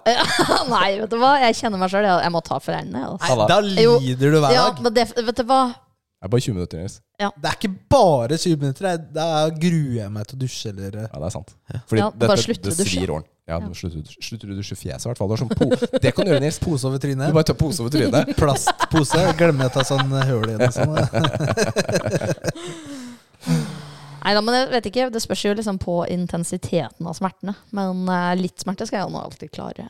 [SPEAKER 4] Nei, vet du hva. Jeg kjenner meg sjøl. Jeg, jeg må ta for øynene. jeg, Altså.
[SPEAKER 1] Nei, da
[SPEAKER 4] Jo.
[SPEAKER 1] lider du hver
[SPEAKER 4] Ja,
[SPEAKER 1] dag.
[SPEAKER 4] men det, vet du hva.
[SPEAKER 2] Det er bare 20 minutter, Nils.
[SPEAKER 1] Det er ikke bare 20 minutter. det er- Da gruer jeg meg til å dusje eller eh,
[SPEAKER 2] Ja, det er sant. Fordi
[SPEAKER 4] Ja, bare slutter
[SPEAKER 2] det
[SPEAKER 4] å dusje.
[SPEAKER 2] svir ordentlig. Ja, du slutter, slutter du å dusje fjeset, i hvert fall. Det, er sånn po [LAUGHS] det kan du gjøre, Nils.
[SPEAKER 1] pose over
[SPEAKER 2] Du
[SPEAKER 1] trynet.
[SPEAKER 2] bare tar pose over trynet.
[SPEAKER 1] Plastpose. Jeg Glemmer å ta sånn eh, høl igjen og [LAUGHS] sånn.
[SPEAKER 4] Nei da, men jeg vet ikke. Det spørs jo liksom på intensiteten av smertene. Men eh, litt smerte skal jeg nå alltid klare.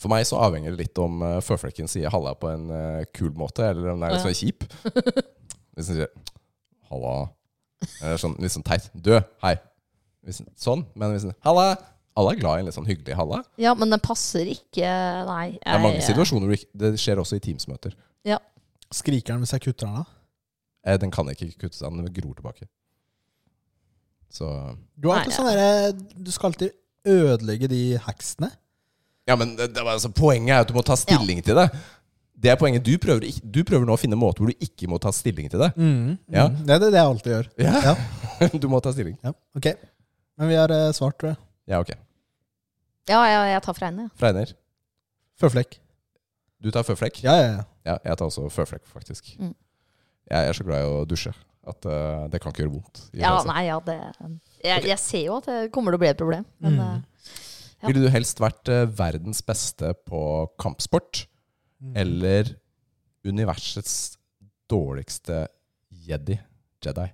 [SPEAKER 2] For meg så avhenger det litt om eh, føflekken sier halla på en eh, kul måte, eller om den er litt sånn kjip. Hvis den sier halla Eller sånn litt sånn teit. Du, hei. Hvis, den- sånn. Men hvis den halla Alle er glad i en litt sånn hyggelig halla.
[SPEAKER 4] Ja, men den passer ikke Nei.
[SPEAKER 2] Det er mange
[SPEAKER 4] jeg-
[SPEAKER 2] situasjoner hvor ikke- det skjer også i Teams-møter.
[SPEAKER 1] Skriker han hvis jeg kutter han av?
[SPEAKER 2] Eh, Den kan ikke kutte seg, den gror tilbake. Så
[SPEAKER 1] Du, har alltid
[SPEAKER 4] Nei,
[SPEAKER 1] sånn derre- du skal alltid ødelegge de hacksene.
[SPEAKER 2] Ja, men det, det var altså, poenget er at du må ta stilling til det. Det er poenget. Du prøver, ikk- du prøver nå å finne måter hvor du ikke må ta stilling til det. Ja.
[SPEAKER 1] Mm, Det er det det jeg alltid gjør. Ja.
[SPEAKER 2] [LAUGHS] Du må ta stilling.
[SPEAKER 1] Ja, ok. Men vi har eh, svart, tror jeg.
[SPEAKER 2] Ja, ok.
[SPEAKER 4] Ja, ja, jeg tar for øynene.
[SPEAKER 2] Fregner,
[SPEAKER 1] Føflekk.
[SPEAKER 2] du tar føflekk?
[SPEAKER 1] Ja, ja, ja.
[SPEAKER 2] Ja, jeg tar også føflekk, faktisk.
[SPEAKER 4] Mm.
[SPEAKER 2] Jeg er så glad i å dusje at eh, det kan ikke gjøre vondt. i
[SPEAKER 4] Ja,
[SPEAKER 2] fjeset.
[SPEAKER 1] altså.
[SPEAKER 4] nei, ja, det jeg, jeg ser jo at det kommer til å bli et problem. Men
[SPEAKER 1] Mm.
[SPEAKER 4] eh, ja.
[SPEAKER 2] Ville du helst vært eh, verdens beste på kampsport
[SPEAKER 1] Mm.
[SPEAKER 2] eller universets dårligste jedi? Jedi.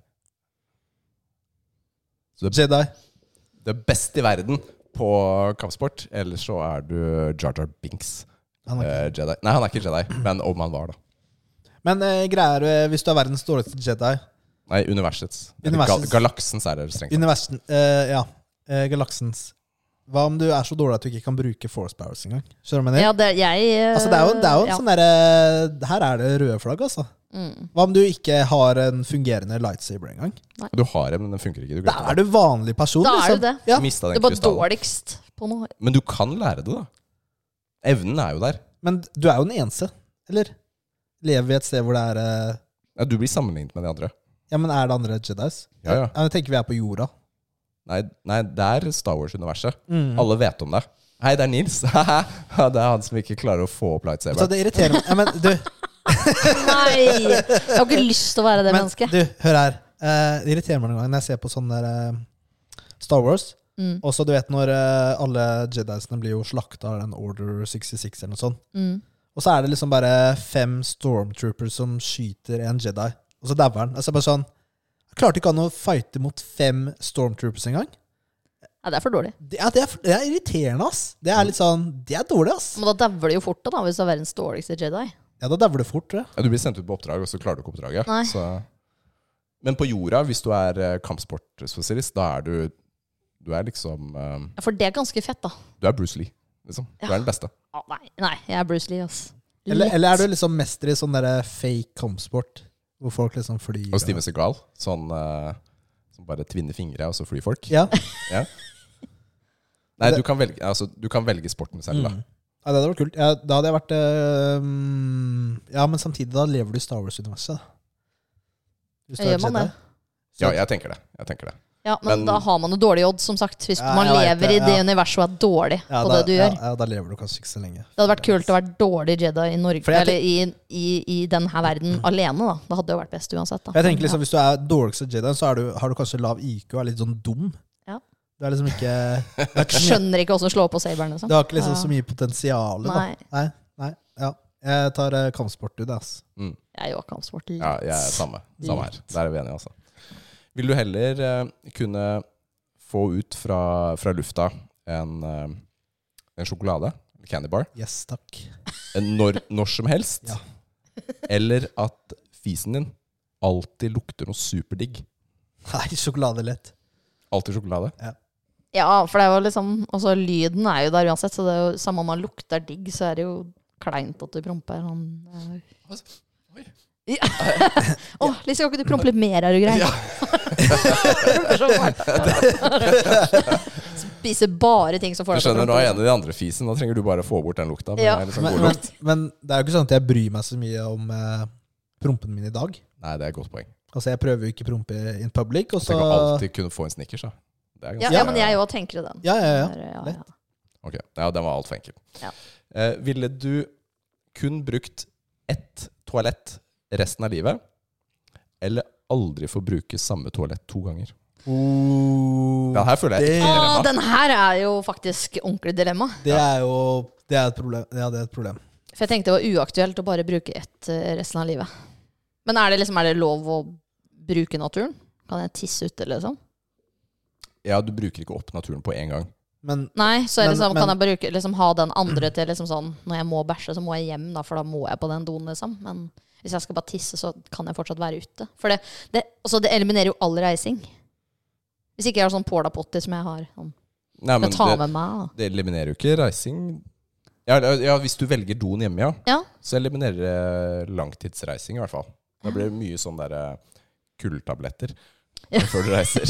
[SPEAKER 2] Så det,
[SPEAKER 1] Jedi.
[SPEAKER 2] det er best i verden på kampsport, eller så er du Jar Jar Binks.
[SPEAKER 1] Han er
[SPEAKER 2] eh, Jedi. Nei, han er ikke Jedi, men om han var, da.
[SPEAKER 1] ikke- Men eh, greier eh, hvis du er verdens dårligste Jedi
[SPEAKER 2] Nei, universets. Eller
[SPEAKER 1] Universets.
[SPEAKER 2] Gal galaksens er det strengt. tatt.
[SPEAKER 1] Universen eh, Ja. eh, galaksens Hva om du er så dårlig at du ikke kan bruke force powers engang? Skjønner du hva jeg mener?
[SPEAKER 4] Ja, det, jeg eh,
[SPEAKER 1] Altså, det er jo, det er jo en
[SPEAKER 4] ja.
[SPEAKER 1] sånn derre Her er det røde flagg, altså.
[SPEAKER 4] Mm.
[SPEAKER 1] Hva om du ikke har en fungerende lightsaber engang?
[SPEAKER 2] Du har en, men den funker ikke. Du
[SPEAKER 1] Da
[SPEAKER 2] glemte
[SPEAKER 1] er du vanlig person,
[SPEAKER 4] Da er du
[SPEAKER 1] liksom.
[SPEAKER 4] det.
[SPEAKER 1] Ja,
[SPEAKER 2] den. Mista
[SPEAKER 4] Du
[SPEAKER 2] den
[SPEAKER 4] er bare
[SPEAKER 2] krystallen.
[SPEAKER 4] dårligst på noe.
[SPEAKER 2] Men du kan lære det, da. Evnen er jo der.
[SPEAKER 1] men du er jo den eneste, eller? Lever vi et sted hvor det er eh,
[SPEAKER 2] Ja, du blir sammenlignet med de andre.
[SPEAKER 1] Ja, men er det andre Jedis?
[SPEAKER 2] Ja, ja.
[SPEAKER 1] Jeg tenker vi er på jorda.
[SPEAKER 2] Nei, nei det er Star Wars-universet.
[SPEAKER 1] Mm.
[SPEAKER 2] Alle vet om det. Hei, det er Nils. [LAUGHS] det er han som ikke klarer å få opp
[SPEAKER 1] Så
[SPEAKER 2] lightsaberen.
[SPEAKER 1] det irriterer meg. Ja, men du,
[SPEAKER 4] Nei! Jeg har ikke lyst til å være det
[SPEAKER 1] men,
[SPEAKER 4] mennesket.
[SPEAKER 1] du hør her. Eh, det irriterer meg noen ganger når jeg ser på sånne der, eh, Star Wars.
[SPEAKER 4] Mm.
[SPEAKER 1] Og så du vet når eh, alle Jedisene blir jo slakta av den Order 66 eller noe sånt.
[SPEAKER 4] Mm.
[SPEAKER 1] Og så er det liksom bare fem stormtroopers som skyter en Jedi. Og så dauer han. Altså bare sånn Jeg klarte ikke an å fighte mot fem stormtroopers engang.
[SPEAKER 4] Nei, det er for dårlig.
[SPEAKER 1] Det er, det, er, det er irriterende, ass. Det er litt sånn Det er dårlig, ass.
[SPEAKER 4] Men da dauer det jo fort, da, hvis du er verdens dårligste Jedi.
[SPEAKER 1] Ja, da dauer det fort, tror jeg.
[SPEAKER 2] Ja, du blir sendt ut på oppdrag, og så klarer du ikke oppdraget.
[SPEAKER 4] Nei.
[SPEAKER 2] Så. Men på jorda, hvis du er eh, kampsportspesialist, da er du Du er liksom eh,
[SPEAKER 4] For det er ganske fett, da.
[SPEAKER 2] Du er Bruce Lee, liksom. Du
[SPEAKER 4] Ja.
[SPEAKER 2] er den beste.
[SPEAKER 4] Å, nei, nei, jeg er Bruce Lee, ass.
[SPEAKER 1] Eller,
[SPEAKER 4] Lett.
[SPEAKER 1] eller er du liksom mester i sånn derre fake kampsport? Hvor folk liksom flyr
[SPEAKER 2] Og Steven Segal, sånn eh, som bare tvinner fingre, og så flyr folk.
[SPEAKER 1] Ja.
[SPEAKER 2] Nei, du kan velge, altså, du kan velge sporten selv, da.
[SPEAKER 1] Mm. ja, det hadde vært kult. Ja, da hadde jeg vært eh, mm, Ja, men samtidig, da lever du i Star Wars-universet. da. Hvis du er
[SPEAKER 4] Gjør man
[SPEAKER 1] Jedi.
[SPEAKER 4] det?
[SPEAKER 1] Så-
[SPEAKER 2] Ja, jeg tenker det. Jeg tenker det.
[SPEAKER 4] Ja, men,
[SPEAKER 2] Men-
[SPEAKER 4] da har man jo dårlig odds, som sagt. Hvis
[SPEAKER 1] Ja,
[SPEAKER 4] man
[SPEAKER 1] jeg vet
[SPEAKER 4] lever
[SPEAKER 1] det,
[SPEAKER 4] i det
[SPEAKER 1] ja.
[SPEAKER 4] universet og er dårlig
[SPEAKER 1] Ja,
[SPEAKER 4] på
[SPEAKER 1] da,
[SPEAKER 4] det du gjør.
[SPEAKER 1] Ja, ja, da lever du kanskje ikke så lenge.
[SPEAKER 4] Det hadde vært kult å være dårlig Jedi i Norge,
[SPEAKER 1] For jeg
[SPEAKER 4] eller i, i, i denne verden alene, da. Det hadde jo vært best uansett, da.
[SPEAKER 1] Jeg tenker liksom, Hvis du er dårligst av Jedien, så er du, har du kanskje lav IQ og er litt sånn dum.
[SPEAKER 4] Ja.
[SPEAKER 1] Du er liksom ikke
[SPEAKER 4] [LAUGHS]
[SPEAKER 1] Du, er ikke så
[SPEAKER 4] Ja.
[SPEAKER 1] mye,
[SPEAKER 4] Skjønner ikke åssen slå på saberen, liksom.
[SPEAKER 1] du har ikke liksom så mye potensial. da.
[SPEAKER 4] Nei.
[SPEAKER 1] Nei. Nei. Ja. Jeg tar eh, kampsport, du, det, ass.
[SPEAKER 4] Jeg er jo kampsport litt.
[SPEAKER 2] Ja, jeg er samme. Samme her. Der er vi enige, altså. Vil du heller eh, kunne få ut fra, fra lufta en, eh, en sjokolade, en candy bar,
[SPEAKER 1] Yes, takk. [LAUGHS]
[SPEAKER 2] eh, når, når som helst?
[SPEAKER 1] Ja.
[SPEAKER 2] Eller at fisen din alltid lukter noe superdigg?
[SPEAKER 1] Nei, sjokolade lett.
[SPEAKER 2] Alltid sjokolade?
[SPEAKER 4] Ja, for det er jo liksom Altså, lyden er jo der uansett, så det er jo samme om man lukter digg, så er det jo kleint at du promper. Han er-
[SPEAKER 2] oi.
[SPEAKER 4] Ja. [LAUGHS] Å, Lise, kan ikke du prompe litt mer, er du grei? [LAUGHS] Promper så fælt.
[SPEAKER 2] [LAUGHS]
[SPEAKER 4] Spiser bare ting som
[SPEAKER 2] Du
[SPEAKER 4] får
[SPEAKER 2] skjønner, nå
[SPEAKER 4] prompe.
[SPEAKER 2] er jeg enig i den andre fisen. Da trenger du bare få bort den lukta. Men
[SPEAKER 4] Ja.
[SPEAKER 2] det er liksom
[SPEAKER 1] Men,
[SPEAKER 2] god
[SPEAKER 1] men,
[SPEAKER 2] lukt.
[SPEAKER 1] men det er jo ikke sånn at jeg bryr meg så mye om eh, prompen min i dag.
[SPEAKER 2] Nei, det er et godt poeng.
[SPEAKER 1] Altså, Jeg prøver jo ikke å prompe in public. Og så,
[SPEAKER 2] Tenk å alltid kunne få en Snickers, da. Det er
[SPEAKER 4] Ja,
[SPEAKER 2] ganske-
[SPEAKER 4] ja, men jeg òg tenker den.
[SPEAKER 1] ja, ja, ja.
[SPEAKER 4] Der, ja,
[SPEAKER 1] lett.
[SPEAKER 4] ja.
[SPEAKER 2] Ok, ja, den var altfor enkel.
[SPEAKER 4] Ja.
[SPEAKER 2] Eh, ville du kun brukt ett toalett resten av livet, eller aldri få bruke samme toalett to ganger?
[SPEAKER 1] Oh,
[SPEAKER 2] Den her føler jeg er et
[SPEAKER 1] det-
[SPEAKER 2] ekte
[SPEAKER 4] Å,
[SPEAKER 2] dilemma.
[SPEAKER 4] den her er jo faktisk ordentlig dilemma.
[SPEAKER 1] det er jo det er et problem. Ja, det er et problem.
[SPEAKER 4] For jeg tenkte det var uaktuelt å bare bruke ett eh, resten av livet. Men er det liksom Er det lov å bruke naturen? Kan jeg tisse ute, liksom?
[SPEAKER 2] Ja, du bruker ikke opp naturen på en gang.
[SPEAKER 1] Men
[SPEAKER 4] Nei, så er det
[SPEAKER 1] Men-
[SPEAKER 4] liksom, kan jeg
[SPEAKER 1] men-
[SPEAKER 4] bruke, liksom ha den andre til liksom sånn Når jeg må bæsje, så må jeg hjem, da, for da må jeg på den doen, liksom. Men hvis jeg skal bare tisse, så kan jeg fortsatt være ute. For det, det, altså, det eliminerer jo all reising. Hvis ikke jeg har sånn porta-potty som jeg har. Sånn.
[SPEAKER 2] Nei, men
[SPEAKER 4] Jeg tar
[SPEAKER 2] det,
[SPEAKER 4] med meg, da.
[SPEAKER 2] det eliminerer jo ikke reising. Ja, eller- ja, hvis du velger doen hjemme, ja,
[SPEAKER 4] Ja.
[SPEAKER 2] så eliminerer det langtidsreising i hvert fall. Da blir det mye sånn derre kulltabletter
[SPEAKER 4] Ja.
[SPEAKER 2] før du
[SPEAKER 4] [LAUGHS]
[SPEAKER 2] reiser.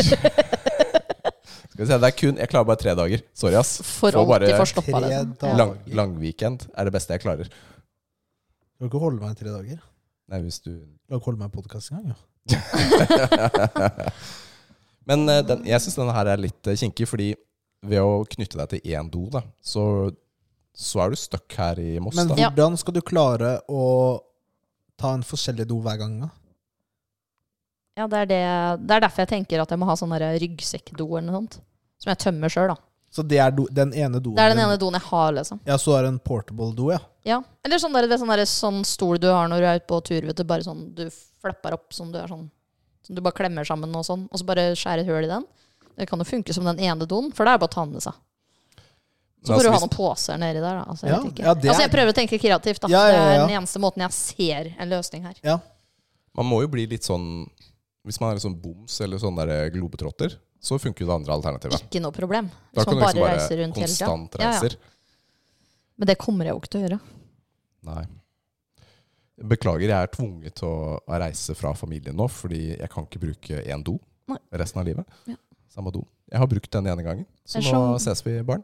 [SPEAKER 2] Skal vi se, det er kun Jeg klarer bare tre dager. Sorry, ass.
[SPEAKER 4] For
[SPEAKER 2] Får bare
[SPEAKER 4] alltid forstoppa,
[SPEAKER 1] tre
[SPEAKER 4] liksom.
[SPEAKER 1] dager.
[SPEAKER 4] Ja.
[SPEAKER 2] Lang, langweekend er det beste jeg klarer.
[SPEAKER 1] Du kan ikke holde meg i tre dager.
[SPEAKER 2] Nei, hvis du [LAUGHS]
[SPEAKER 1] Du kan ikke holde meg i podkast engang. Ja.
[SPEAKER 2] Men eh, den, jeg syns denne her er litt eh, kinkig, fordi ved å knytte deg til én do, da, så, så er du stuck her i Moss.
[SPEAKER 1] Men
[SPEAKER 2] da.
[SPEAKER 4] Ja.
[SPEAKER 1] hvordan skal du klare å ta en forskjellig do hver gang? da?
[SPEAKER 4] Ja, det er, det, det er derfor jeg tenker at jeg må ha sånn der ryggsekkdo eller noe sånt. Som jeg tømmer sjøl, da.
[SPEAKER 1] Så det er do, den ene doen?
[SPEAKER 4] Det er den
[SPEAKER 1] din.
[SPEAKER 4] ene doen jeg har, liksom.
[SPEAKER 1] Ja, så er det en portable do, ja.
[SPEAKER 4] Ja. Eller sånn, der, det er sånn, der, sånn stol du har når du er ute på tur, vet du. Bare sånn du flapper opp som du er sånn Som du bare klemmer sammen og sånn. Og så bare skjærer et hull i den. Det kan jo funke som den ene doen, for det er bare å ta den med seg.
[SPEAKER 2] Men
[SPEAKER 4] Så får du ha
[SPEAKER 2] altså,
[SPEAKER 4] noen poser nedi der, da. Altså, jeg,
[SPEAKER 1] Ja,
[SPEAKER 4] vet ikke.
[SPEAKER 1] ja, det
[SPEAKER 4] altså,
[SPEAKER 1] er-
[SPEAKER 4] jeg prøver å tenke kreativt, da.
[SPEAKER 1] Ja, ja,
[SPEAKER 4] Det er
[SPEAKER 1] ja.
[SPEAKER 4] den eneste måten jeg ser en løsning her.
[SPEAKER 1] ja.
[SPEAKER 2] hvis, man må jo bli litt sånn Hvis man er litt sånn boms eller sånn der globetrotter, så funker jo det andre alternativet.
[SPEAKER 4] Ikke noe problem.
[SPEAKER 2] Da
[SPEAKER 4] Hvis
[SPEAKER 2] kan
[SPEAKER 4] man
[SPEAKER 2] du
[SPEAKER 4] bare
[SPEAKER 2] liksom
[SPEAKER 4] reiser
[SPEAKER 2] bare
[SPEAKER 4] rundt hele tida.
[SPEAKER 2] konstant
[SPEAKER 4] Ja, ja.
[SPEAKER 2] reiser.
[SPEAKER 4] Men det kommer jeg jo ikke til å gjøre.
[SPEAKER 2] Nei. Beklager, jeg er tvunget til å å reise fra familien nå, fordi jeg kan ikke bruke én do
[SPEAKER 4] Nei.
[SPEAKER 2] resten av livet.
[SPEAKER 4] Ja.
[SPEAKER 2] Samme do. Jeg har brukt den ene gangen, så
[SPEAKER 4] Det er
[SPEAKER 2] nå
[SPEAKER 4] sånn-
[SPEAKER 2] ses vi, barn.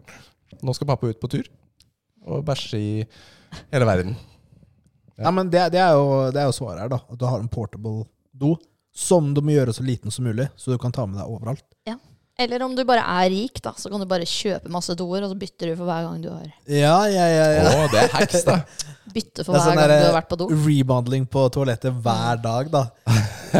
[SPEAKER 2] Nå skal pappa ut på tur og bæsje i hele verden. Ja.
[SPEAKER 1] Ja, men det, det, er jo, det er jo svaret her, da. At du har en portable do som du må gjøre så liten som mulig, så du kan ta med deg overalt.
[SPEAKER 4] Eller om du bare er rik, da, så kan du bare kjøpe masse doer, og så bytter du for hver gang du har
[SPEAKER 1] Ja, ja, ja.
[SPEAKER 2] Å,
[SPEAKER 1] ja.
[SPEAKER 2] det er hacks, da!
[SPEAKER 4] Bytte for
[SPEAKER 1] Det er
[SPEAKER 4] hver
[SPEAKER 1] sånn
[SPEAKER 4] gang
[SPEAKER 1] der-
[SPEAKER 4] du har vært på do.
[SPEAKER 1] Remodeling på toalettet hver
[SPEAKER 4] Mm.
[SPEAKER 1] dag,
[SPEAKER 4] [LAUGHS]
[SPEAKER 1] da.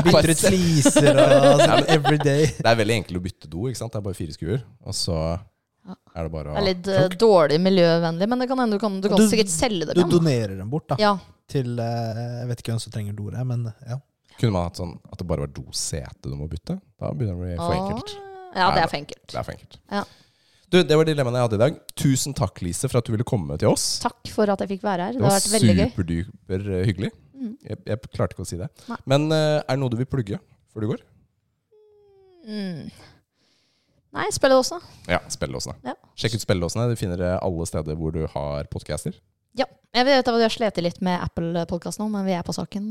[SPEAKER 1] Bytter ut fliser og sånn every day.
[SPEAKER 2] Det er veldig enkelt å bytte do, ikke sant? Det er bare fire skuer, og så er det bare
[SPEAKER 4] Det er
[SPEAKER 2] å
[SPEAKER 4] litt eh, dårlig miljøvennlig, men det kan hende du kan, du kan
[SPEAKER 1] Du-
[SPEAKER 4] sikkert selge det.
[SPEAKER 1] Du
[SPEAKER 4] kan.
[SPEAKER 1] donerer dem bort, da.
[SPEAKER 4] Ja,
[SPEAKER 1] Til eh, Jeg vet ikke hvem som trenger doer her, men ja.
[SPEAKER 2] Kunne man hatt sånn at det bare var dosete du må bytte? Da begynner det å bli for enkelt.
[SPEAKER 4] Åh. Ja, det er for enkelt.
[SPEAKER 2] Det er for enkelt.
[SPEAKER 4] Ja.
[SPEAKER 2] Du, det var dilemmaene jeg hadde i dag. Tusen takk, Lise, for at du ville komme til oss.
[SPEAKER 4] Takk for at jeg fikk være her.
[SPEAKER 2] Det
[SPEAKER 4] Det har
[SPEAKER 2] var
[SPEAKER 4] vært veldig gøy.
[SPEAKER 2] superduper eh, hyggelig.
[SPEAKER 4] Mm.
[SPEAKER 2] Jeg, jeg klarte ikke å si det.
[SPEAKER 4] Nei.
[SPEAKER 2] Men eh, er det noe du vil plugge før du går?
[SPEAKER 4] Mm. Nei, spille det også.
[SPEAKER 2] Ja, spillelåsene.
[SPEAKER 4] Ja.
[SPEAKER 2] Sjekk ut spillelåsene. Du finner det alle steder hvor du har podcaster.
[SPEAKER 4] Ja. Jeg vet at vi har slitt litt med Apple-podkast nå, men vi er på saken.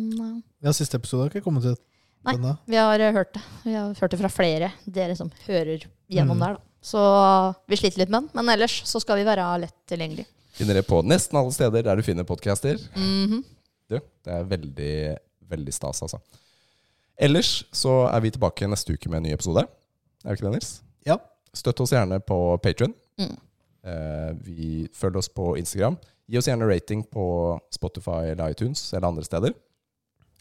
[SPEAKER 1] ja siste episode har ikke kommet ut
[SPEAKER 4] Nei.
[SPEAKER 1] ennå.
[SPEAKER 4] Vi har eh, hørt det. Vi har hørt det fra flere, dere som hører gjennom
[SPEAKER 1] Mm.
[SPEAKER 4] der. Da. Så eh, vi sliter litt med den, men ellers så skal vi være lett tilgjengelig.
[SPEAKER 2] Finner det på nesten alle steder der du finner podcaster.
[SPEAKER 4] Mhm.
[SPEAKER 2] Du, det er veldig, veldig stas, altså. Ellers så er vi tilbake neste uke med en ny episode. Er vi ikke det, Nils?
[SPEAKER 1] Ja.
[SPEAKER 2] Støtt oss gjerne på Patron.
[SPEAKER 4] Mm.
[SPEAKER 2] Eh, vi følger oss på Instagram. Gi oss gjerne rating på Spotify eller iTunes eller andre steder.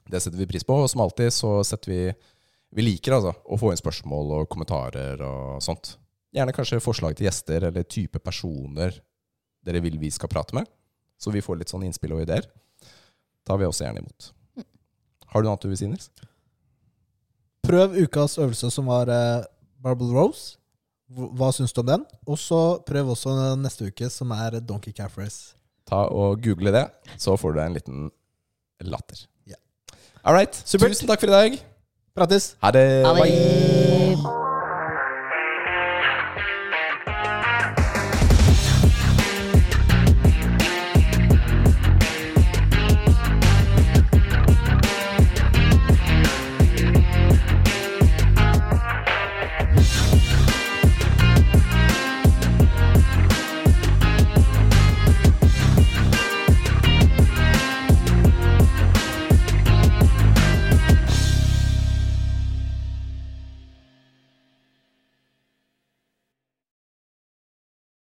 [SPEAKER 2] Det setter vi pris på. Og som alltid så setter vi Vi liker altså å få inn spørsmål og kommentarer og sånt. Gjerne kanskje forslag til gjester eller type personer dere vil vi skal prate med. Så vi får litt sånn innspill og ideer. Tar vi også gjerne imot.
[SPEAKER 4] Mm.
[SPEAKER 2] Har du noe annet du vil si, Nils?
[SPEAKER 1] Prøv ukas øvelse som var eh, Barbel Rose. Hv- Hva syns du om den? Og så prøv også neste uke, som er Donkey Calf Race.
[SPEAKER 2] Ta og google det, så får du en liten latter.
[SPEAKER 1] Ja.
[SPEAKER 2] All right.
[SPEAKER 1] Supert.
[SPEAKER 2] Tusen takk for i dag.
[SPEAKER 1] Prates!
[SPEAKER 2] Ha det.
[SPEAKER 4] Ha det.